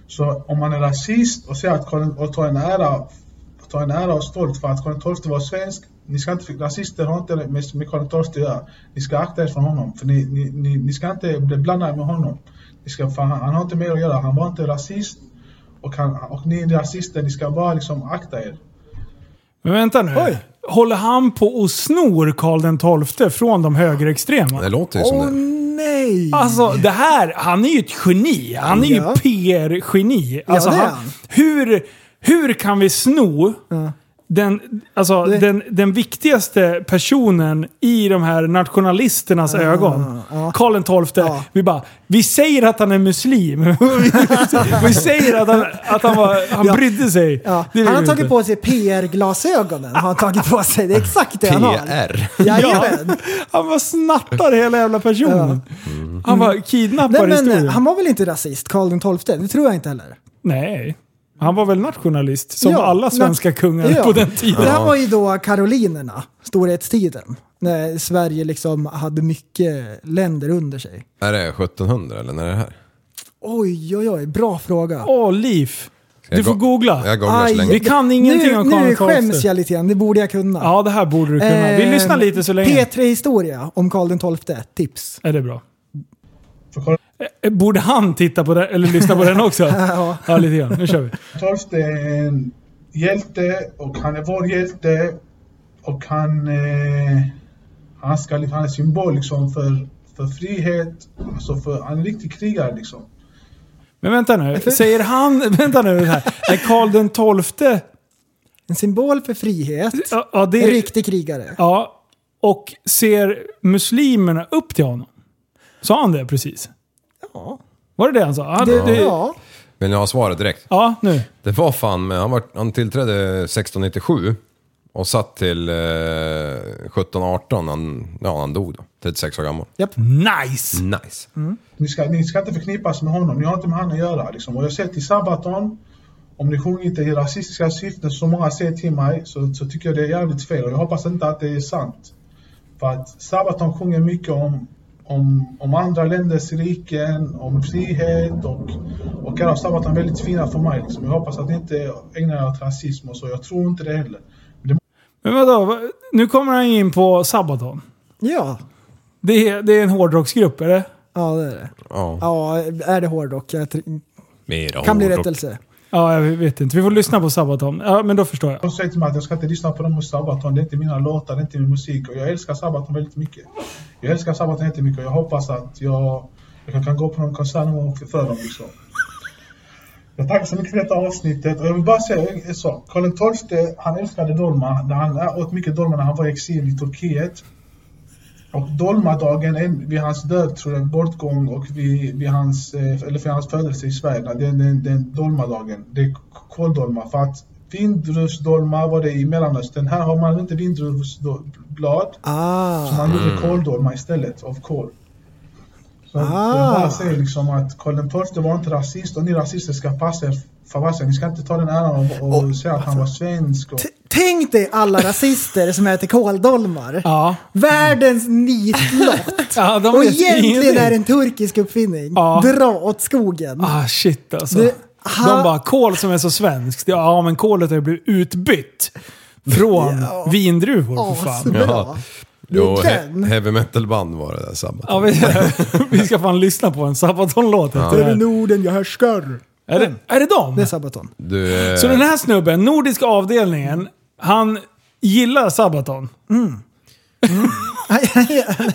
Speaker 13: Så om man är rasist och säger att Karl- och tar en ära tar en ära och stolt för att Karl XII var svensk. Ni ska inte, rasister har inte med, med Karl XII att göra. Ni ska akta er från honom. För ni, ni, ni, ni ska inte bli blandade med honom. Ni ska, för han, han har inte med att göra. Han var inte rasist. Och, han, och ni rasister, ni ska bara liksom akta er.
Speaker 7: Men vänta nu. Håller han på och snor Karl XII från de högerextrema?
Speaker 8: Det låter ju som det.
Speaker 9: nej!
Speaker 7: Alltså det här, han är ju ett geni. Han är
Speaker 9: Ja.
Speaker 7: ju PR-geni.
Speaker 9: Ja,
Speaker 7: Alltså,
Speaker 9: det är
Speaker 7: han-
Speaker 9: han.
Speaker 7: Hur, hur kan vi sno den, alltså, den, den viktigaste personen i de här nationalisternas ögon? Karl XII. Vi bara, vi säger att han är muslim. vi säger att han, att han, var, han
Speaker 9: Ja.
Speaker 7: brydde sig.
Speaker 9: Ja.
Speaker 7: Det vill
Speaker 9: Han har
Speaker 7: vi
Speaker 9: tagit
Speaker 7: inte.
Speaker 9: på sig PR-glasögonen. Har han tagit på sig. Det är exakt det han har.
Speaker 8: PR.
Speaker 9: Jajamän.
Speaker 7: Han var snattar hela jävla personen. Han var
Speaker 9: Nej,
Speaker 7: kidnappar i
Speaker 9: men,
Speaker 7: historien.
Speaker 9: han var väl inte rasist, Karl XII? Det tror jag inte heller.
Speaker 7: Nej. Han var väl nationalist, som
Speaker 9: Ja,
Speaker 7: alla svenska
Speaker 9: men-
Speaker 7: kungar
Speaker 9: ja.
Speaker 7: på den tiden.
Speaker 9: Det här var ju då karolinerna, storhetstiden. När Sverige liksom hade mycket länder under sig.
Speaker 8: Är det 1700 eller när är det här?
Speaker 9: Oj, oj, oj. Bra fråga.
Speaker 7: Åh, Liv.
Speaker 8: Jag
Speaker 7: Du får
Speaker 8: go-
Speaker 7: googla.
Speaker 8: jag googlar så Aj, länge.
Speaker 7: Vi kan ingenting
Speaker 9: nu,
Speaker 7: om Karl
Speaker 9: Nu
Speaker 7: XII.
Speaker 9: skäms jag lite grann. Det borde jag kunna.
Speaker 7: Ja, det här borde du kunna. Vi
Speaker 9: Eh,
Speaker 7: lyssnar lite så länge.
Speaker 9: P3 Historia om Karl XII. Tips.
Speaker 7: Är det bra? Eh, Borde han titta på det, eller lyssna på den också?
Speaker 13: Ja.
Speaker 7: ja, lite grann. Nu kör vi.
Speaker 13: Torst är en hjälte och han är vår hjälte. Och han, eh, han, ska, han är symbol liksom för, för frihet. Alltså för, han är en riktig krigare liksom.
Speaker 7: Men vänta nu. Säger han... Vänta nu. Här. Är Karl den XII...
Speaker 9: En symbol för frihet.
Speaker 7: Ja, ja, det
Speaker 9: En
Speaker 7: är...
Speaker 9: riktig krigare.
Speaker 7: Ja. Och ser muslimerna upp till honom? Sa han det precis?
Speaker 9: Ja.
Speaker 7: Var det det han sa? Han,
Speaker 8: Det-
Speaker 7: det,
Speaker 8: ja. Vill ni ha svaret direkt?
Speaker 7: Ja, nu.
Speaker 8: Det var fan med, han, var, han tillträdde 1697 och satt till eh, 1718, han, ja han dog då, 36 år gammal. Mm.
Speaker 7: Nice!
Speaker 8: Nice.
Speaker 13: Ni ska, ni ska inte förknippas med honom. Ni har inte med honom att göra. Liksom. Och jag säger till Sabaton, om ni sjunger inte i rasistiska syften som många säger till mig så, så tycker jag det är jävligt fel. Och jag hoppas inte att det är sant. För att Sabaton sjunger mycket om, om, om andra länders riken, om frihet och, och är Sabaton är väldigt fina för mig. Liksom. Jag hoppas att ni inte ägnar er åt rasism och så. Jag tror inte det heller.
Speaker 7: Men vadå? va- Nu kommer han in på Sabaton.
Speaker 9: Ja.
Speaker 7: Det är, det är en hårdrocksgrupp, är det?
Speaker 9: Ja, det är det.
Speaker 8: Ja.
Speaker 9: Ja, är det hårdrock? Jag tr-
Speaker 8: Mera
Speaker 9: kan bli
Speaker 8: hårdrock.
Speaker 9: rättelse.
Speaker 7: Ja, jag vet inte. Vi får lyssna på Sabaton. Ja, men då förstår jag.
Speaker 13: De säger till mig att jag ska inte lyssna på dem hos Sabaton. Det är inte mina låtar, det är inte min musik. Och jag älskar Sabaton väldigt mycket. Jag älskar Sabaton jättemycket och jag hoppas att jag, jag kan gå på någon konsert någon gång för dem. Liksom. Jag tackar så mycket för detta avsnittet. Och jag vill bara säga en- en sak. Karl XII, han älskade dolma. När han äh, åt mycket dolma när han var i exil i Turkiet. Och dolmadagen, en- vid hans död tror jag, bortgång och vid, vid hans, eh, eller för hans födelse i Sverige, den, den, den dolmadagen, det är kåldolma. För att vindruvsdolma var det i Mellanöstern. Här har man inte vindruvsblad,
Speaker 9: ah.
Speaker 13: så man gjorde
Speaker 9: Mm.
Speaker 13: kåldolma istället, av kål. Så
Speaker 9: Ah.
Speaker 13: Jag bara säger liksom att Karl XII var inte rasist och ni rasister ska passa er för vassen. Ni ska inte ta den äran och, och säga att han var svensk. Och,
Speaker 9: Tänk dig alla rasister som äter kåldolmar. Världens nitlott.
Speaker 7: Ja, de
Speaker 9: och
Speaker 7: vet
Speaker 9: egentligen
Speaker 7: ingenting.
Speaker 9: är det en turkisk uppfinning. Dra åt skogen.
Speaker 7: Ah shit alltså.
Speaker 9: Det- ha-
Speaker 7: De bara, kol som är så svenskt. Ja men kolet har ju blivit utbytt. Från vindruvor för fan.
Speaker 8: Ja. Jo,
Speaker 7: Det är
Speaker 8: he-
Speaker 7: den.
Speaker 8: heavy metal-band var det där Sabbath.
Speaker 7: Ja, vi, vi ska fan lyssna på en Sabaton-låt
Speaker 8: Ja.
Speaker 7: efter det
Speaker 8: Över
Speaker 7: här.
Speaker 9: Norden, jag härskar.
Speaker 7: Är det, är det dem? Det är
Speaker 9: Sabaton.
Speaker 8: Du, eh,
Speaker 7: Så den här snubben, Nordiska avdelningen, han gillar Sabaton.
Speaker 9: Mm.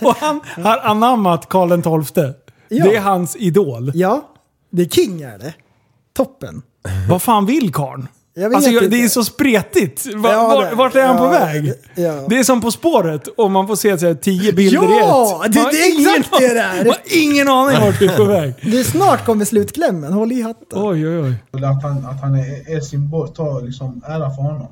Speaker 7: Och han har anammat Karl XII. Det är hans idol.
Speaker 9: Ja, det är king är det. Toppen.
Speaker 7: Vad fan vill karln?
Speaker 9: Jag vet
Speaker 7: Alltså, jag,
Speaker 9: inte.
Speaker 7: det är så spretigt. Va-
Speaker 9: Ja,
Speaker 7: var,
Speaker 9: det-
Speaker 7: vart är han
Speaker 9: ja,
Speaker 7: på väg?
Speaker 9: ja.
Speaker 7: Det är som På spåret och man får se så här, tio bilder i ett.
Speaker 9: Ja, det-
Speaker 7: Man har
Speaker 9: det är
Speaker 7: ingen
Speaker 9: exakt det
Speaker 7: an-
Speaker 9: där.
Speaker 7: Man har ingen aning vart vi är på väg.
Speaker 9: Du snart kommer slutklämmen, håll i hatten.
Speaker 7: Oj, oj, oj.
Speaker 13: Eller att han, att han är Helsingborg, ta liksom ära för honom.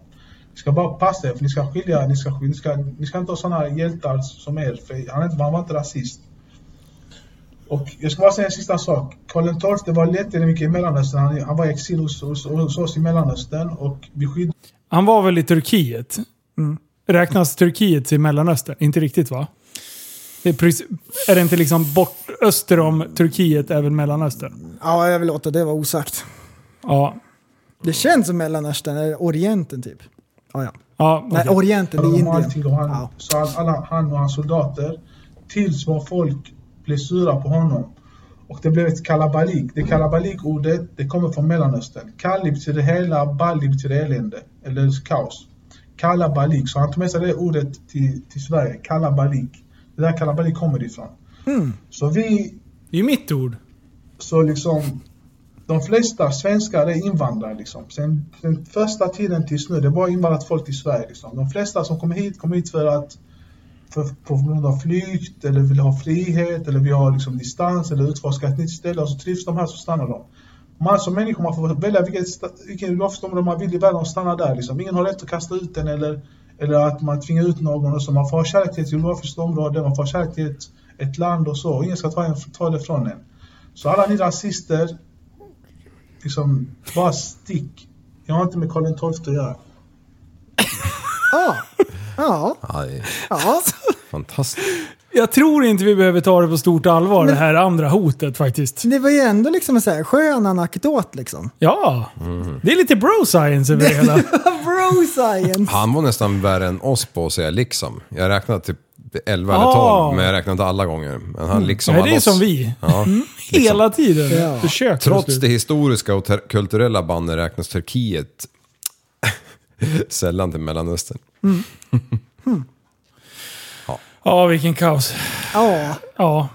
Speaker 13: Ni ska bara passa er, för ni ska skilja ni ska, skilja- ni ska, ni ska inte ha sådana hjältar som er, för han, är inte, han var inte rasist. Och jag ska bara säga en sista sak. Karl XII var lättare mycket i Mellanöstern. Han, han var i exil hos, hos, hos oss i Mellanöstern och vi skyddade
Speaker 7: Han var väl i Turkiet?
Speaker 9: Mm.
Speaker 7: Räknas Turkiet till Mellanöstern? Inte riktigt va? Det är, precis, är det inte liksom bort öster om Turkiet även Mellanöstern?
Speaker 9: Ja, jag vill låta det vara osagt.
Speaker 7: Ja.
Speaker 9: Det känns som Mellanöstern, eller Orienten typ. Ja, ja.
Speaker 7: ja
Speaker 9: Nej,
Speaker 13: okej.
Speaker 9: Orienten, det är
Speaker 13: honom
Speaker 9: Indien.
Speaker 13: allting och han, så all, alla, han och hans soldater tills var folk blev sura på honom. Och det blev ett kalabalik. Det kalabalik-ordet det kommer från Mellanöstern. Kalib till det hela, balib till det elände. Eller kaos. Kalabalik. Så han tog med sig det ordet till, till Sverige. Kalabalik. Det där kalabalik kommer ifrån. Så vi...
Speaker 7: Det är ju mitt ord.
Speaker 13: Så liksom... De flesta svenskar är invandrare liksom. Sen den första tiden tills nu, det är bara invandrat folk till Sverige liksom. De flesta som kommer hit, kommer hit för att för, på grund av flykt eller vill ha frihet eller vill ha liksom distans eller utforska ett nytt ställe och så trivs de här så stannar de. Massor av människor, man får välja vilket, sta- vilken loftstomre man vill i världen och stanna där liksom. Ingen har rätt att kasta ut den eller, eller att man tvingar ut någon och så. Man får ha kärlek till ett geografiskt område, man får ha kärlek till ett, ett land och så. Ingen ska ta, en, ta det från en. Så alla ni rasister, liksom, bara stick. Jag har inte med Karl XII att göra.
Speaker 9: Ja. Ja.
Speaker 8: Aj,
Speaker 9: ja.
Speaker 8: fantastiskt.
Speaker 7: Jag tror inte vi behöver ta det på stort allvar det här andra hotet faktiskt.
Speaker 9: Det var ju ändå liksom en så här skön anekdot liksom.
Speaker 7: Ja,
Speaker 8: Mm.
Speaker 7: det är lite bro science över det hela.
Speaker 9: Bro science!
Speaker 8: Han var nästan värre än oss på att säga liksom. Jag räknade typ 11 eller 12,
Speaker 7: Ah.
Speaker 8: men jag räknade inte alla gånger. Men
Speaker 9: Mm.
Speaker 8: han liksom
Speaker 7: Nej,
Speaker 8: var
Speaker 7: det är
Speaker 8: loss.
Speaker 7: som vi.
Speaker 8: Ja.
Speaker 7: Hela tiden.
Speaker 8: Ja.
Speaker 7: Försök.
Speaker 8: liksom. Trots det historiska och ter- kulturella bandet räknas Turkiet sällan till Mellanöstern.
Speaker 7: Ja, vilken kaos.
Speaker 9: Ja.
Speaker 7: Ja.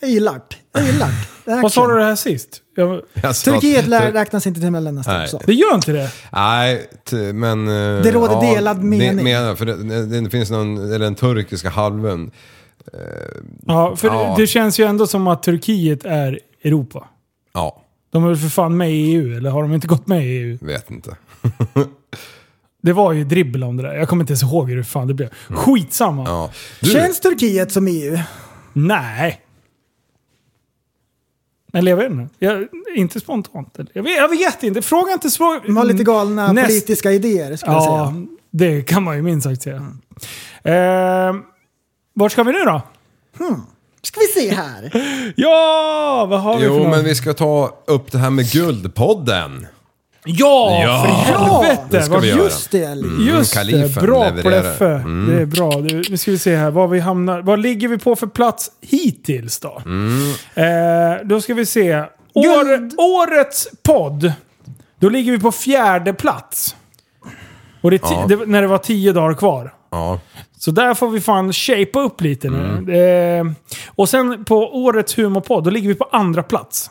Speaker 9: Jag gillar det. Jag gillar det.
Speaker 7: Vad sa du det här sist? Jag...
Speaker 8: Jag sa att-
Speaker 9: Turkiet lär- räknas inte till Mellanöstern.
Speaker 8: Nej.
Speaker 9: så.
Speaker 7: Det gör inte det?
Speaker 8: Nej, t- men... eh,
Speaker 9: Det råder delad mening.
Speaker 8: menar, för det, det finns någon, eller den turkiska halvön.
Speaker 7: Ja, för
Speaker 8: Ja.
Speaker 7: det känns ju ändå som att Turkiet är Europa.
Speaker 8: Ja,
Speaker 7: De är väl för fan med i EU, eller har de inte gått med i EU?
Speaker 8: vet inte.
Speaker 7: Det var ju dribbel om det där. Jag kommer inte ens ihåg hur fan det blev. Skitsamma.
Speaker 9: Känns Turkiet som EU?
Speaker 7: Nej. Eller jag vet inte. Jag, inte spontant. eller? Jag vet, jag vet inte. Fråga inte svår...
Speaker 9: De har lite galna
Speaker 7: Näst-
Speaker 9: politiska idéer skulle jag
Speaker 7: Ja,
Speaker 9: säga.
Speaker 7: det kan man ju minst sagt säga. Eh, vart ska vi nu då?
Speaker 9: Hmm. Ska vi se här.
Speaker 7: Ja, vad har vi för
Speaker 8: Jo,
Speaker 7: något?
Speaker 8: men vi ska ta upp det här med Guldpodden.
Speaker 7: Ja, för helvete!
Speaker 8: Det ska
Speaker 7: Vad-
Speaker 8: vi göra.
Speaker 7: Just det,
Speaker 8: Mm,
Speaker 7: Just det,
Speaker 8: kalifen
Speaker 7: bra
Speaker 8: levererar.
Speaker 7: Pleffe.
Speaker 8: Mm.
Speaker 7: Det är bra. Du, nu ska vi se här, var vi hamnar. Vad ligger vi på för plats hittills då?
Speaker 8: Mm.
Speaker 7: Eh, då ska vi se. År, årets podd. Då ligger vi på fjärde plats. Och det är ti-
Speaker 8: Ja.
Speaker 7: det, när det var tio dagar kvar.
Speaker 8: Ja.
Speaker 7: Så där får vi fan shapea upp lite nu.
Speaker 8: Mm.
Speaker 7: Eh, och sen på årets humorpodd, då ligger vi på andra plats.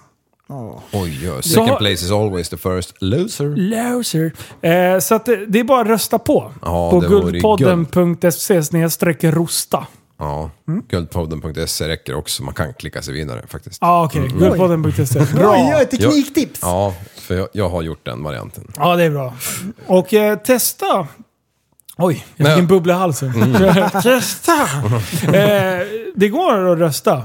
Speaker 8: Oj, oj.
Speaker 7: Så
Speaker 8: Second
Speaker 7: har-
Speaker 8: place is always the first
Speaker 9: Mm.
Speaker 8: loser.
Speaker 7: Loser. Eh, så att det, det är bara att rösta på.
Speaker 8: Ja,
Speaker 7: på
Speaker 8: det vore ju
Speaker 7: guldpodden.se snedstreck rosta.
Speaker 8: Ja. Guldpodden.se räcker också. Man kan klicka sig vidare faktiskt.
Speaker 7: Ja, ah, okej.
Speaker 8: Mm.
Speaker 7: Guldpodden.se. Bra!
Speaker 8: Jag- Ja, för jag, jag har gjort den varianten.
Speaker 7: Ja, det är bra. Och eh, testa. Oj, jag
Speaker 8: Nej.
Speaker 7: fick en bubbla i halsen.
Speaker 8: Mm.
Speaker 7: testa! Eh, det går att rösta.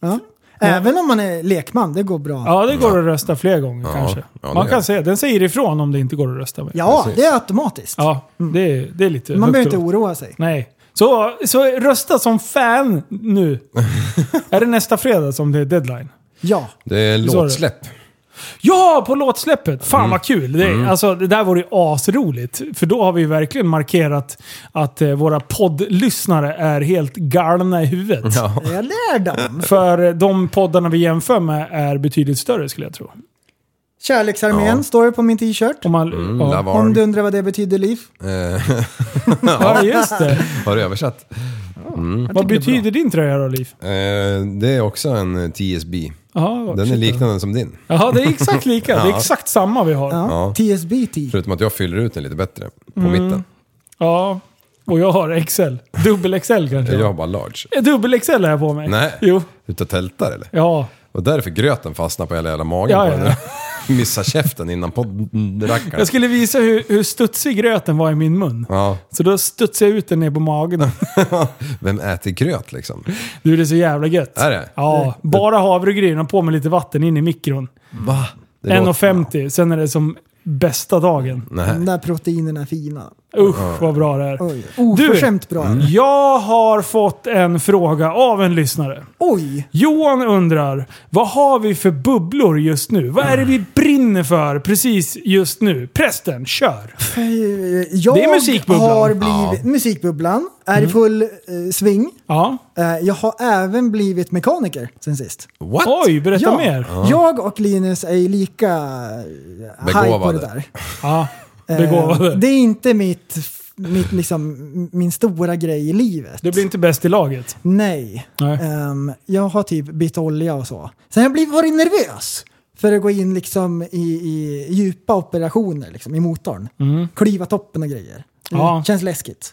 Speaker 9: Ja. Även om man är lekman, det går bra.
Speaker 7: Ja, det går att rösta fler gånger
Speaker 9: Ja,
Speaker 7: kanske.
Speaker 9: ja, det
Speaker 7: Man
Speaker 9: gör
Speaker 7: kan
Speaker 9: det.
Speaker 7: säga, den säger ifrån om det inte går att rösta med.
Speaker 9: Ja, det är automatiskt. Mm.
Speaker 7: Ja, det är, det är lite...
Speaker 9: Man behöver
Speaker 7: högt
Speaker 9: inte
Speaker 7: upp.
Speaker 9: oroa sig.
Speaker 7: Nej. Så, så rösta som fan nu. är det nästa fredag som det är deadline?
Speaker 9: Ja.
Speaker 8: Det är
Speaker 7: Så är det.
Speaker 8: låtsläpp.
Speaker 7: Ja, på låtsläppet! Fan
Speaker 8: Mm.
Speaker 7: vad kul! Det,
Speaker 8: Mm.
Speaker 7: alltså, det där vore ju asroligt. För då har vi ju verkligen markerat att eh, våra poddlyssnare är helt galna i huvudet.
Speaker 9: Ja. Det är de.
Speaker 7: För eh, de poddarna vi jämför med är betydligt större skulle jag tro.
Speaker 9: Kärleksarmén
Speaker 7: Ja.
Speaker 9: står det på min t-shirt.
Speaker 7: Om, man, Mm, ja. Lavarm.
Speaker 9: om du undrar vad det betyder, Liv.
Speaker 8: Eh,
Speaker 7: Ja, just det.
Speaker 8: Har du översatt? Mm.
Speaker 7: Vad betyder din tröja då, Liv?
Speaker 8: Eh, det är också en eh, TSB.
Speaker 7: Jaha,
Speaker 8: Den är
Speaker 7: shit.
Speaker 8: liknande som din.
Speaker 7: Jaha, det är exakt lika. Det är
Speaker 8: Ja.
Speaker 7: exakt samma vi har.
Speaker 8: Ja.
Speaker 9: TSBT.
Speaker 8: Förutom att jag fyller ut den lite bättre. På
Speaker 7: Mm.
Speaker 8: mitten.
Speaker 7: Ja, och jag har XL. Dubbel XL kanske.
Speaker 8: Jag har bara large.
Speaker 7: Eh, Dubbel XL har jag på mig.
Speaker 8: Nej.
Speaker 7: Jo.
Speaker 8: Utav tältar eller?
Speaker 7: Ja.
Speaker 8: Och därför gröten fastnar på hela jävla magen
Speaker 7: Ja,
Speaker 8: på
Speaker 7: ja.
Speaker 8: den. Missar käften innan poddrackaren.
Speaker 7: Jag skulle visa hur, hur studsig gröten var i min mun.
Speaker 8: Ja.
Speaker 7: Så då studsade jag ut den ner på magen.
Speaker 8: Vem äter gröt liksom?
Speaker 7: Du, det är så jävla gött.
Speaker 8: Är det?
Speaker 7: Ja, bara havregryn och på med lite vatten in i mikron.
Speaker 8: Va? Det låter-
Speaker 7: 1,50. Sen är det som bästa dagen.
Speaker 9: De där proteinerna är fina.
Speaker 7: Usch vad bra det är.
Speaker 9: Oj. Oförskämt bra.
Speaker 8: Mm.
Speaker 7: Du, jag har fått en fråga av en lyssnare.
Speaker 9: Oj!
Speaker 7: Johan undrar, vad har vi för bubblor just nu? Vad är det vi brinner för precis just nu? Prästen, kör!
Speaker 9: Eh, Jag
Speaker 7: Det är musikbubblan.
Speaker 9: har blivit... Musikbubblan är i
Speaker 7: Mm.
Speaker 9: full eh, sving. Eh,
Speaker 7: Ja.
Speaker 9: jag har även blivit mekaniker sen sist.
Speaker 8: What?
Speaker 7: Oj, berätta
Speaker 9: ja.
Speaker 7: mer!
Speaker 9: Jag och Linus är ju lika eh, high på
Speaker 8: Begåvade.
Speaker 9: det där.
Speaker 7: Ja,
Speaker 9: Eh,
Speaker 7: begåvade.
Speaker 9: Det är inte mitt, mitt, liksom, min stora grej i livet.
Speaker 7: Du blir inte bäst i laget.
Speaker 9: Nej. Ehm, jag har typ bytt olja och så. Sen har jag blivit, varit nervös för att gå in liksom i, i djupa operationer liksom, i motorn.
Speaker 7: Mm.
Speaker 9: Klyva toppen och grejer. Det
Speaker 7: Ja.
Speaker 9: känns läskigt.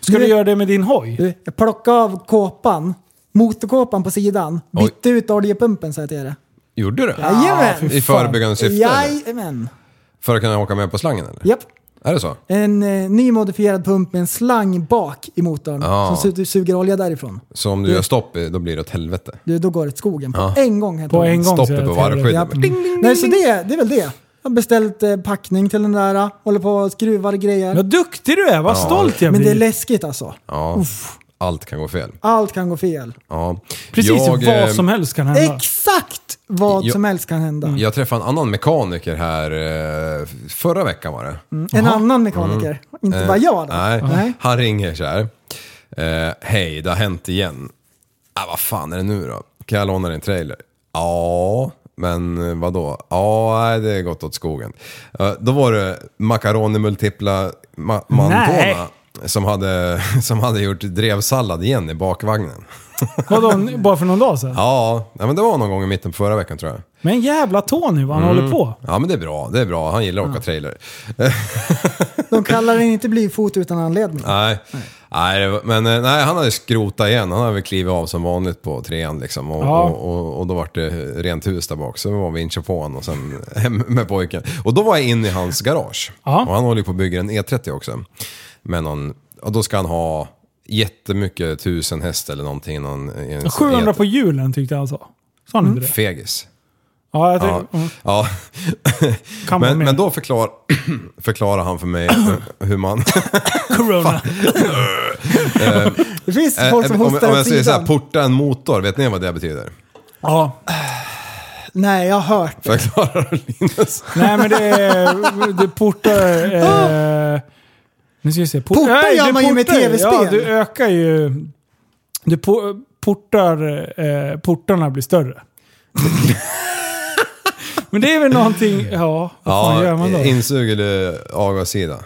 Speaker 7: Ska du, göra det med din hoj?
Speaker 9: Du, jag plockade av kåpan, motorkåpan på sidan,
Speaker 8: Oj.
Speaker 9: bytte ut oljepumpen så att jag det.
Speaker 8: Gjorde du det?
Speaker 7: Ah,
Speaker 9: Jajamän!
Speaker 8: I förebyggande syfte? eller?
Speaker 9: Jajamän!
Speaker 8: För att kunna åka med på slangen eller?
Speaker 9: Japp.
Speaker 8: Är det så?
Speaker 9: En eh, ny modifierad pump med en slang bak i motorn
Speaker 8: Ja.
Speaker 9: som su- suger olja därifrån.
Speaker 8: Så om du gör stopp i- då blir det åt helvete?
Speaker 9: Du, då går det åt skogen på
Speaker 8: Ja.
Speaker 9: en gång. helt
Speaker 8: På
Speaker 9: enkelt.
Speaker 8: en gång, Stopp så är det på åt varvskyddet.
Speaker 9: Japp.
Speaker 8: Ding, ding, ding,
Speaker 9: Mm. Nej, så det, det är väl det. Jag har beställt eh, packning till den där, eh, håller på och skruvar och grejer.
Speaker 7: Vad duktig du är, vad
Speaker 8: Ja.
Speaker 7: stolt jag
Speaker 9: Men
Speaker 7: blir.
Speaker 9: det är läskigt alltså.
Speaker 8: Ja. Allt kan gå fel.
Speaker 9: Allt kan gå fel.
Speaker 8: Ja. eh,
Speaker 7: helst kan Mm.
Speaker 9: Exakt vad
Speaker 8: Jag-
Speaker 9: som helst kan hända.
Speaker 8: Jag träffade en annan mekaniker här eh, förra veckan var det.
Speaker 9: Mm. En annan mekaniker. Inte
Speaker 8: Eh,
Speaker 9: bara jag då.
Speaker 8: Nej.
Speaker 9: Nej.
Speaker 8: Han ringer så här. Eh, Hej, det har hänt igen. Ah, vad fan är det nu då? Kan jag låna din trailer? Ja, men eh, vadå? Ja, nej, det är gått åt skogen. Eh, då var det Macaroni Multipla ma-
Speaker 7: Nej.
Speaker 8: Mantona som hade, som hade gjort drevsallad igen i bakvagnen.
Speaker 7: Vadå, bara för någon dag sedan?
Speaker 8: Ja, nej, men det var någon gång i mitten på förra veckan tror jag.
Speaker 7: Men jävla Tony vad han
Speaker 8: Mm.
Speaker 7: håller på.
Speaker 8: Ja men det är bra, det är bra. Han gillar att åka trailer.
Speaker 9: De kallar den inte blyfot utan anledning.
Speaker 8: Nej. Nej, det var- men eh, nej, han hade skrotat igen. Han hade väl klivit av som vanligt på trean liksom. Och,
Speaker 7: Ja.
Speaker 8: och, och, och då var det rent hus där bak. Så var vi inköp på honom och sen hem med pojken. Och då var jag inne i hans garage. Och han håller ju på att bygga en E30 också. Med någon, och då ska han ha jättemycket tusen häst eller någonting. Någon, i en-
Speaker 7: 700
Speaker 9: Alltså,
Speaker 7: på julen tyckte han sa. Sa han inte
Speaker 9: Mm.
Speaker 7: det?
Speaker 8: Fegis.
Speaker 7: Ja, jag
Speaker 8: Ja.
Speaker 7: tyckte, ja.
Speaker 8: ja.
Speaker 7: Kan vara
Speaker 8: men,
Speaker 7: med.
Speaker 8: men då förklar, förklarar han för mig hur man...
Speaker 7: Corona.
Speaker 8: Eh,
Speaker 9: Det finns
Speaker 8: eh,
Speaker 9: folk som
Speaker 8: om,
Speaker 9: hostar
Speaker 8: om
Speaker 9: åt
Speaker 8: jag säger så här,
Speaker 9: sidan.
Speaker 8: porta en motor, vet ni vad det betyder?
Speaker 7: Ja.
Speaker 9: Nej, jag har hört.
Speaker 8: Förklarar Linus.
Speaker 7: Nej men det är... Det portar... Eh, nu ska vi se. Port,
Speaker 9: Portar
Speaker 7: nej,
Speaker 9: gör
Speaker 7: du
Speaker 9: man ju med
Speaker 7: portar Ja,
Speaker 9: tv-spel.
Speaker 7: du ökar ju... Du po, portar... Eh, portarna blir större. Men det är väl någonting... Ja, vad fan gör man då?
Speaker 8: insug eller avgassida?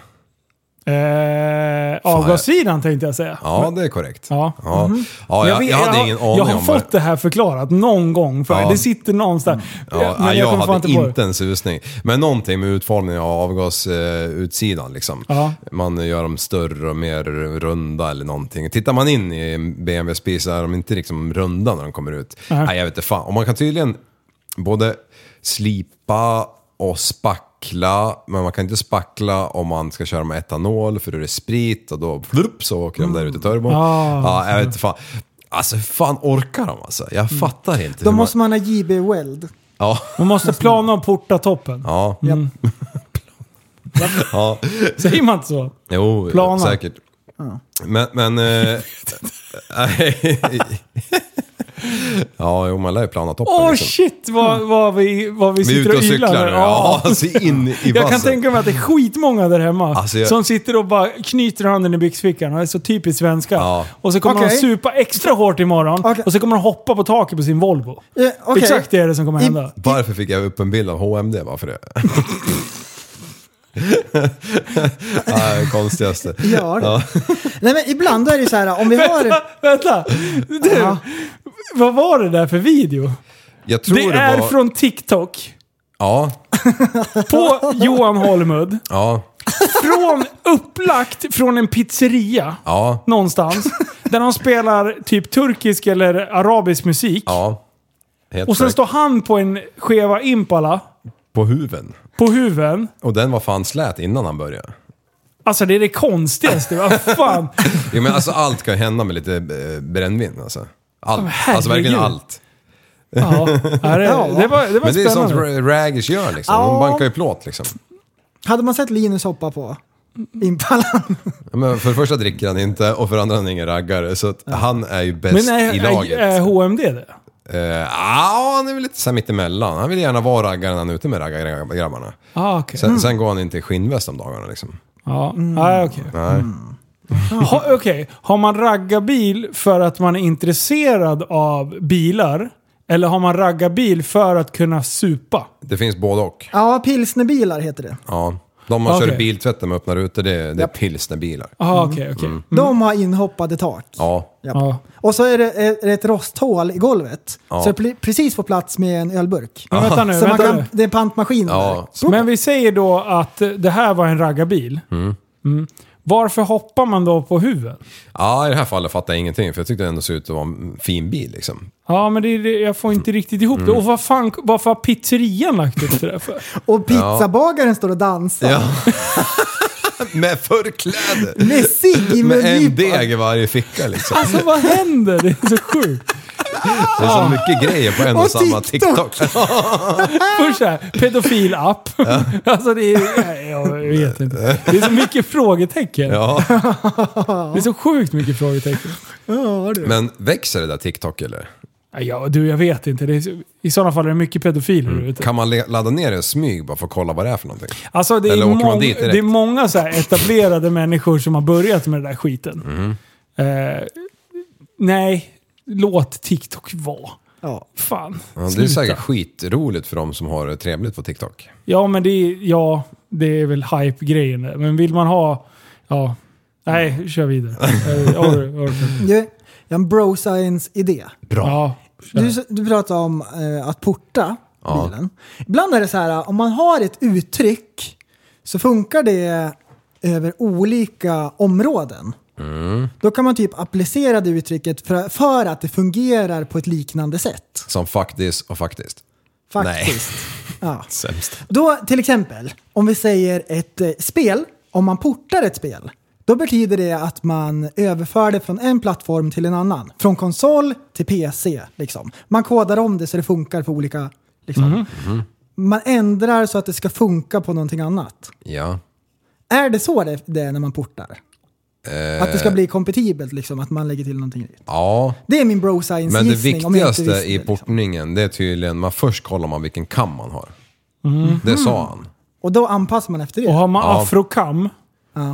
Speaker 7: Eh, avgassidan tänkte jag säga.
Speaker 8: Ja, det är korrekt.
Speaker 7: Ja.
Speaker 8: Ja.
Speaker 7: Mhm.
Speaker 8: Ja, jag,
Speaker 7: vet-
Speaker 8: jag hade
Speaker 7: har-
Speaker 8: ingen aning
Speaker 7: Jag har
Speaker 8: om vad-
Speaker 7: fått det här förklarat någon gång för
Speaker 8: Ja.
Speaker 7: Det sitter någonstans.
Speaker 8: Ja,
Speaker 7: men
Speaker 8: nej, jag,
Speaker 7: kommer fan
Speaker 8: hade
Speaker 7: på det.
Speaker 8: inte en susning. Men någonting med utformningen av avgasutsidan liksom.
Speaker 7: Ja.
Speaker 8: Man gör dem större och mer runda eller någonting. Tittar man in i en BMW-spis så är de inte liksom runda när de kommer ut.
Speaker 7: Nej.
Speaker 8: Nej, jag vet inte fan. Och man kan tydligen både slipa och spackla, men man kan inte spackla om man ska köra med etanol för då är det sprit och då flupp, så åker de där ute i turbon.
Speaker 9: Ah,
Speaker 8: ja, jag vet inte fan. Alltså hur fan orkar de alltså? Jag fattar inte.
Speaker 9: Då
Speaker 8: hur
Speaker 9: måste man ha JB Weld.
Speaker 8: Ja.
Speaker 7: Man måste plana och porta toppen.
Speaker 8: Ja.
Speaker 7: Mm.
Speaker 8: ja.
Speaker 7: Säger man inte så?
Speaker 8: Jo,
Speaker 7: Planar.
Speaker 8: säkert.
Speaker 7: Ja.
Speaker 8: Men... men eh, ja, jo, man lär ju plana toppen.
Speaker 7: Åh shit vad, vad, vi, vad vi
Speaker 8: Vi är
Speaker 7: sitter
Speaker 8: ute och
Speaker 7: ylar
Speaker 8: cyklar nu.
Speaker 7: här.
Speaker 8: Ja, alltså in i
Speaker 7: Jag kan
Speaker 8: vassen.
Speaker 7: tänka mig att det är skitmånga där hemma
Speaker 8: Alltså, jag-
Speaker 7: som sitter och bara knyter handen i byxfickan och är så typiskt svenska. Och så kommer de
Speaker 9: Okej.
Speaker 7: supa extra hårt imorgon och så kommer de hoppa på taket på sin Volvo.
Speaker 9: Eh, okej.
Speaker 7: Exakt det är det som kommer hända.
Speaker 8: Varför fick jag upp en bild av HMD bara för det? ja, det konstigaste.
Speaker 9: Ja, det. Nej men ibland då är det så här om vi har...
Speaker 7: Vänta! Du, vad var det där för video?
Speaker 8: Jag tror det,
Speaker 7: det är
Speaker 8: var...
Speaker 7: från TikTok.
Speaker 8: Ja,
Speaker 7: På Johan Holmud.
Speaker 8: ja,
Speaker 7: Från upplagt från en pizzeria.
Speaker 8: ja.
Speaker 7: någonstans. där de spelar typ turkisk eller arabisk musik.
Speaker 8: Ja. Helt
Speaker 7: och sen
Speaker 8: korrekt.
Speaker 7: står han på en skeva Impala
Speaker 8: På huven.
Speaker 7: på huven.
Speaker 8: Och den var fan slät innan han började.
Speaker 7: Alltså det är det konstigaste. Vad fan.
Speaker 8: Jo, men alltså allt kan hända med lite eh, brännvin alltså. Allt.
Speaker 7: Men herregud.
Speaker 8: alltså verkligen allt.
Speaker 7: Ja, ja, det, det var, det var
Speaker 8: Men det är sånt
Speaker 7: spännande.
Speaker 8: ra- raggers gör liksom.
Speaker 9: Ja.
Speaker 8: De bankar ju plåt liksom.
Speaker 9: Hade man sett Linus hoppa på Impalan?
Speaker 8: Ja, Men för det första dricker han inte och för det andra är han ingen raggare. Så att han är ju bäst
Speaker 7: Men
Speaker 8: i
Speaker 7: är, är,
Speaker 8: laget.
Speaker 7: är HMD det?
Speaker 8: Eh, Ja, han är väl lite såhär mittemellan. Han vill gärna vara raggare när han är ute med raggargrabbarna.
Speaker 7: Ah, okej.
Speaker 8: Sen,
Speaker 7: Mm.
Speaker 8: sen går han inte i skinnväst om dagarna liksom.
Speaker 7: Ja, ah, okej.
Speaker 8: Nej.
Speaker 7: Ha, okej. Har man raggarbil för att man är intresserad av bilar? Eller har man raggarbil för att kunna supa?
Speaker 8: Det finns både och.
Speaker 9: Ja, pilsnerbilar heter det.
Speaker 8: Ja. De man
Speaker 7: Okej.
Speaker 8: kör biltvätten med öppna rutor, det, det är pilsnerbilar.
Speaker 7: Ah, okej, okej.
Speaker 8: Mm.
Speaker 9: De har inhoppade tak.
Speaker 8: Ja.
Speaker 9: Japp. Och så är det är det ett rosthål i golvet.
Speaker 8: Ja.
Speaker 9: Så det pl- precis får plats med en ölburk.
Speaker 7: Men vänta nu,
Speaker 9: så man
Speaker 7: vänta
Speaker 9: kan,
Speaker 7: nu.
Speaker 9: Det är en pantmaskin. där.
Speaker 7: Men vi säger då att eh, det här var en raggarbil.
Speaker 8: Mm.
Speaker 7: Mm. Varför hoppar man då på huven?
Speaker 8: Ja, i det här fallet fattar jag ingenting för jag tyckte det ändå såg ut att vara en fin bil liksom.
Speaker 7: Ja, men det, är det, jag får inte riktigt ihop det.
Speaker 8: Mm.
Speaker 7: Och vad fan, varför har pizzerian lagt upp det där för?
Speaker 9: Och pizzabagaren står och dansar.
Speaker 8: Ja. Med förkläde!
Speaker 9: Med cigg i
Speaker 8: Med en
Speaker 9: mungipan.
Speaker 8: deg i varje ficka liksom.
Speaker 7: Alltså vad händer? Det är så sjukt.
Speaker 8: Det är
Speaker 9: Ah.
Speaker 8: så mycket grejer på en och,
Speaker 7: Och
Speaker 8: samma
Speaker 7: TikTok.
Speaker 8: TikTok.
Speaker 7: Först så här, pedofilapp. Alltså det är... nej, Jag vet inte. Det är så mycket frågetecken.
Speaker 8: Ja.
Speaker 7: Det är så sjukt mycket frågetecken. Ja, du.
Speaker 8: Men växer det där TikTok eller?
Speaker 7: Ja, du, jag vet inte. Det är, så- I sådana fall är det mycket pedofiler ute.
Speaker 8: Mm. Kan man le- ladda ner det i smyg bara för att kolla vad det är för någonting?
Speaker 7: Alltså det är,
Speaker 8: Eller åker man
Speaker 7: mång-
Speaker 8: dit direkt?
Speaker 7: det är många så här etablerade människor som har börjat med den där skiten.
Speaker 8: Mm.
Speaker 7: Eh, nej, låt TikTok vara. Fan.
Speaker 8: Ja, det är
Speaker 7: sluta.
Speaker 8: säkert skitroligt för de som har det trevligt på TikTok.
Speaker 7: Ja, men det är, ja, det är väl hype-grejen där. Men vill man ha... Ja. Nej, kör vidare. Eh, jag orkar- jag orkar.
Speaker 9: Du, jag har en bro science-idé.
Speaker 7: Ja.
Speaker 9: Du, du pratade om eh, att porta
Speaker 7: Ja.
Speaker 9: bilen. Ibland är det så här, eh, om man har ett uttryck så funkar det över olika områden. Då kan man typ applicera det uttrycket för, för att det fungerar på ett liknande sätt.
Speaker 8: Som faktiskt och faktiskt.
Speaker 9: Faktiskt. Ja.
Speaker 8: Sämst.
Speaker 9: Då till exempel, om vi säger ett eh, spel, om man portar ett spel, då betyder det att man överför det från en plattform till en annan. Från konsol till PC. Liksom. Man kodar om det så det funkar för olika... Liksom.
Speaker 8: Mhm,
Speaker 9: Man ändrar så att det ska funka på någonting annat.
Speaker 8: Ja.
Speaker 9: Är det så det, det är när man portar?
Speaker 8: Eh,
Speaker 9: Att det ska bli kompatibelt, liksom, att man lägger till någonting nytt.
Speaker 8: Ja.
Speaker 9: Det är min bro science
Speaker 8: Men det
Speaker 9: gissning, om jag
Speaker 8: viktigaste
Speaker 9: inte visste
Speaker 8: i
Speaker 9: det. liksom.
Speaker 8: portningen, det är tydligen, man först kollar man vilken kam man har.
Speaker 9: Mhm.
Speaker 8: Det sa han.
Speaker 9: Och då anpassar man efter det.
Speaker 7: Och har man
Speaker 8: Ja.
Speaker 7: afrokam...
Speaker 9: Ja.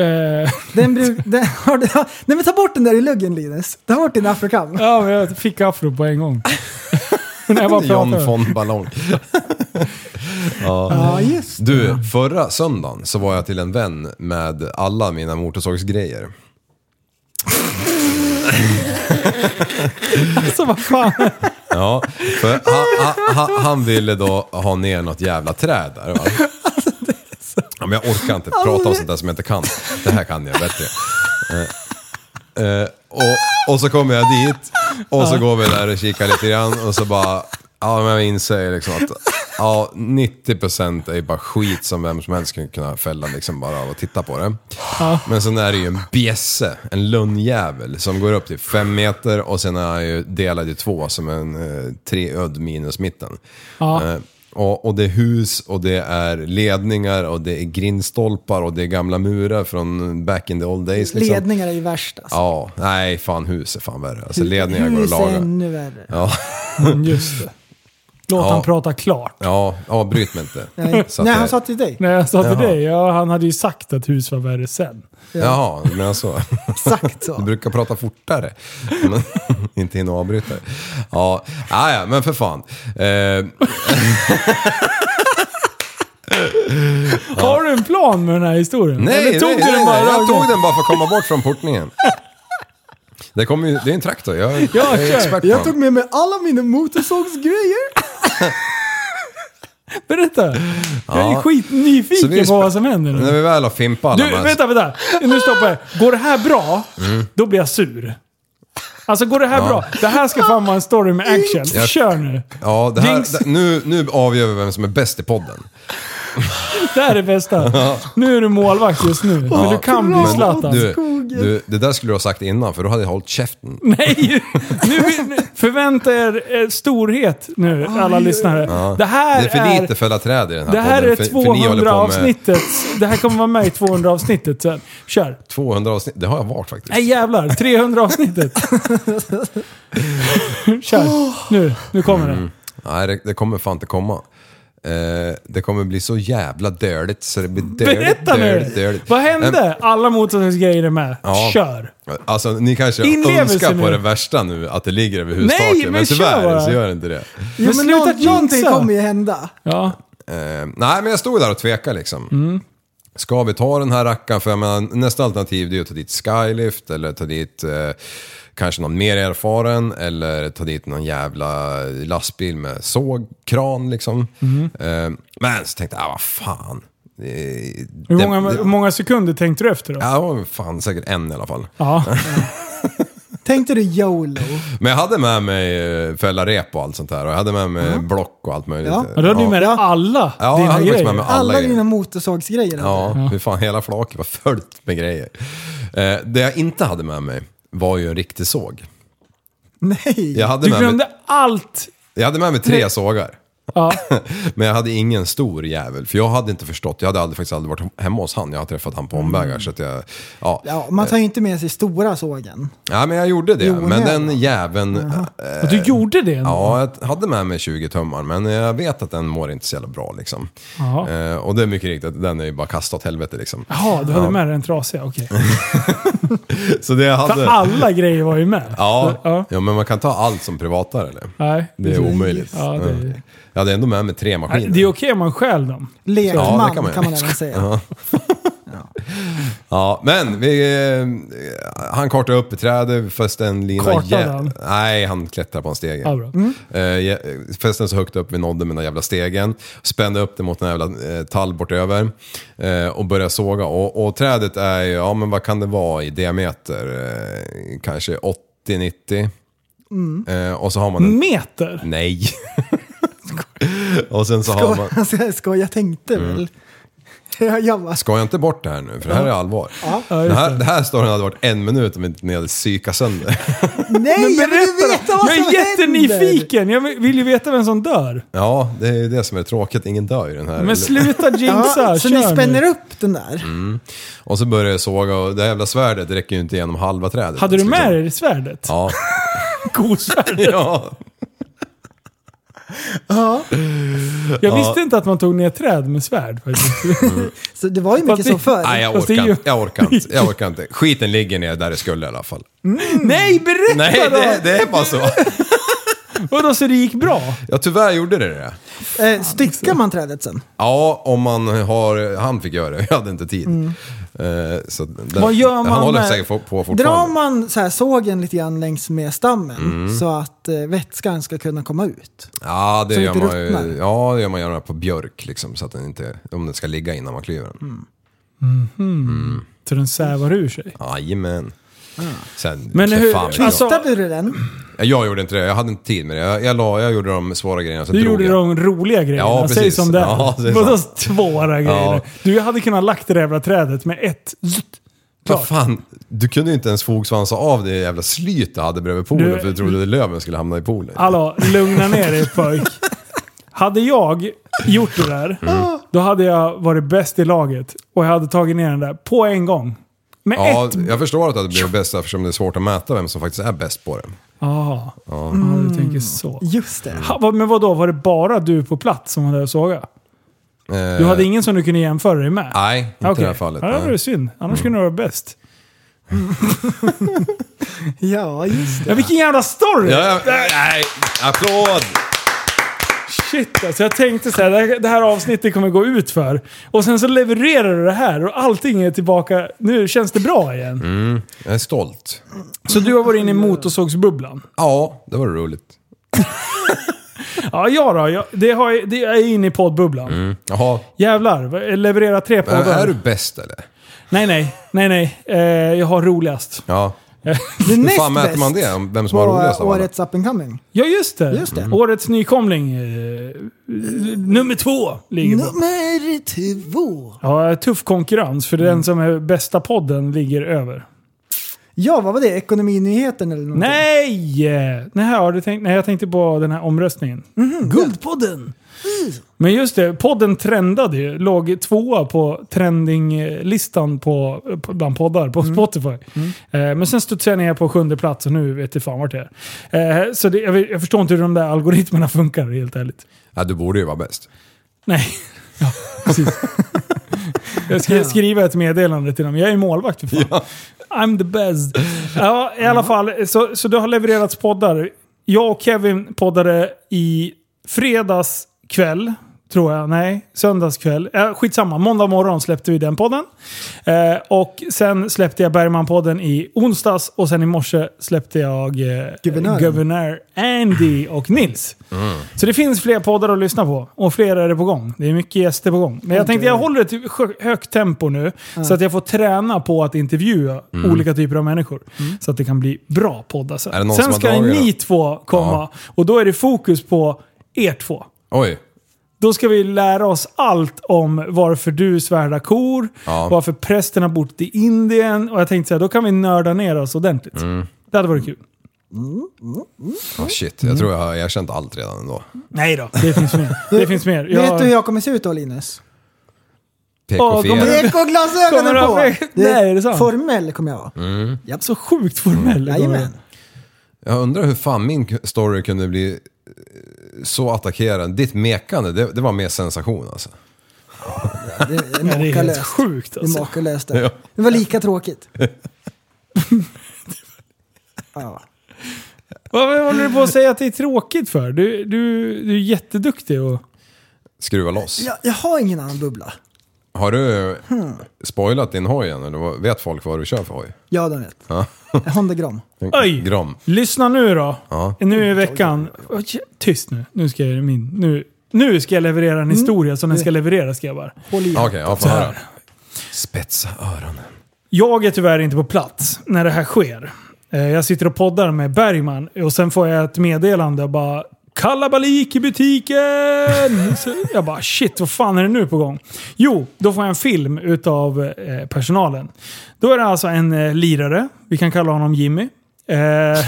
Speaker 7: Eh,
Speaker 9: Den bruk, den, har du, nej men ta bort den där i luggen Linus. Ta bort din afrokam.
Speaker 7: ja, men jag fick afro på en gång. När jag bara
Speaker 8: John
Speaker 7: pratade.
Speaker 8: von Ballong. Ja.
Speaker 9: Ja, just
Speaker 8: Du, förra söndagen så var jag till en vän med alla mina motorsågsgrejer.
Speaker 7: Alltså vad fan.
Speaker 8: Ja, för han, han, han ville då ha ner något jävla träd där. Va? Ja, men jag orkar inte
Speaker 14: Alltså,
Speaker 8: prata om
Speaker 14: det-
Speaker 8: sånt där som jag inte kan. Det här kan jag bättre. Eh, eh, och, och så kommer jag dit och så
Speaker 14: Ja.
Speaker 8: går vi där och kikar lite grann och så bara... Ja, men jag inser liksom att ja, 90% är ju bara skit som vem som helst skulle kunna fälla liksom bara av att titta på det.
Speaker 7: Ja.
Speaker 8: Men sen är det ju en bjässe, en lunnjävel, som går upp till fem meter och sen är han ju delad i två som en eh, treöd minus mitten.
Speaker 7: Ja.
Speaker 8: Eh, och, och det är hus och det är ledningar och det är grindstolpar och det är gamla murar från back in the old days. Liksom.
Speaker 9: Ledningar är ju värst. Alltså.
Speaker 8: Ja, nej fan hus är fan värre. Alltså
Speaker 9: Hu-
Speaker 8: ledningar går att
Speaker 9: hus är Mm,
Speaker 8: laga.
Speaker 9: ännu värre.
Speaker 8: Ja.
Speaker 7: Just det. Låt
Speaker 8: Ja.
Speaker 7: han prata klart.
Speaker 8: Ja, avbryt mig inte. Så att det-
Speaker 7: till dig. Nej, han sa till
Speaker 8: Jaha.
Speaker 7: dig. Ja, han hade ju sagt att hus var värre sen.
Speaker 8: Jaha, du menar så.
Speaker 9: Exakt så.
Speaker 8: Du brukar prata fortare. Men inte hinna avbryta. Ja, ah, ja, men för fan. Eh,
Speaker 7: Har du en plan med den här historien?
Speaker 8: nej,
Speaker 7: Eller tog
Speaker 8: nej,
Speaker 7: du
Speaker 8: nej,
Speaker 7: den bara
Speaker 8: jag
Speaker 7: rakt
Speaker 8: tog
Speaker 7: upp?
Speaker 8: den bara för att komma bort från portningen. Det, kommer ju, det är en traktor, jag, jag är expert på
Speaker 9: jag
Speaker 8: den.
Speaker 9: tog med mig alla mina motorsågsgrejer.
Speaker 7: Berätta. Jag är
Speaker 8: Ja. Så
Speaker 7: skitnyfiken
Speaker 8: vi
Speaker 7: på
Speaker 8: spr-
Speaker 7: vad som händer
Speaker 8: När
Speaker 7: nu.
Speaker 8: vi väl har fimpat alla
Speaker 7: Du,
Speaker 8: de här-
Speaker 7: vänta, vänta. Nu stoppar jag. Går det här bra,
Speaker 8: Mm.
Speaker 7: då blir jag sur. Alltså går det här
Speaker 8: Ja.
Speaker 7: bra? Det här ska fan vara en story med action.
Speaker 8: Jag-
Speaker 7: Kör nu.
Speaker 8: Ja, det här,
Speaker 7: Jinx.
Speaker 8: det, nu, nu avgör vi vem som är bäst i podden.
Speaker 7: Det här är det bästa. Nu är du målvakt just nu, men
Speaker 8: Ja,
Speaker 7: du kan bli
Speaker 8: men
Speaker 7: Zlatan.
Speaker 8: Du,
Speaker 7: alltså.
Speaker 8: du, det där skulle du ha sagt innan, för då hade jag hållit käften.
Speaker 7: Nej! Nu, nu, förvänta er eh, storhet nu, alla lyssnare.
Speaker 8: Ja.
Speaker 7: Det här
Speaker 8: det är för
Speaker 7: är...
Speaker 8: lite fälla träd i den här
Speaker 7: Det här
Speaker 8: podden,
Speaker 7: är
Speaker 8: för, för ni håller
Speaker 7: 200
Speaker 8: på med-
Speaker 7: avsnittet. Det här kommer vara med i 200 avsnittet sen. Kör.
Speaker 8: 200 avsnitt, det har jag varit faktiskt.
Speaker 7: Nej jävlar, 300 avsnittet. Kör. Nu, nu kommer det.
Speaker 8: Mm. Nej, det, det kommer fan inte komma. Eh, det kommer bli så jävla döligt så det blir döligt,
Speaker 7: Berätta
Speaker 8: döligt,
Speaker 7: nu!
Speaker 8: döligt.
Speaker 7: Vad
Speaker 8: Ehm,
Speaker 7: hände? Alla motståndargrejer är med.
Speaker 8: ja.
Speaker 7: Kör!
Speaker 8: Alltså ni kanske
Speaker 7: Inlevelse
Speaker 8: önskar på
Speaker 7: nu.
Speaker 8: det värsta nu, att det ligger över
Speaker 7: Nej,
Speaker 8: hustaket. men,
Speaker 7: men kör
Speaker 8: tyvärr
Speaker 7: bara.
Speaker 8: så gör det inte det.
Speaker 9: Jo, men
Speaker 7: sluta
Speaker 9: någon, någonting
Speaker 7: jinxa.
Speaker 9: kommer ju hända.
Speaker 7: Ja.
Speaker 8: Eh, nej, men jag stod där och tvekade liksom.
Speaker 7: Mm.
Speaker 8: Ska vi ta den här rackaren? För jag menar, nästa alternativ det är ju att ta dit Skylift eller ta dit eh, kanske någon mer erfaren eller ta dit någon jävla lastbil med sågkran liksom.
Speaker 7: Mm.
Speaker 8: Eh, men så tänkte jag, ah, vad fan.
Speaker 7: Hur många, hur många sekunder tänkte du efter då?
Speaker 8: Ja, det var fan säkert en i alla fall.
Speaker 7: Ja.
Speaker 9: Tänkte du YOLO?
Speaker 8: Men jag hade med mig eh, fällarep och allt sånt där och jag hade med mig block och allt möjligt.
Speaker 9: Ja.
Speaker 7: Ja, då har du med dig
Speaker 8: ja.
Speaker 7: alla
Speaker 8: Ja, jag
Speaker 7: dina
Speaker 8: hade faktiskt
Speaker 7: grejer.
Speaker 8: med mig alla,
Speaker 9: Alla
Speaker 8: grejer.
Speaker 9: dina motorsågsgrejer.
Speaker 8: Ja,
Speaker 9: eller?
Speaker 8: hur fan hela flaket var fullt med grejer. Eh, det jag inte hade med mig var ju en riktig såg.
Speaker 9: Nej.
Speaker 8: Jag hade
Speaker 7: du
Speaker 8: med
Speaker 7: glömde
Speaker 8: mig,
Speaker 7: allt!
Speaker 8: jag hade med mig tre sågar.
Speaker 7: Ja.
Speaker 8: Men jag hade ingen stor jävel, för jag hade inte förstått. Jag hade aldrig, faktiskt aldrig varit hemma hos han. Jag har träffat han på omvägar. Så att jag, ja.
Speaker 9: Mm. Ja, man tar ju inte med sig stora sågen.
Speaker 8: ja, men jag gjorde det.
Speaker 9: Jo,
Speaker 8: men
Speaker 9: nej.
Speaker 8: den jäveln... eh,
Speaker 7: Du gjorde det?
Speaker 8: Ja, jag hade med mig 20 tummar, men jag vet att den mår inte så jävla bra liksom.
Speaker 7: Jaha.
Speaker 8: Eh, och det är mycket riktigt, den är ju bara kastad åt helvete liksom.
Speaker 7: Jaha, du hade
Speaker 8: Ja,
Speaker 7: med dig den trasiga. Okej.
Speaker 8: Så det jag
Speaker 7: För
Speaker 8: hade...
Speaker 7: alla grejer var ju med.
Speaker 8: Ja, ja. men man kan ta allt som privatare eller?
Speaker 7: Nej.
Speaker 8: Det är omöjligt.
Speaker 7: Ja, det är-
Speaker 8: Mm. Jag hade ändå med mig tre
Speaker 7: Nej,
Speaker 8: maskiner.
Speaker 7: Det är okej om man stjäl dem.
Speaker 9: Lekman
Speaker 8: Ja, det
Speaker 9: kan, man
Speaker 8: göra.
Speaker 9: även säga.
Speaker 8: Ja. ja, men vi, eh, han kartade upp i trädet, fäste en lina...
Speaker 7: Kartade
Speaker 8: jä-
Speaker 7: han?
Speaker 8: Nej, han klättrade på en stege.
Speaker 7: Ja, bra. Mm.
Speaker 8: Eh, jä- fäste den så högt upp vi nådde med den där jävla stegen. Spände upp den mot en jävla eh, tall bortöver. Eh, och började såga. Och, och trädet är ju, ja men vad kan det vara i diameter? Eh, kanske 80-90.
Speaker 9: Mm.
Speaker 8: Eh, och så har man en...
Speaker 7: Meter?
Speaker 8: Nej. och sen så har man...
Speaker 9: Skoj, alltså, jag skojar, jag tänkte
Speaker 8: Mm.
Speaker 9: väl. Jag, jag bara,
Speaker 8: Ska jag inte bort det här nu? För det här är allvar.
Speaker 9: Ja. Ja, just
Speaker 8: Den här, det här storyn hade varit en minut om inte ni hade psykat sönder.
Speaker 9: nej, jag vill ju
Speaker 7: Berätta!
Speaker 9: veta vad
Speaker 7: Jag
Speaker 9: som
Speaker 7: är
Speaker 9: händer!
Speaker 7: jättenyfiken! Jag vill ju veta vem som dör.
Speaker 8: Ja, det är ju det som är tråkigt. Ingen dör i den här.
Speaker 7: Men sluta jinxa!
Speaker 9: Ja, så
Speaker 7: kör
Speaker 9: ni spänner
Speaker 7: nu.
Speaker 9: upp den där?
Speaker 8: Mm. Och så börjar jag såga och det här jävla svärdet räcker ju inte igenom halva trädet.
Speaker 7: Hade du
Speaker 8: Liksom.
Speaker 7: med dig svärdet?
Speaker 8: Ja.
Speaker 7: Kosvärdet?
Speaker 8: ja.
Speaker 9: Ja.
Speaker 7: Jag visste inte att man tog ner träd med svärd faktiskt.
Speaker 9: Så det var ju mycket
Speaker 7: Fast
Speaker 9: så
Speaker 7: det-
Speaker 9: förr.
Speaker 8: Mm. Nej, jag
Speaker 7: Fast det
Speaker 8: orkar,
Speaker 7: är ju-
Speaker 8: inte. jag orkar inte. Jag orkar inte. Skiten ligger ner där det skulle i alla fall.
Speaker 7: Nej, berätta
Speaker 8: Nej,
Speaker 7: då!
Speaker 8: det, det är bara så.
Speaker 7: Och då så det gick bra?
Speaker 8: Ja, tyvärr gjorde det det.
Speaker 9: Eh, styckar man trädet sen?
Speaker 8: Ja, om man har... Han fick göra det, jag hade inte tid.
Speaker 9: Mm.
Speaker 8: Eh, så där-
Speaker 9: Vad gör man
Speaker 8: Han håller
Speaker 9: med-
Speaker 8: säkert på fortfarande.
Speaker 9: Drar man så här sågen lite grann längs med stammen
Speaker 8: Mm.
Speaker 9: så att eh, vätskan ska kunna komma ut?
Speaker 8: Ja, det
Speaker 9: Så
Speaker 8: gör
Speaker 9: inte
Speaker 8: man ju.
Speaker 9: ruttnar?
Speaker 8: Ja, det gör man gärna på björk liksom, så att den inte... Om den ska ligga innan man klyver den.
Speaker 7: Mm. Så den sävar ur sig?
Speaker 8: Jajamän.
Speaker 9: Ah.
Speaker 8: Sen,
Speaker 7: Men
Speaker 8: sen
Speaker 7: hur- alltså-
Speaker 8: fan vet jag.
Speaker 9: Kvittade du den?
Speaker 8: Jag gjorde inte det, jag hade inte tid med det. Jag, jag, la, jag gjorde de svåra grejerna, sen
Speaker 7: Du
Speaker 8: drog
Speaker 7: gjorde
Speaker 8: jag.
Speaker 7: de roliga grejerna,
Speaker 8: Ja,
Speaker 7: säg
Speaker 8: precis.
Speaker 7: som det är.
Speaker 8: Ja, det är
Speaker 7: Vadå
Speaker 8: sant.
Speaker 7: svåra grejer?
Speaker 8: Ja.
Speaker 7: Du, jag hade kunnat lagt det där jävla trädet med ett... zzzt.
Speaker 8: Vad fan, du kunde ju inte ens fogsvansa av det jävla slyt du hade bredvid poolen
Speaker 7: Du-
Speaker 8: för du trodde att löven skulle hamna i poolen.
Speaker 7: Hallå, lugna ner dig pojk. Hade jag gjort det där,
Speaker 8: Mm.
Speaker 7: då hade jag varit bäst i laget. Och jag hade tagit ner den där på en gång. Med
Speaker 8: Ja,
Speaker 7: ett...
Speaker 8: jag förstår att det hade blivit bäst eftersom det är svårt att mäta vem som faktiskt är bäst på det.
Speaker 7: Ah.
Speaker 8: Ja.
Speaker 7: Ja, du tänker så.
Speaker 9: Just det.
Speaker 7: Ha, vad- men vad då var det bara du på plats som var där och sågade? Du hade ingen som du kunde jämföra dig med?
Speaker 8: Eh. Nej, inte i
Speaker 7: Okej.
Speaker 8: det här fallet.
Speaker 7: Ja, det var
Speaker 8: Nej. Mm.
Speaker 7: ju synd. Annars kunde du vara bäst.
Speaker 9: ja, just
Speaker 7: Ja, vilken jävla story!
Speaker 8: Ja, ja, nej, applåd!
Speaker 7: Shit alltså, jag tänkte så här, det här- det här avsnittet kommer gå ut för. Och sen så levererar du det här och allting är tillbaka. Nu känns det bra igen.
Speaker 8: Mm, jag är stolt.
Speaker 7: Så du har varit inne i motorsågsbubblan?
Speaker 8: Ja, det var roligt.
Speaker 7: Ja, jag då. Jag, det har, jag- det, jag är inne i poddbubblan.
Speaker 8: Mm. Jaha,
Speaker 7: Jävlar, vad- leverera tre
Speaker 8: Men
Speaker 7: poddar.
Speaker 8: är du bäst eller?
Speaker 7: Nej, nej. Nej, nej. Eh, jag har roligast.
Speaker 8: Ja.
Speaker 9: Det
Speaker 8: Hur fan mäter man det? Vem som har roligast av alla?
Speaker 9: Årets up and coming.
Speaker 7: Ja, just det.
Speaker 9: Just det.
Speaker 7: Mm. Årets nykomling. Eh, nummer två ligger på.
Speaker 9: Nummer två. Mm.
Speaker 7: Ja, tuff konkurrens för den som är bästa podden ligger över.
Speaker 9: Ja, vad var det? Ekonominyheten eller någonting?
Speaker 7: Nej! Nej, har du tänkt, nej, jag tänkte på den här omröstningen. Guldpodden! Men just det, podden trendade ju. Låg tvåa på trendinglistan på, på, bland poddar på Spotify. Eh, men sen studsade jag ner på sjunde plats och nu vet jag fan vart jag är. Eh, så det, jag, vet- jag förstår inte hur de där algoritmerna funkar helt ärligt.
Speaker 8: Ja, du borde ju vara bäst.
Speaker 7: Nej. Ja, precis. Jag ska skriva ett meddelande till dem. Jag är målvakt för fan. I'm the best. Ja, i alla fall. Så, så det har levererats poddar. Jag och Kevin poddade i fredags kväll. Tror jag. Nej, söndagskväll. Äh, skitsamma. Måndag morgon släppte vi den podden. Eh, och sen släppte jag Bergman-podden i onsdags och sen i morse släppte jag eh,
Speaker 9: Guvernören.
Speaker 7: Guvernör Andy och Nils.
Speaker 8: Mm.
Speaker 7: Så det finns fler poddar att lyssna på och fler är det på gång. Det är mycket gäster på gång. Men jag
Speaker 9: Okej.
Speaker 7: tänkte jag håller ett sjö- högt tempo nu
Speaker 9: Ja.
Speaker 7: så att jag får träna på att intervjua
Speaker 8: Mm.
Speaker 7: olika typer av människor.
Speaker 9: Mm.
Speaker 7: Så att det kan bli bra poddar
Speaker 8: Är det
Speaker 7: sen.
Speaker 8: någon som
Speaker 7: Sen
Speaker 8: har
Speaker 7: ska
Speaker 8: dragit
Speaker 7: ni
Speaker 8: det?
Speaker 7: två komma och då är det fokus på er två.
Speaker 8: Oj.
Speaker 7: Då ska vi lära oss allt om varför du svärdar kor,
Speaker 8: Ja.
Speaker 7: varför prästen har bott i Indien. Och jag tänkte så här, då kan vi nörda ner oss ordentligt.
Speaker 8: Mm.
Speaker 7: Det hade varit kul.
Speaker 9: Mm.
Speaker 8: Ah, shit, jag tror jag har erkänt allt redan ändå.
Speaker 7: Nej då, det finns mer. Det finns mer.
Speaker 9: Vet du hur jag kommer se ut då Linus?
Speaker 8: PK Fjäll.
Speaker 7: Kommer du
Speaker 9: PK-glasögonen
Speaker 7: ha-
Speaker 9: på!
Speaker 7: Nej, är det sant?
Speaker 9: Formell kommer jag vara.
Speaker 8: Mm.
Speaker 9: Japp.
Speaker 7: Så sjukt formell.
Speaker 9: Jajamän.
Speaker 8: Jag undrar hur fan min story kunde bli eh, så attackerad. Ditt mekande, det, det var mer sensation alltså.
Speaker 9: Det är
Speaker 7: Ja, det är helt
Speaker 9: makalöst.
Speaker 7: sjukt
Speaker 9: Det
Speaker 7: alltså.
Speaker 9: är makalöst. det.
Speaker 8: Ja.
Speaker 9: Mm. Det var lika tråkigt.
Speaker 7: Vad håller du på att säga att det är tråkigt för? Du, du, du är jätteduktig och...
Speaker 8: Skruva loss.
Speaker 9: Jag, jag har ingen annan bubbla. Hmm.
Speaker 8: Har du spoilat din hoj än? Eller vad- vet folk vad du kör för hoj?
Speaker 9: Ja, den vet.
Speaker 8: Ja.
Speaker 9: Honda Gram.
Speaker 7: Oj!
Speaker 8: Grom.
Speaker 7: Lyssna nu då.
Speaker 8: Ja.
Speaker 7: Nu i veckan. Oj, Tyst nu. Nu ska jag, min, nu, nu ska jag leverera en historia som den ska levereras ska jag bara.
Speaker 9: Håll i.
Speaker 8: Okej, jag
Speaker 7: Så
Speaker 8: får
Speaker 7: här.
Speaker 8: höra. Spetsa öronen.
Speaker 7: Jag är tyvärr inte på plats när det här sker. Eh, Jag sitter och poddar med Bergman och sen får jag ett meddelande och bara Kalabalik i butiken! Så jag bara shit, vad fan är det nu på gång? Jo, då får jag en film utav eh, personalen. Då är det alltså en eh, lirare, vi kan kalla honom Jimmy. Eh,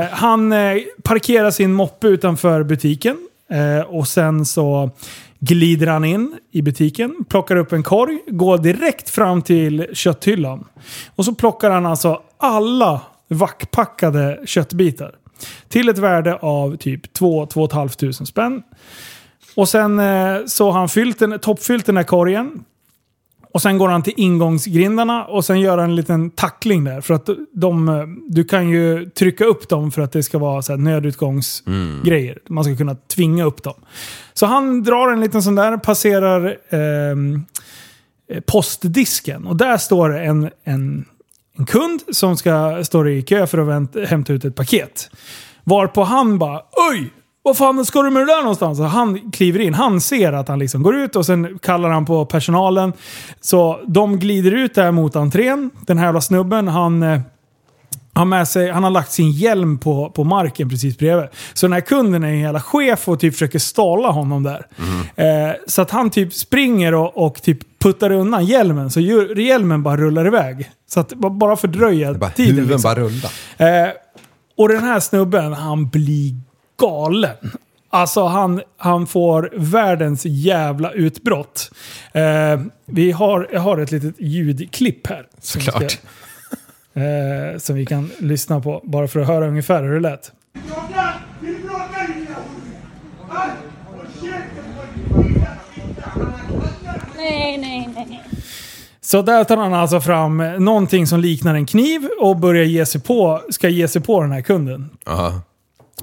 Speaker 7: eh, han eh, parkerar sin moppe utanför butiken eh, och sen så glider han in i butiken, plockar upp en korg, går direkt fram till kötthyllan. Och så plockar han alltså alla vackpackade köttbitar. Till ett värde av typ 2 2 tusen spänn. Och sen eh, så har han fyllt den, toppfyllt den här korgen. Och sen går han till ingångsgrindarna och sen gör han en liten tackling där. För att de, du kan ju trycka upp dem för att det ska vara så här nödutgångsgrejer. Man ska kunna tvinga upp dem. Så han drar en liten sån där, passerar ehm, eh, postdisken. Och där står en, en, en kund som ska stå i kö för att vänt, hämta ut ett paket. Varpå han bara Oj! Vad fan ska du med det där någonstans? Och han kliver in. Han ser att han liksom går ut och sen kallar han på personalen. Så de glider ut där mot entrén. Den här jävla snubben, han... eh, han, med sig, han har lagt sin hjälm på, på marken precis bredvid. Så den här kunden är en jävla chef och typ försöker stala honom där. Eh, så att han typ springer och, och typ puttar undan hjälmen. Så ju- hjälmen bara rullar iväg. Så att ba- bara fördröja tiden.
Speaker 8: Huvuden
Speaker 7: liksom.
Speaker 8: bara rullar.
Speaker 7: Eh, och den här snubben, han blir galen. Alltså han, han får världens jävla utbrott. Eh, vi har, jag har ett litet ljudklipp här. som vi ska-
Speaker 8: Såklart.
Speaker 7: eh, som vi kan lyssna på, bara för att höra ungefär hur det lät.
Speaker 14: Nej, nej, nej.
Speaker 7: Så där tar han alltså fram eh, någonting som liknar en kniv och börjar ge sig på, ska ge sig på den här kunden.
Speaker 8: Aha.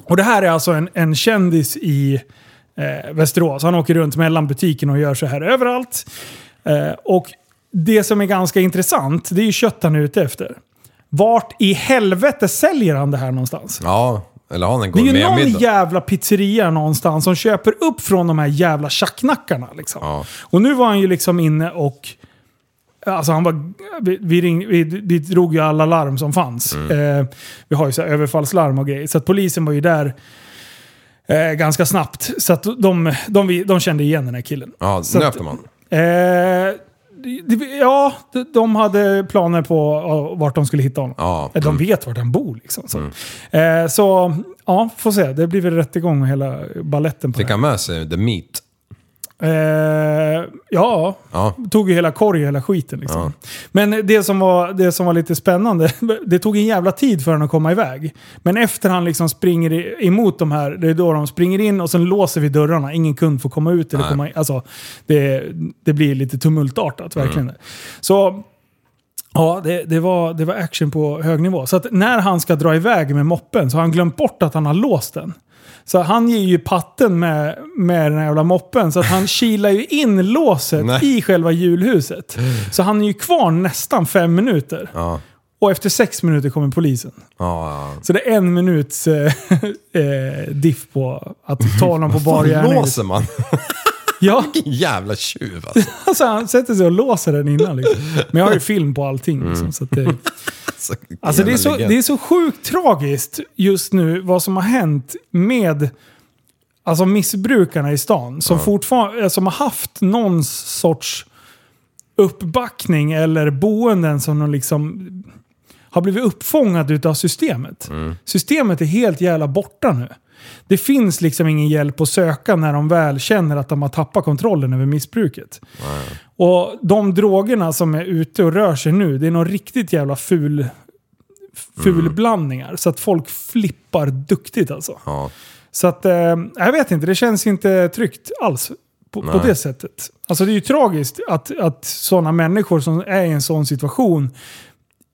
Speaker 7: Och det här är alltså en, en kändis i eh, Västerås. Han åker runt mellan butikerna och gör så här överallt. Eh, och det som är ganska intressant, det är ju kött han är ute efter. Vart i helvete säljer han det här någonstans?
Speaker 8: Ja, eller har han en
Speaker 7: Det är ju någon
Speaker 8: gourmetmiddag?
Speaker 7: jävla pizzeria någonstans som köper upp från de här jävla tjacknackarna. Liksom. Och nu var han ju liksom inne och... Alltså han var, vi, vi, ring, vi vi drog ju alla larm som fanns. Eh, vi har ju så här överfallslarm och grejer. Så att polisen var ju där eh, ganska snabbt. Så att de, de, de, kände igen den här killen.
Speaker 8: Ja,
Speaker 7: Så att-
Speaker 8: nöp man.
Speaker 7: Eh, det- det- ja, de- de hade planer på ja, vart de skulle hitta honom.
Speaker 8: Ja. mm.
Speaker 7: Eh, De vet vart han bor liksom. Så, eh, så ja, får se. Det blir väl rättegång och hela balletten på
Speaker 8: Fick
Speaker 7: det.
Speaker 8: han med sig the meat?
Speaker 7: Eh, ja,
Speaker 8: Ja.
Speaker 7: tog ju hela korgen, hela skiten liksom.
Speaker 8: ja.
Speaker 7: Men det som, var, det som var lite spännande, det tog en jävla tid för honom att komma iväg. Men efter han liksom springer i- emot de här, det är då de springer in och sen låser vi dörrarna. Ingen kund får komma ut eller
Speaker 8: Nej.
Speaker 7: komma in. Alltså, det, det blir lite tumultartat verkligen.
Speaker 8: Mm.
Speaker 7: Så ja, det, det, var, det var action på hög nivå. Så att när han ska dra iväg med moppen så har han glömt bort att han har låst den. Så han ger ju patten med, med den här jävla moppen så att han kilar ju in låset
Speaker 8: Nej.
Speaker 7: i själva julhuset. Så han är ju kvar nästan fem minuter.
Speaker 8: Ja.
Speaker 7: Och efter sex minuter kommer polisen.
Speaker 8: Ja, ja.
Speaker 7: Så det är en minuts eh, eh, diff på att ta honom på bar gärning.
Speaker 8: låser man?
Speaker 7: Ja.
Speaker 8: Vilken jävla tjuv alltså.
Speaker 7: Alltså han sätter sig och låser den innan liksom. Men jag har ju film på allting.
Speaker 8: Mm.
Speaker 7: Liksom, så att det,
Speaker 8: Så,
Speaker 7: alltså, det, är
Speaker 8: jävla
Speaker 7: så,
Speaker 8: legend.
Speaker 7: det är så sjukt tragiskt just nu vad som har hänt med alltså, missbrukarna i stan. Som, fortfarande, som har haft någon sorts uppbackning eller boenden som de liksom har blivit uppfångade utav systemet.
Speaker 8: Mm.
Speaker 7: Systemet är helt jävla borta nu. Det finns liksom ingen hjälp att söka när de väl känner att de har tappat kontrollen över missbruket. Och de drogerna som är ute och rör sig nu, det är någon riktigt jävla ful, ful blandningar. Så att folk flippar duktigt alltså.
Speaker 8: Ja.
Speaker 7: Så att, eh, jag vet inte, det känns inte tryggt alls på, på
Speaker 8: Nej.
Speaker 7: det sättet. Alltså det är ju tragiskt att, att sådana människor som är i en sån situation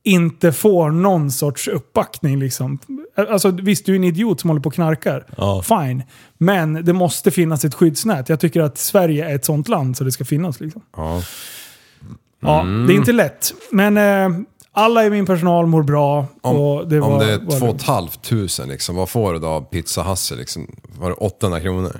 Speaker 7: inte får någon sorts uppbackning. Liksom. Alltså, visst, du är en idiot som håller på och knarkar.
Speaker 8: Ja.
Speaker 7: Fine. Men det måste finnas ett skyddsnät. Jag tycker att Sverige är ett sånt land så det ska finnas. Liksom.
Speaker 8: Ja.
Speaker 7: Ja,
Speaker 8: Mm.
Speaker 7: Det är inte lätt. Men eh, alla i min personal mår bra. och det var,
Speaker 8: Om det
Speaker 7: var
Speaker 8: är två och ett halvt tusen, liksom, vad får du då av Pizza Hasse? Liksom? Var det 800 kronor?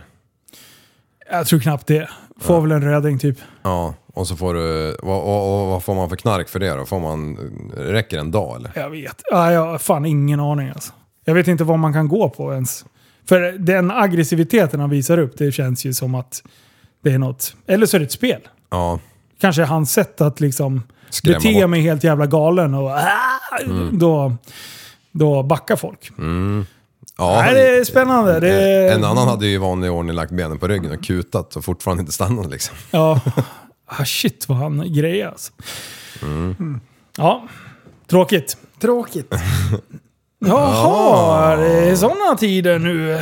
Speaker 7: Jag tror knappt det. Får väl en röding typ.
Speaker 8: Ja, och så får du... Vad, och, och, vad får man för knark för det då? Får man, räcker det en dag eller?
Speaker 7: Jag vet. Ja, jag har fan ingen aning alltså. Jag vet inte vad man kan gå på ens. För den aggressiviteten han visar upp, det känns ju som att det är något. Eller så är det ett spel.
Speaker 8: Ja.
Speaker 7: Kanske hans sätt att liksom
Speaker 8: Skrämma
Speaker 7: bete
Speaker 8: bort.
Speaker 7: mig helt jävla galen och "Ah!"
Speaker 8: Mm.
Speaker 7: då, då backar folk.
Speaker 8: Mm. ja
Speaker 7: Nej, det är spännande. Det är...
Speaker 8: En annan hade ju i vanlig ordning lagt benen på ryggen och kutat och fortfarande inte stannat liksom.
Speaker 7: Ja. Ah, shit vad han grejer alltså. Mm. Ja, tråkigt. Tråkigt. Jaha, det är sådana tider nu.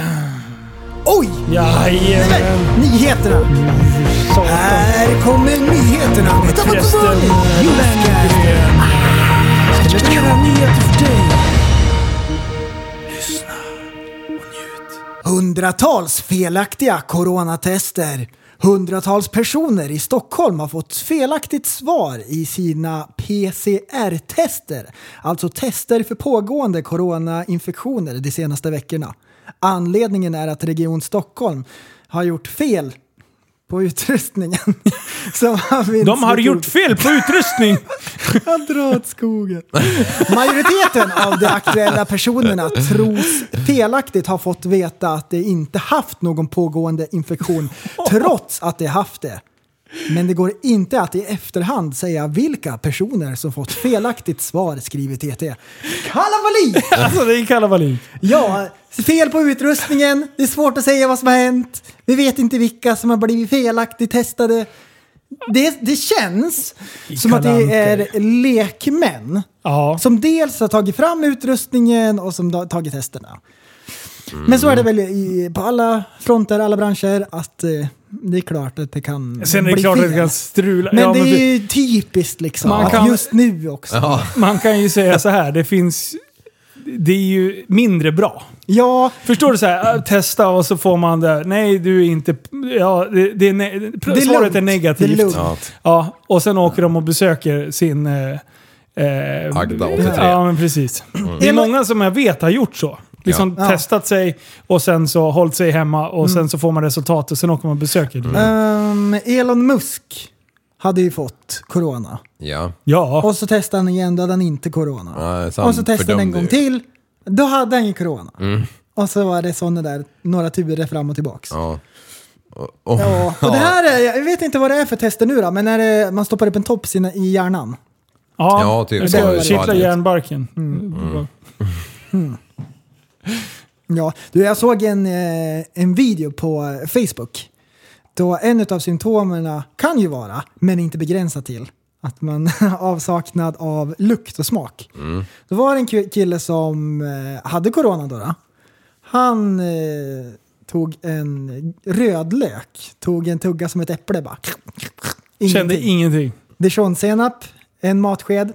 Speaker 7: Oj! Jajamän.
Speaker 9: Nyheterna!
Speaker 7: Som
Speaker 5: Här kommer nyheterna med Prästen Ska berätta nyheter för dig.
Speaker 9: Hundratals felaktiga coronatester. Hundratals personer i Stockholm har fått felaktigt svar i sina PCR-tester, alltså tester för pågående coronainfektioner de senaste veckorna. Anledningen är att Region Stockholm har gjort fel på utrustningen. Som används
Speaker 7: De har
Speaker 9: vid
Speaker 7: gjort fel på utrustning!
Speaker 9: Han drar åt skogen. Majoriteten av de aktuella personerna tros felaktigt ha fått veta att de inte haft någon pågående infektion trots att de haft det. Men det går inte att i efterhand säga vilka personer som fått felaktigt svar, skriver TT. Kalabalik!
Speaker 7: Alltså det är kalabalik.
Speaker 9: Ja, fel på utrustningen, det är svårt att säga vad som har hänt, vi vet inte vilka som har blivit felaktigt testade. Det, det känns som att det är lekmän som dels har tagit fram utrustningen och som har tagit testerna. Men så är det väl i, på alla fronter, alla branscher, att eh, det är klart att det kan
Speaker 7: Sen är det
Speaker 9: bli
Speaker 7: klart att
Speaker 9: fel.
Speaker 7: det kan strula.
Speaker 9: Men
Speaker 7: Ja,
Speaker 9: det är
Speaker 7: precis.
Speaker 9: ju typiskt liksom,
Speaker 7: Man
Speaker 9: att
Speaker 7: kan-
Speaker 9: just nu också.
Speaker 7: Man kan ju säga så här, det finns... Det är ju mindre bra.
Speaker 9: Ja.
Speaker 7: Förstår du så här, äh, testa och så får man det. Nej, du är inte... Ja, det, det är ne-
Speaker 9: är
Speaker 7: svaret
Speaker 9: lugnt.
Speaker 7: är negativt.
Speaker 9: Det är lugnt. Ja.
Speaker 7: Ja, och sen åker de och besöker sin... Eh, eh,
Speaker 8: Agda, 83.
Speaker 7: Ja, men precis. Det är många som jag vet har gjort så. Liksom
Speaker 9: Ja. Mm.
Speaker 7: testat sig och sen så hållit sig hemma och sen så får man resultat och sen åker man och besöker. Mm.
Speaker 9: Ehm, Elon Musk hade ju fått corona.
Speaker 8: Ja.
Speaker 7: Ja.
Speaker 9: Och så testade han igen, då hade han inte corona.
Speaker 8: Nej,
Speaker 9: och så testade han en gång till, då hade han ju corona.
Speaker 8: Mm.
Speaker 9: Och så var det sådana där, några turer fram och tillbaks.
Speaker 8: Ja. Och,
Speaker 9: Ja, och det här är, jag vet inte vad det är för tester nu då, men är det, man stoppar upp en tops i, i hjärnan.
Speaker 7: Ja,
Speaker 8: Ja, typ.
Speaker 7: det
Speaker 8: Ja,
Speaker 7: ska
Speaker 8: det-
Speaker 7: kittla järnbarken.
Speaker 8: Mm.
Speaker 9: Ja, du, jag såg en, eh, en video på eh, Facebook. Då en av symptomen kan ju vara, men inte begränsat till, att man avsaknad av lukt och smak.
Speaker 8: Mm.
Speaker 9: Då var det en ki- kille som eh, hade corona då. då. Han eh, tog en rödlök, tog en tugga som ett äpple bara.
Speaker 7: Kände ingenting.
Speaker 9: Dijonsenap, en matsked.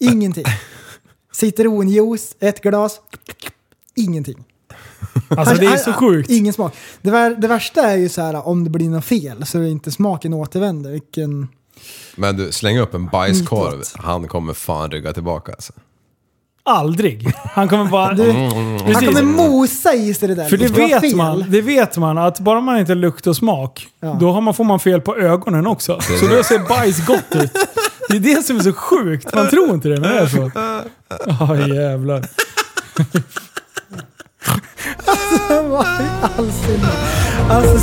Speaker 9: Ingenting. Citronjuice, ett glas. Ingenting.
Speaker 7: Alltså det är så sjukt.
Speaker 9: Ingen smak. Det, var, det värsta är ju så här om det blir något fel så är inte smaken återvänder. Vilken...
Speaker 8: Men du, släng upp
Speaker 9: Mm,
Speaker 8: en bajskorv. Han kommer fan rygga tillbaka alltså.
Speaker 7: Aldrig. Han kommer bara...
Speaker 8: Mm.
Speaker 9: Han
Speaker 7: Precis.
Speaker 9: kommer mosa i sig det där.
Speaker 7: För det
Speaker 9: ska vara
Speaker 7: vet,
Speaker 9: fel.
Speaker 7: man, det vet man att bara man inte lukt och smak, då har man, får man fel på ögonen också.
Speaker 8: Det är
Speaker 7: Så
Speaker 8: det.
Speaker 7: då ser bajs gott ut. Det är det som är så sjukt. Man tror inte det, men det är så. Ja, jävlar.
Speaker 9: Alltså vad i all sin... Alltså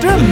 Speaker 9: surströmming.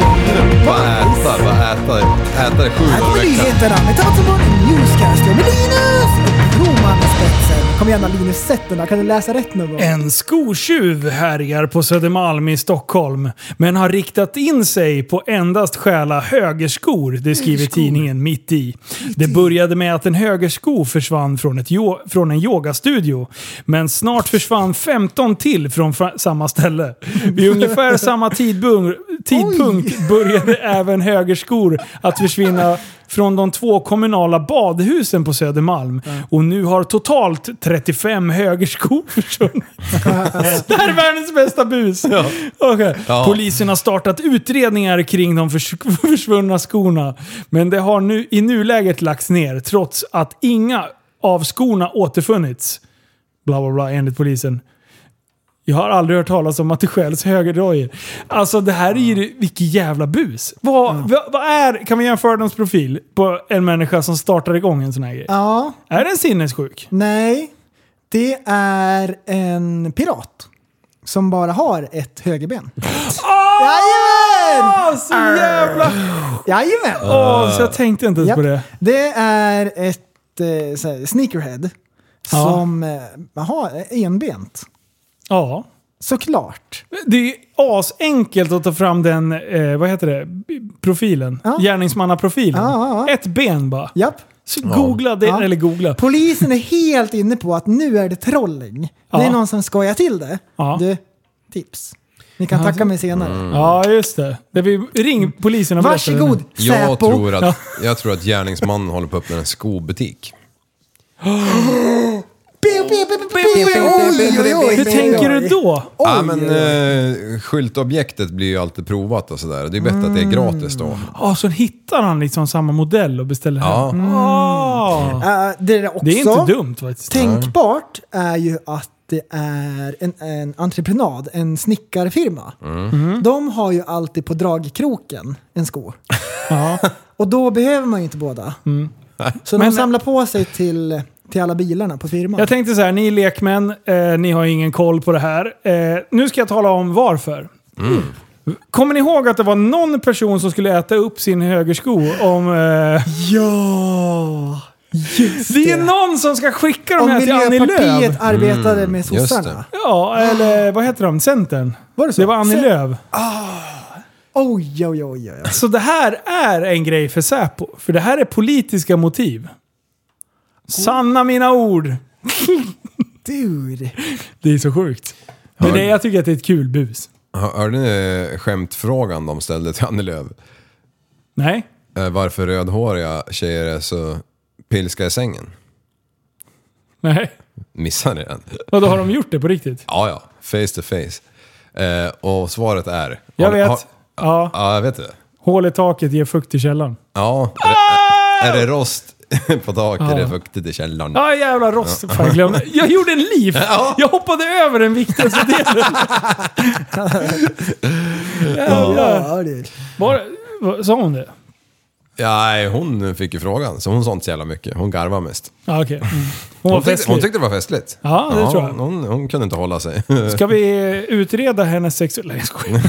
Speaker 8: Bara äta, bara äta, äta det sju
Speaker 9: Här
Speaker 8: gånger
Speaker 9: kommer
Speaker 8: i veckan.
Speaker 9: nyheterna med Tatsenbarnen Newscast med Linus och Roman i spetsen. Kom igen då, Linus, sätt den då. Kan du läsa rätt någon gång?
Speaker 7: En skotjuv härjar på Södermalm i Stockholm, men har riktat in sig på endast stjäla högerskor, det skriver tidningen Mitt i. Det började med att en högersko försvann från, ett jo- från en yogastudio, men snart försvann 15 till från fa- samma ställe. Vid ungefär samma tidbung- tidpunkt började även högerskor att försvinna från de två kommunala badhusen på Södermalm. Och nu har totalt 35 högerskor försvunnit. det här är världens bästa bus! Okej.
Speaker 2: Ja.
Speaker 7: Polisen har startat utredningar kring de förs försvunna skorna. Men det har nu, i nuläget lagts ner trots att inga av skorna återfunnits. Bla bla bla enligt polisen. Jag har aldrig hört talas om att det stjäls högerdojor. Alltså det här är ju... Vilket jävla bus! Vad, vad, vad är... Kan vi jämföra någons profil på en människa som startar igång en sån här grej?
Speaker 9: Ja.
Speaker 7: Är den sinnessjuk?
Speaker 9: Nej, det är en pirat. Som bara har ett högerben. Jajamän!
Speaker 7: Ah! Så jävla...
Speaker 9: Jajamän!
Speaker 7: Åh, så jag tänkte inte ens
Speaker 9: Japp.
Speaker 7: på det.
Speaker 9: Det är ett eh, så här, sneakerhead som eh, har enbent.
Speaker 7: Ja.
Speaker 9: Såklart.
Speaker 7: Det är ju asenkelt att ta fram den, eh, vad heter det, B- profilen. Gärningsmannaprofilen. Ett ben bara.
Speaker 9: Japp.
Speaker 7: Så googla det,
Speaker 9: Ja.
Speaker 7: eller googla.
Speaker 9: Polisen är helt inne på att nu är det Äh, trolling. Det
Speaker 7: Ja.
Speaker 9: är någon som skojar till det.
Speaker 7: Ja.
Speaker 9: Du, tips. Ni kan tacka mig senare.
Speaker 7: Ja, just det. det vi, ring polisen och berätta det nu.
Speaker 9: Varsågod,
Speaker 8: Jag tror,
Speaker 7: Ja.
Speaker 8: att, jag tror att gärningsmannen håller på att öppna en skobutik.
Speaker 7: Hur tänker du då?
Speaker 8: ja, men eh, skyltobjektet blir ju alltid provat och sådär. Det är bättre
Speaker 9: Mm.
Speaker 8: att det är gratis då.
Speaker 7: Ja, så hittar han liksom samma modell och beställer
Speaker 8: Ja.
Speaker 7: hem. Ah.
Speaker 9: Eh, det, är också
Speaker 7: Det är inte dumt faktiskt.
Speaker 9: Tänkbart är ju att det är en, en entreprenad, en snickarfirma. Mm. De har ju alltid på dragkroken en sko. Och då behöver man ju inte båda. Så
Speaker 7: Men-
Speaker 9: de samlar på sig till, till alla bilarna på firman.
Speaker 7: Jag tänkte så här, ni är lekmän, eh, ni har ingen koll på det här. Eh, nu ska jag tala om varför. Kommer ni ihåg att det var någon person som skulle äta upp sin högersko om... Eh... Ja! det är någon som ska skicka de
Speaker 9: Om
Speaker 7: här till Annie Lööf.
Speaker 9: Miljöpartiet arbetade med sossarna.
Speaker 7: Ja, eller vad heter de? Centern? Var det så? Det var Annie
Speaker 9: Cent- Ah!
Speaker 7: Lööf.
Speaker 9: Oj, oj, oj, oj.
Speaker 7: Så det här är en grej för Säpo. För det här är politiska motiv. Sanna mina ord.
Speaker 9: Dude.
Speaker 7: Det är så sjukt. Men
Speaker 8: Ja.
Speaker 7: det, jag tycker att det är ett kul bus.
Speaker 8: Hör- Hörde ni eh, skämtfrågan de ställde till Annie Lööf?
Speaker 7: Nej.
Speaker 8: Eh, varför rödhåriga tjejer är så pilska i sängen?
Speaker 7: Nej.
Speaker 8: Missar ni den?
Speaker 7: Vadå, har de gjort det på riktigt?
Speaker 8: Ja, ja. Face to face. Eh, och svaret är...
Speaker 7: Jag
Speaker 8: Har-
Speaker 7: vet.
Speaker 8: har-
Speaker 7: Ja.
Speaker 8: Ja, jag vet det.
Speaker 7: Hål i taket ger fukt i källan.
Speaker 8: Ja. Är det, är det rost på taket
Speaker 7: Ja.
Speaker 8: är det fuktigt i källaren.
Speaker 7: Ja, jävla rost. Fan, jag glömde. Jag gjorde en liv. Jag hoppade över den viktigaste delen. Jävlar. Var, var, sa hon det?
Speaker 8: Ja, nej, hon fick ju frågan, så hon sa inte så jävla mycket. Hon garvade mest.
Speaker 7: Ja, okej. Mm. Hon
Speaker 8: Hon,
Speaker 7: var
Speaker 8: tyckte,
Speaker 7: festlig.
Speaker 8: hon tyckte det var festligt.
Speaker 7: Ja, det tror jag.
Speaker 8: Hon, hon, hon kunde inte hålla sig.
Speaker 7: Ska vi utreda hennes sexuella... Nej, jag skojar.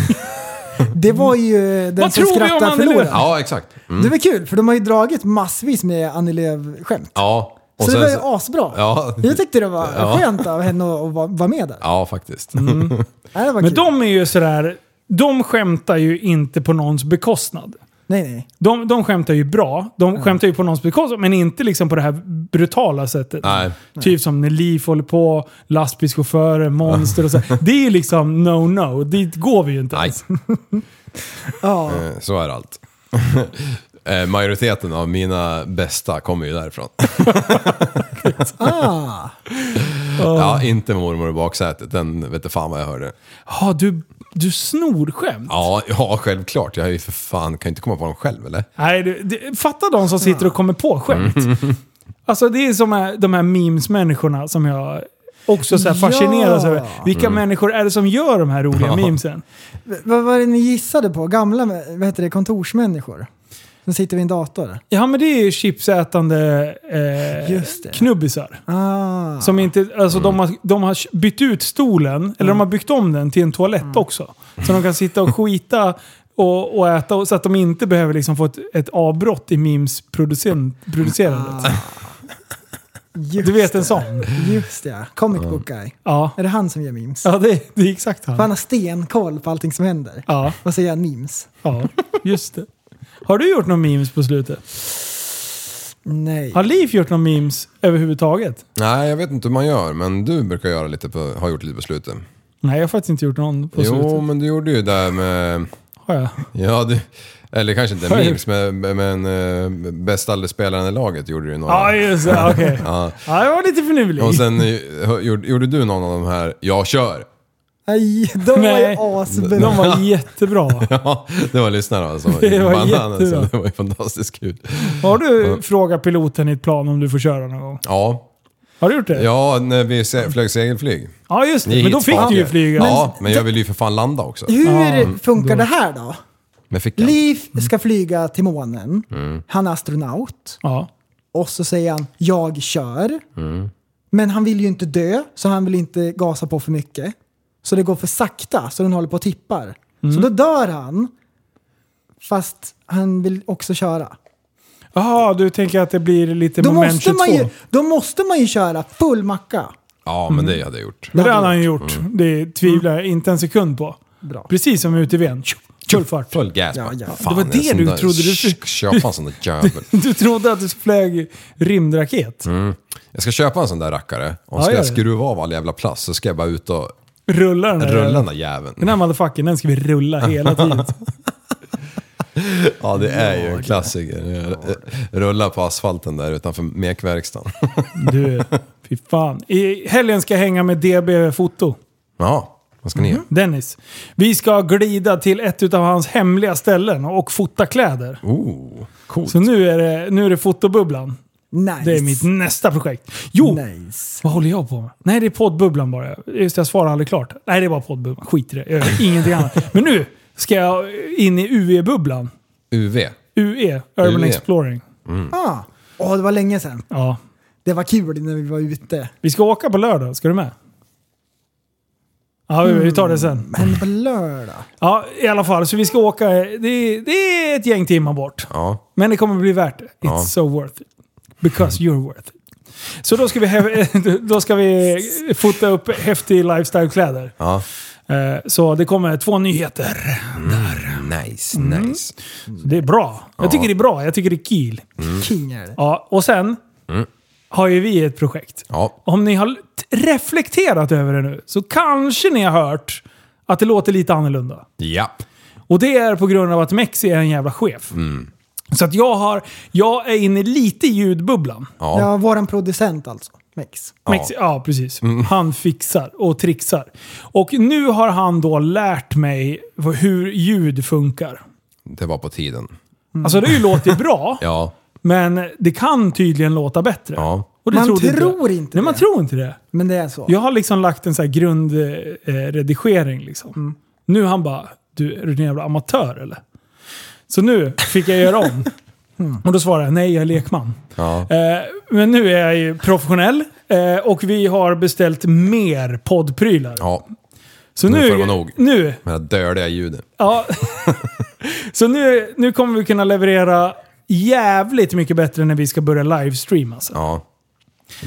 Speaker 9: Det var ju eh, den
Speaker 7: Vad
Speaker 9: som
Speaker 7: tror vi om
Speaker 9: skrattar
Speaker 7: Annie
Speaker 9: förlorar.
Speaker 8: Ja, exakt. Mm.
Speaker 9: Det var kul, för de har ju dragit massvis med Annie Lööf-skämt.
Speaker 8: Ja.
Speaker 9: Så det var ju asbra.
Speaker 8: Ja.
Speaker 9: Jag tyckte det var
Speaker 8: Ja.
Speaker 9: skönt av henne att att vara- vara med där.
Speaker 8: Ja, faktiskt.
Speaker 7: Mm.
Speaker 9: Nej, det var
Speaker 7: Men
Speaker 9: kul.
Speaker 7: de är ju sådär... De skämtar ju inte på någons bekostnad.
Speaker 9: Nej, nej.
Speaker 7: De, de skämtar ju bra. De skämtar ju på någons bekostnad, men inte liksom på det här brutala sättet.
Speaker 8: Nej.
Speaker 7: Typ som när Liv håller på, lastbilschaufförer, monster och så. Det är ju liksom no-no. Dit går vi ju inte ens.
Speaker 9: Ja.
Speaker 8: Eh, Så är allt. Eh, Majoriteten av mina bästa kommer ju därifrån.
Speaker 9: Ah.
Speaker 8: Ja, inte mormor i baksätet. Den vet du fan vad jag hörde.
Speaker 7: Ja, du, du snor skämt.
Speaker 8: Ja, ja självklart. Jag är ju för fan, kan jag inte komma på dem själv eller?
Speaker 7: Nej, du, du, fatta de som sitter och kommer på skämt.
Speaker 9: Mm.
Speaker 7: Alltså det är som här- de här memes-människorna som jag också så här fascineras
Speaker 9: Ja.
Speaker 7: över. Vilka
Speaker 9: Mm.
Speaker 7: människor är det som gör de här roliga
Speaker 9: Ja.
Speaker 7: memesen?
Speaker 9: V- Vad var det ni gissade på? Gamla vad heter det, kontorsmänniskor? Som sitter vid en dator?
Speaker 7: Ja, men det är ju chipsätande eh,
Speaker 9: Just det.
Speaker 7: knubbisar.
Speaker 9: Ah.
Speaker 7: Som inte, alltså de, har, de har bytt ut stolen, eller
Speaker 9: Mm.
Speaker 7: de har byggt om den till en toalett också. Så de kan sitta och skita och, och äta och- så att de inte behöver liksom få ett, ett avbrott i memes-producerandet. Du vet en sån?
Speaker 9: Ah. Just det, comic book guy.
Speaker 7: Ja.
Speaker 9: Är det han som gör memes?
Speaker 7: Ja, det, det är exakt
Speaker 9: För han
Speaker 7: han.
Speaker 9: har stenkoll på allting som händer.
Speaker 7: Ja.
Speaker 9: Och så gör han memes.
Speaker 7: Ja, just det. Har du gjort några memes på slutet?
Speaker 9: Nej.
Speaker 7: Har Liv gjort några memes överhuvudtaget?
Speaker 8: Nej, jag vet inte hur man gör, men du brukar göra lite på, har gjort lite på slutet.
Speaker 7: Nej, jag har faktiskt inte gjort någon på
Speaker 8: jo,
Speaker 7: slutet.
Speaker 8: men du gjorde ju det där med...
Speaker 7: Har jag?
Speaker 8: Ja, du, eller kanske inte
Speaker 7: Har jag
Speaker 8: memes, men, men eh, bästa aldrig-spelaren i laget gjorde du ju några.
Speaker 7: Ja, just det. Okej.
Speaker 8: Ja.
Speaker 7: Ja, jag var lite finurlig.
Speaker 8: Och sen eh, hör- gjorde, gjorde du någon av de här, jag kör.
Speaker 9: Nej, de var ju
Speaker 7: Nej,
Speaker 9: asbra.
Speaker 7: de var jättebra.
Speaker 8: Ja, det var lyssnarna alltså.
Speaker 7: Det var
Speaker 8: så
Speaker 7: jättebra.
Speaker 8: det var ju fantastiskt kul.
Speaker 7: Har du frågat piloten i ett plan om du får köra någon gång?
Speaker 8: Ja,
Speaker 7: Har du gjort det?
Speaker 8: ja när vi se- flög segelflyg.
Speaker 7: Ja, just det. Men då fick du ju flyga.
Speaker 8: Ja, men jag vill ju för fan landa också.
Speaker 9: Hur funkar
Speaker 8: då-
Speaker 9: det här då?
Speaker 8: Men fick jag.
Speaker 9: Liv ska flyga till månen.
Speaker 8: Mm.
Speaker 9: Han är astronaut.
Speaker 7: Ja.
Speaker 9: Och så säger han “jag kör”. Men han vill ju inte dö, så han vill inte gasa på för mycket. Så det går för sakta, så den håller på och tippar.
Speaker 7: Mm.
Speaker 9: Så då dör han. Fast han vill också köra.
Speaker 7: Jaha, du tänker att det blir lite
Speaker 9: Då
Speaker 7: moment
Speaker 9: måste,
Speaker 7: 22?
Speaker 9: man ju, då måste man ju köra full macka.
Speaker 8: Ja, men
Speaker 7: Mm.
Speaker 8: det hade jag gjort.
Speaker 7: Men det hade han ju gjort. Det tvivlar jag inte en sekund på.
Speaker 9: Bra.
Speaker 7: Precis som ute i Ven. Full fart.
Speaker 8: Full gas.
Speaker 7: Ja,
Speaker 8: bara,
Speaker 7: ja.
Speaker 8: Fan,
Speaker 7: Det var
Speaker 8: en
Speaker 7: det
Speaker 8: sån
Speaker 7: du
Speaker 8: där-
Speaker 7: trodde du-
Speaker 8: Sk- Köpa en sån där jävel.
Speaker 7: Du trodde att du flög rymdraket?
Speaker 8: Mm. Jag ska köpa en sån där rackare och
Speaker 7: Ja,
Speaker 8: ska
Speaker 7: gör
Speaker 8: jag
Speaker 7: det.
Speaker 8: skruva av all jävla plast så ska jag bara ut och
Speaker 7: Rulla den där
Speaker 8: Rulla den
Speaker 7: jäveln.
Speaker 8: där jäveln.
Speaker 7: Den här motherfuckern, den ska vi rulla hela tiden.
Speaker 8: Ja, det är ju en klassiker. Rulla på asfalten där utanför mekverkstan.
Speaker 7: Du, fy fan. I helgen ska jag hänga med DB Foto.
Speaker 8: Ja, vad ska ni göra?
Speaker 7: Dennis. Vi ska glida till ett av hans hemliga ställen och fota kläder.
Speaker 8: Oh, coolt.
Speaker 7: Mhm. Så nu är det, nu är det fotobubblan.
Speaker 9: Nice.
Speaker 7: Det är mitt nästa projekt. Jo! Vad håller jag på med? Nej, det är poddbubblan bara. Just det, jag svarar aldrig klart. Nej, det är bara poddbubblan. Skit i det. Jag gör ingenting annat. Men nu ska jag in i UE-bubblan.
Speaker 8: UV.
Speaker 7: UE, E, Urban
Speaker 8: UE.
Speaker 7: Exploring.
Speaker 8: E. Mm.
Speaker 9: Ah. Åh, det var länge sedan.
Speaker 7: Ja.
Speaker 9: Det var kul när vi var ute.
Speaker 7: Vi ska åka på lördag, ska du med? Ja, vi, vi tar det sen.
Speaker 9: Men på lördag?
Speaker 7: Ja, i alla fall. Så vi ska åka. Det, är- det är ett gäng timmar bort.
Speaker 8: Ja.
Speaker 7: Men det kommer bli värt det. It's
Speaker 8: Ja. Mm.
Speaker 7: so worth it. Because you're worth it. Så då ska vi, hä- då ska vi fota upp häftig lifestyle-kläder.
Speaker 8: Ja.
Speaker 7: Eh, Så det kommer två nyheter.
Speaker 8: Nice,
Speaker 7: Mm.
Speaker 8: nice.
Speaker 7: Så det är bra. Jag tycker
Speaker 8: Ja.
Speaker 7: det är bra. Jag tycker det är kul.
Speaker 8: Mm.
Speaker 9: King är det.
Speaker 7: Ja, och sen
Speaker 8: Mm.
Speaker 7: har ju vi ett projekt.
Speaker 8: Ja.
Speaker 7: Om ni har t- reflekterat över det nu så kanske ni har hört att det låter lite annorlunda.
Speaker 8: Japp.
Speaker 7: Och det är på grund av att Mexi är en jävla chef.
Speaker 8: Mm.
Speaker 7: Så att jag, har, jag är inne lite i ljudbubblan.
Speaker 9: Ja. våran producent alltså. Mex.
Speaker 7: Mexi, ja, precis. Han fixar och trixar. Och nu har han då lärt mig hur ljud funkar.
Speaker 8: Det var på tiden.
Speaker 9: Mm.
Speaker 7: Alltså det har ju låtit bra,
Speaker 8: Ja.
Speaker 7: men det kan tydligen låta bättre. Och det
Speaker 9: Man
Speaker 7: trodde inte jag.
Speaker 9: tror inte
Speaker 7: Nej, man tror inte det.
Speaker 9: Men det är så.
Speaker 7: Jag har liksom lagt en så här grundredigering. Liksom.
Speaker 9: Mm.
Speaker 7: Nu han bara, du är du en jävla amatör eller? Så nu fick jag göra om.
Speaker 9: Mm.
Speaker 7: Och då svarade jag, nej jag är lekman.
Speaker 8: Ja.
Speaker 7: Eh, men nu är jag ju professionell eh, och vi har beställt mer poddprylar.
Speaker 8: Ja.
Speaker 7: Så
Speaker 8: nu
Speaker 7: nu-
Speaker 8: får det vara nog.
Speaker 7: nu-
Speaker 8: Med det här dödliga ljudet.
Speaker 7: Ja. Så nu, nu kommer vi kunna leverera jävligt mycket bättre när vi ska börja livestreama. Alltså.
Speaker 8: Ja.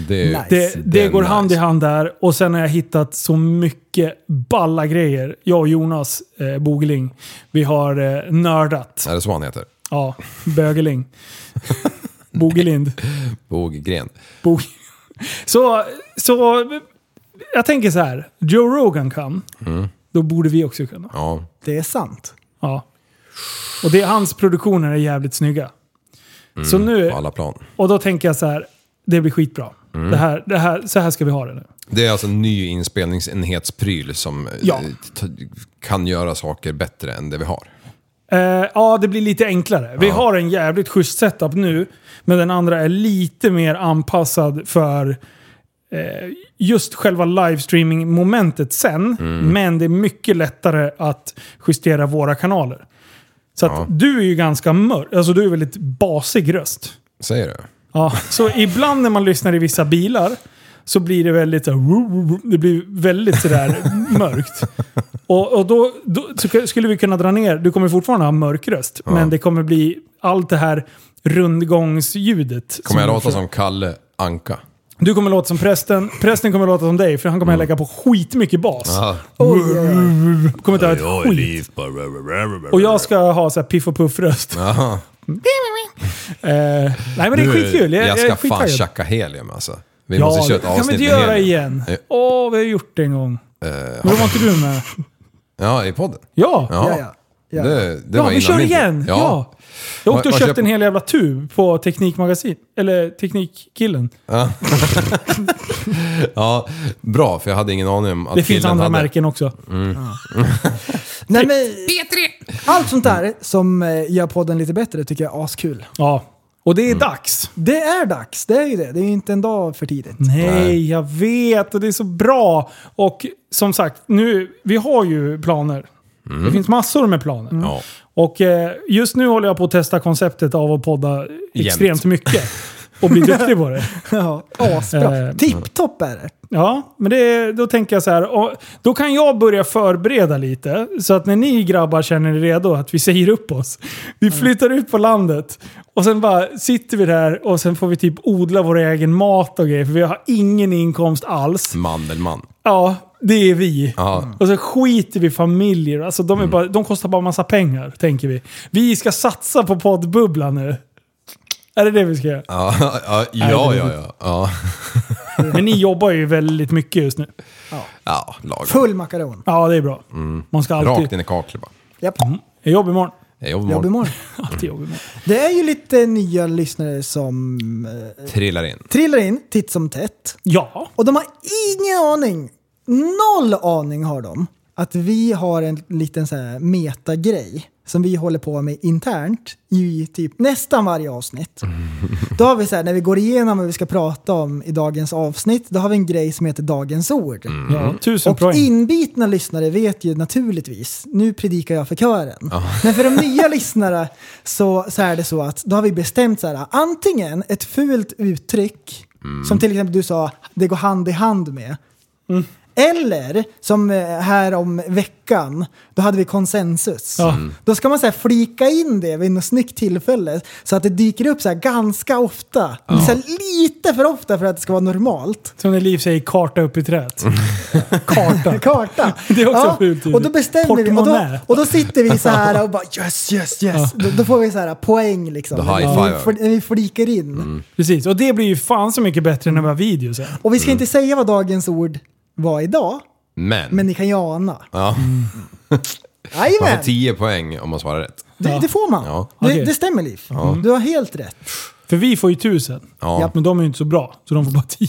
Speaker 8: Det, är-
Speaker 7: Det, det
Speaker 8: är
Speaker 7: går
Speaker 8: nice.
Speaker 7: hand i hand där och sen har jag hittat så mycket balla grejer. Jag och Jonas eh, Bogeling, vi har eh, nördat.
Speaker 8: Är det så han heter?
Speaker 7: Ja, Bögeling. Bogelind.
Speaker 8: Bogren.
Speaker 7: Bog. Så, så jag tänker så här. Joe Rogan kan,
Speaker 8: Mm.
Speaker 7: då borde vi också kunna.
Speaker 8: Ja.
Speaker 9: Det är sant.
Speaker 7: Ja. Och det, hans produktioner är jävligt snygga.
Speaker 8: Mm.
Speaker 7: Så nu-
Speaker 8: På alla plan.
Speaker 7: Och då tänker jag så här, det blir skitbra.
Speaker 8: Mm.
Speaker 7: Det här, det här, så här ska vi ha det nu.
Speaker 8: Det är alltså en ny inspelningsenhetspryl som eh,
Speaker 7: Ja.
Speaker 8: t- kan göra saker bättre än det vi har.
Speaker 7: Eh, ja, det blir lite enklare. Vi har en jävligt schysst setup nu, men den andra är lite mer anpassad för eh, just själva livestreaming-momentet sen.
Speaker 15: Mm.
Speaker 7: Men det är mycket lättare att justera våra kanaler. Så att du är ju ganska mörk, alltså du är väldigt basig röst.
Speaker 8: Säger du?
Speaker 7: Ja, så ibland när man lyssnar i vissa bilar så blir det väldigt så här, det blir väldigt sådär mörkt. Och, och då, då så skulle vi kunna dra ner, du kommer fortfarande ha mörk röst,
Speaker 8: Ja.
Speaker 7: men det kommer bli allt det här rundgångsljudet.
Speaker 8: Kommer jag
Speaker 7: som-
Speaker 8: låta som Kalle Anka?
Speaker 7: Du kommer låta som prästen, prästen kommer låta som dig för han
Speaker 8: Mm.
Speaker 7: kommer lägga på skitmycket bas. Kommer inte ha ett skit. Och jag ska ha så här piff och puff-röst.
Speaker 8: Jaha.
Speaker 7: Eh, nej men det är
Speaker 8: Nu-
Speaker 7: skitkul. Jag,
Speaker 8: Jag
Speaker 7: är
Speaker 8: ska fan
Speaker 7: skittaggad.
Speaker 8: tjacka helium alltså. Vi
Speaker 7: ja,
Speaker 8: måste köra ett
Speaker 7: det kan vi
Speaker 8: avsnitt
Speaker 7: inte
Speaker 8: med
Speaker 7: göra
Speaker 8: helium.
Speaker 7: igen.
Speaker 8: Eh,
Speaker 7: Åh, vi har gjort det en gång.
Speaker 8: eh,
Speaker 7: Men då var inte du med.
Speaker 8: Ja, i podden.
Speaker 7: Ja.
Speaker 8: Ja,
Speaker 7: Ja.
Speaker 8: Det, det
Speaker 7: ja,
Speaker 8: var
Speaker 7: vi
Speaker 8: innan
Speaker 7: kör
Speaker 8: min tid.
Speaker 7: igen! Ja. Jag åkte och
Speaker 8: Vad- vad
Speaker 7: köpte en hel jävla tub på Teknikmagasin. Eller Teknikkillen.
Speaker 8: Ja. ja, bra. För jag hade ingen aning om att
Speaker 7: Det finns
Speaker 8: killen
Speaker 7: andra
Speaker 8: hade...
Speaker 7: märken också.
Speaker 8: Mm.
Speaker 9: Nej, men, Allt sånt där som eh, gör podden lite bättre tycker jag är askul. Mm.
Speaker 7: Ja. Och det är dags.
Speaker 9: Det är dags, det är ju det. Det är ju inte en dag för tidigt.
Speaker 7: Nej, jag vet. Och det är så bra. Och som sagt, nu, vi har ju planer.
Speaker 9: Mm.
Speaker 7: Det finns massor med planer. Och eh, just nu håller jag på att testa konceptet av att podda extremt mycket. Och bli duktig på det.
Speaker 9: ja, asbra.
Speaker 7: Eh,
Speaker 9: Tipptopp är det.
Speaker 7: Ja, men det, då tänker jag så här. och Då kan jag börja förbereda lite. Så att när ni grabbar känner er redo att vi säger upp oss. Vi
Speaker 9: Mm.
Speaker 7: flyttar ut på landet. Och sen bara sitter vi där och sen får vi typ odla vår egen mat och grejer. För vi har ingen inkomst alls.
Speaker 8: Mandelmann.
Speaker 7: Ja, det är vi.
Speaker 8: Ja. Mm.
Speaker 7: Och så skiter vi i familjer. Alltså, de, är bara, de kostar bara massa pengar, tänker vi. Vi ska satsa på poddbubblan nu. Är det det vi ska göra?
Speaker 8: Ja, ja,
Speaker 7: Nej,
Speaker 8: ja,
Speaker 7: det är
Speaker 8: ja, ja. ja.
Speaker 7: Men ni jobbar ju väldigt mycket just nu.
Speaker 8: Ja, lagom.
Speaker 9: Full makaron.
Speaker 7: Ja, det är bra.
Speaker 8: Mm.
Speaker 7: Man ska alltid-
Speaker 8: Rakt in i kaklet bara.
Speaker 9: Japp.
Speaker 7: Jag jobbar imorgon.
Speaker 8: Jag jobbar imorgon.
Speaker 7: Alltid jobb imorgon.
Speaker 9: Det är ju lite nya lyssnare som eh,
Speaker 8: Trillar in.
Speaker 9: trillar in titt som tätt.
Speaker 7: Ja.
Speaker 9: Och de har ingen aning, noll aning har de, att vi har en liten så här alltså, metagrej som vi håller på med internt i typ nästan varje avsnitt. Då har vi så här, när vi går igenom vad vi ska prata om i dagens avsnitt, då har vi en grej som heter Dagens ord.
Speaker 7: Ja, tusen
Speaker 9: och
Speaker 7: poäng.
Speaker 9: inbitna lyssnare vet ju naturligtvis, nu predikar jag för kören. Men för de nya lyssnare så, så är det så att då har vi bestämt så här, antingen ett fult uttryck,
Speaker 7: Mm.
Speaker 9: som till exempel du sa, det går hand i hand med. Eller som eh, här om veckan, då hade vi konsensus.
Speaker 7: Ja. Mm.
Speaker 9: Då ska man så här flika in det vid något snyggt tillfälle så att det dyker upp så här ganska ofta.
Speaker 7: Ja.
Speaker 9: Så här lite för ofta för att det ska vara normalt.
Speaker 7: Som när Liv säger karta upp i träet. Karta.
Speaker 9: Karta.
Speaker 7: Det är också
Speaker 9: Ja,
Speaker 7: fult
Speaker 9: Och då bestämmer vi. Och då,
Speaker 7: Portmonnä.
Speaker 9: och då sitter vi så här och bara yes, yes, yes. Då, då får vi så här poäng liksom.
Speaker 7: Då high
Speaker 9: När vi
Speaker 7: five.
Speaker 9: fl- När vi flikar in.
Speaker 7: Precis, och det blir ju fan så mycket bättre när vi har video sen.
Speaker 9: Och vi ska inte säga vad dagens ord var idag,
Speaker 8: Men.
Speaker 9: men ni kan ju ana.
Speaker 8: Ja.
Speaker 7: Mm.
Speaker 8: Man
Speaker 9: Jajamän!
Speaker 8: får 10 poäng om man svarar rätt.
Speaker 9: Det, det får man.
Speaker 8: Ja.
Speaker 9: Det,
Speaker 8: Okej.
Speaker 9: det stämmer Liv.
Speaker 8: Ja.
Speaker 9: Du har helt rätt.
Speaker 7: För vi får ju tusen.
Speaker 8: Ja. Japp.
Speaker 7: Men de är ju inte så bra, så de får bara tio.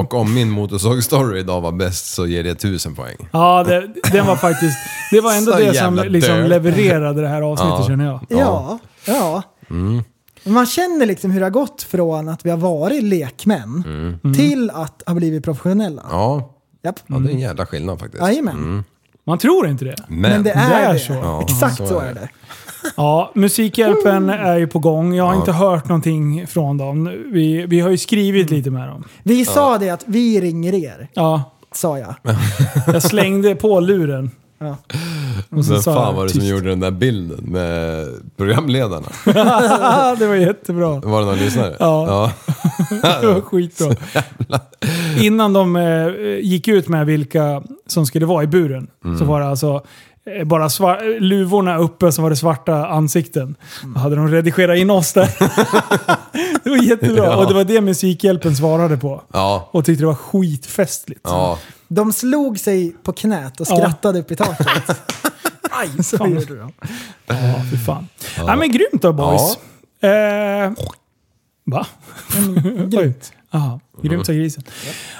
Speaker 8: Och om min motorsågsstory idag var bäst så ger det 1000 poäng.
Speaker 7: Ja, det, den var faktiskt... Det var ändå
Speaker 8: Så
Speaker 7: det som
Speaker 8: jävla
Speaker 7: liksom
Speaker 8: död.
Speaker 7: levererade det här avsnittet
Speaker 8: Ja.
Speaker 7: känner jag.
Speaker 9: Ja. ja.
Speaker 8: Mm.
Speaker 9: Man känner liksom hur det har gått från att vi har varit lekmän
Speaker 8: Mm.
Speaker 9: till att ha blivit professionella.
Speaker 8: Ja.
Speaker 9: Japp.
Speaker 8: ja,
Speaker 7: Mm.
Speaker 8: det är en jävla skillnad faktiskt.
Speaker 9: Jajamän.
Speaker 7: Man tror inte det.
Speaker 8: Men,
Speaker 9: Men det är det.
Speaker 7: så.
Speaker 8: Ja,
Speaker 9: Exakt så är det.
Speaker 7: Ja, Musikhjälpen är ju på gång. Jag har
Speaker 9: Ja.
Speaker 7: inte hört någonting från dem. Vi, vi har ju skrivit lite med dem.
Speaker 9: Vi sa det att vi ringer er.
Speaker 7: Ja.
Speaker 9: Sa jag.
Speaker 7: Jag slängde på luren.
Speaker 9: Ja.
Speaker 7: Och så
Speaker 8: Vem
Speaker 7: sa
Speaker 8: fan
Speaker 7: jag
Speaker 8: var det som gjorde den där bilden med programledarna?
Speaker 7: det var jättebra.
Speaker 8: Var det någon lyssnare?
Speaker 7: Ja. det var skitbra. Innan de eh, gick ut med vilka som skulle vara i buren
Speaker 8: Mm.
Speaker 7: så var det alltså eh, bara svar- luvorna uppe så var det svarta ansikten.
Speaker 8: Mm.
Speaker 7: Då hade de redigerat in oss där. det var jättebra.
Speaker 8: Ja.
Speaker 7: Och det var det Musikhjälpen svarade på.
Speaker 8: Ja.
Speaker 7: Och tyckte det var skitfestligt.
Speaker 8: Ja.
Speaker 9: De slog sig på knät och
Speaker 7: Ja.
Speaker 9: skrattade upp i taket. Aj, så
Speaker 7: fan.
Speaker 9: gjorde de.
Speaker 7: Ja, fy fan.
Speaker 8: Ja.
Speaker 7: Ja. men grymt då boys. Eh, va?
Speaker 9: Mm,
Speaker 7: grymt. Aha, grymt sa grisen.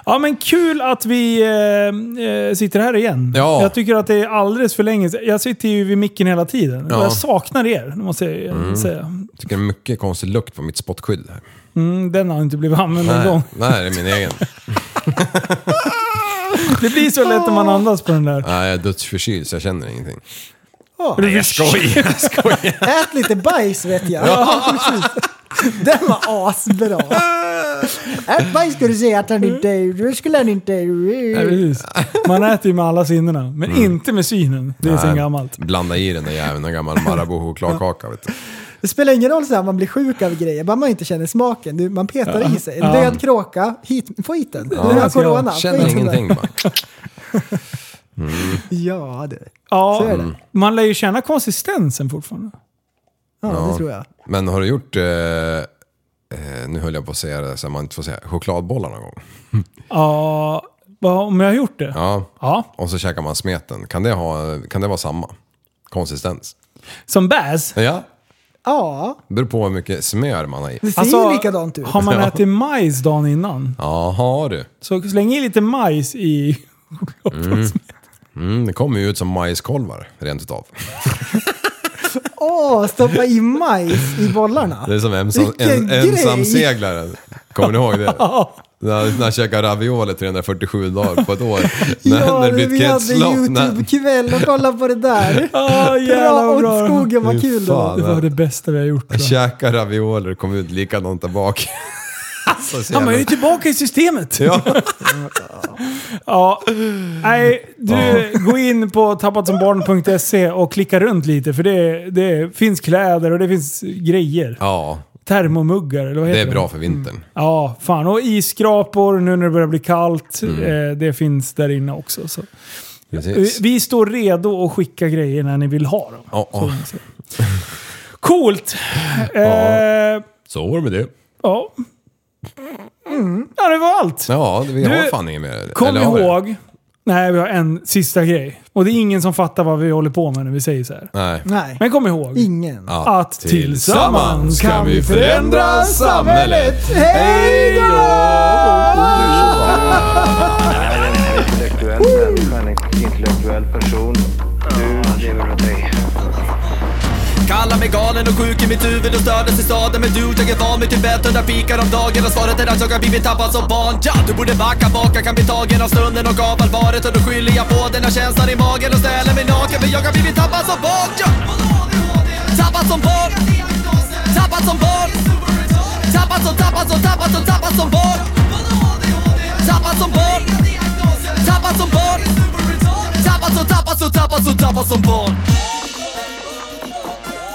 Speaker 7: Ja men kul att vi eh, eh, sitter här igen.
Speaker 8: Ja.
Speaker 7: Jag tycker att det är alldeles för länge sedan. Jag sitter ju vid micken hela tiden.
Speaker 8: Ja.
Speaker 7: Jag saknar er, det måste jag
Speaker 8: Mm.
Speaker 7: säga.
Speaker 8: Tycker det är mycket konstig lukt på mitt spottskydd här.
Speaker 7: Mm, den har inte blivit använd någon
Speaker 8: Nej,
Speaker 7: gång.
Speaker 8: nej, det är min egen.
Speaker 7: Det blir så lätt när man andas på den där.
Speaker 8: Nej, jag är dödsförkyld så jag känner ingenting.
Speaker 9: Ja.
Speaker 8: Nej, jag skojar. Jag skojar.
Speaker 9: Ät lite bajs vet jag.
Speaker 8: Ja.
Speaker 9: Precis. Den var asbra. Ät bajs Äh, ska du säga att han inte... Du skulle han inte...
Speaker 7: Nej, precis. Man äter ju med alla sinnena, men
Speaker 8: Mm.
Speaker 7: inte med synen. Det är sen
Speaker 8: Nej,
Speaker 7: gammalt.
Speaker 8: Blanda i den där jäveln, en gammal Marabou-chokladkaka. Vet du.
Speaker 9: Det spelar ingen roll så här, man blir sjuk av grejer, bara man inte känner smaken. Du, man petar
Speaker 8: Ja.
Speaker 9: i sig. En
Speaker 8: Ja.
Speaker 9: död kråka, hit, få hit den.
Speaker 8: Ja.
Speaker 9: Den har corona. få
Speaker 8: Känner
Speaker 9: hit den där.
Speaker 8: ingenting bara. Mm.
Speaker 9: Ja, det. Så är
Speaker 7: Ja, Mm.
Speaker 9: det.
Speaker 7: man lär ju känna konsistensen fortfarande.
Speaker 9: Ja,
Speaker 8: Ja.
Speaker 9: det tror jag.
Speaker 8: Men har du gjort, eh, eh, nu höll jag på att säga det så man inte får säga, chokladbollar någon gång?
Speaker 7: Ja, vad- om jag har gjort det?
Speaker 8: Ja.
Speaker 7: ja.
Speaker 8: Och så käkar man smeten. Kan det, ha, kan det vara samma konsistens?
Speaker 7: Som bäs?
Speaker 8: Ja,
Speaker 9: Ja.
Speaker 8: beror på hur mycket smör man har i.
Speaker 7: Alltså, Har man
Speaker 8: Ja.
Speaker 7: ätit majs dagen innan,
Speaker 8: Jaha du.
Speaker 7: så släng i lite majs i...
Speaker 8: Mm. Mm, det kommer ju ut som majskolvar, rent utav.
Speaker 9: Åh, stoppa i majs i bollarna.
Speaker 8: Det är som ensam,
Speaker 9: Vilken
Speaker 8: en,
Speaker 9: grej!
Speaker 8: ensamseglaren. Kommer ni ihåg det? När när jag käkade ravioli 347 dagar på ett år.
Speaker 9: Ja,
Speaker 8: när, när det blir ett
Speaker 9: vi hade
Speaker 8: kretslopp. när-
Speaker 9: YouTube-kväll och kollade på det där.
Speaker 7: Ah, jävlar vad bra.
Speaker 9: åt skogen, vad
Speaker 8: Fy
Speaker 9: kul det var.
Speaker 8: fan,
Speaker 7: Det var det bästa vi har gjort.
Speaker 8: Jag käkade ravioli och kom ut likadant där bak. Alltså, så
Speaker 7: Ja, man är ju
Speaker 8: jävla-
Speaker 7: tillbaka i systemet!
Speaker 8: Ja.
Speaker 7: Ja. Nej, du, gå in på tappatsombarn.se och klicka runt lite för det, det finns kläder och det finns grejer.
Speaker 8: ja,
Speaker 7: Termomuggar eller vad
Speaker 8: det
Speaker 7: heter
Speaker 8: är bra för vintern.
Speaker 7: Ja, fan. Och isskrapor nu när det börjar bli kallt.
Speaker 8: Mm.
Speaker 7: Eh, det finns där inne också. Så. Vi,
Speaker 8: Precis.
Speaker 7: vi står redo att skicka grejer när ni vill ha dem.
Speaker 8: Ja, ja.
Speaker 7: Coolt! Eh,
Speaker 8: Så var det med det.
Speaker 7: ja. Mm. Ja, det var allt.
Speaker 8: Ja, vi har
Speaker 7: Du,
Speaker 8: fan inget mer.
Speaker 7: Kom
Speaker 8: Eller har vi det?
Speaker 7: ihåg... Nej, vi har en sista grej. Och det är ingen som fattar vad vi håller på med när vi säger så här.
Speaker 8: Nej.
Speaker 9: Nej.
Speaker 7: Men kom ihåg.
Speaker 9: Ingen.
Speaker 7: Att tillsammans kan vi
Speaker 8: förändra samhället.
Speaker 9: Hej
Speaker 1: En intellektuell människa, en intellektuell person. Du lever av dig.
Speaker 2: Kallar mig galen och sjuk i mitt huvud och stördes i staden Men du, jag är van vid Tibet och där fikar om dagen Och svaret är att jag har blivit tappad som barn ja, Du borde backa bak, jag kan bli tagen av stunden och av allvaret Och då skyller jag på den här känslan i magen och ställer mig naken För jag har blivit tappad som barn ja. Tappad som barn Tappad som barn Tappad som, tappad som, tappad som, tappad som barn Tappad som barn Tappad som barn Tappad som, tappad som, tappad som, tappad som barn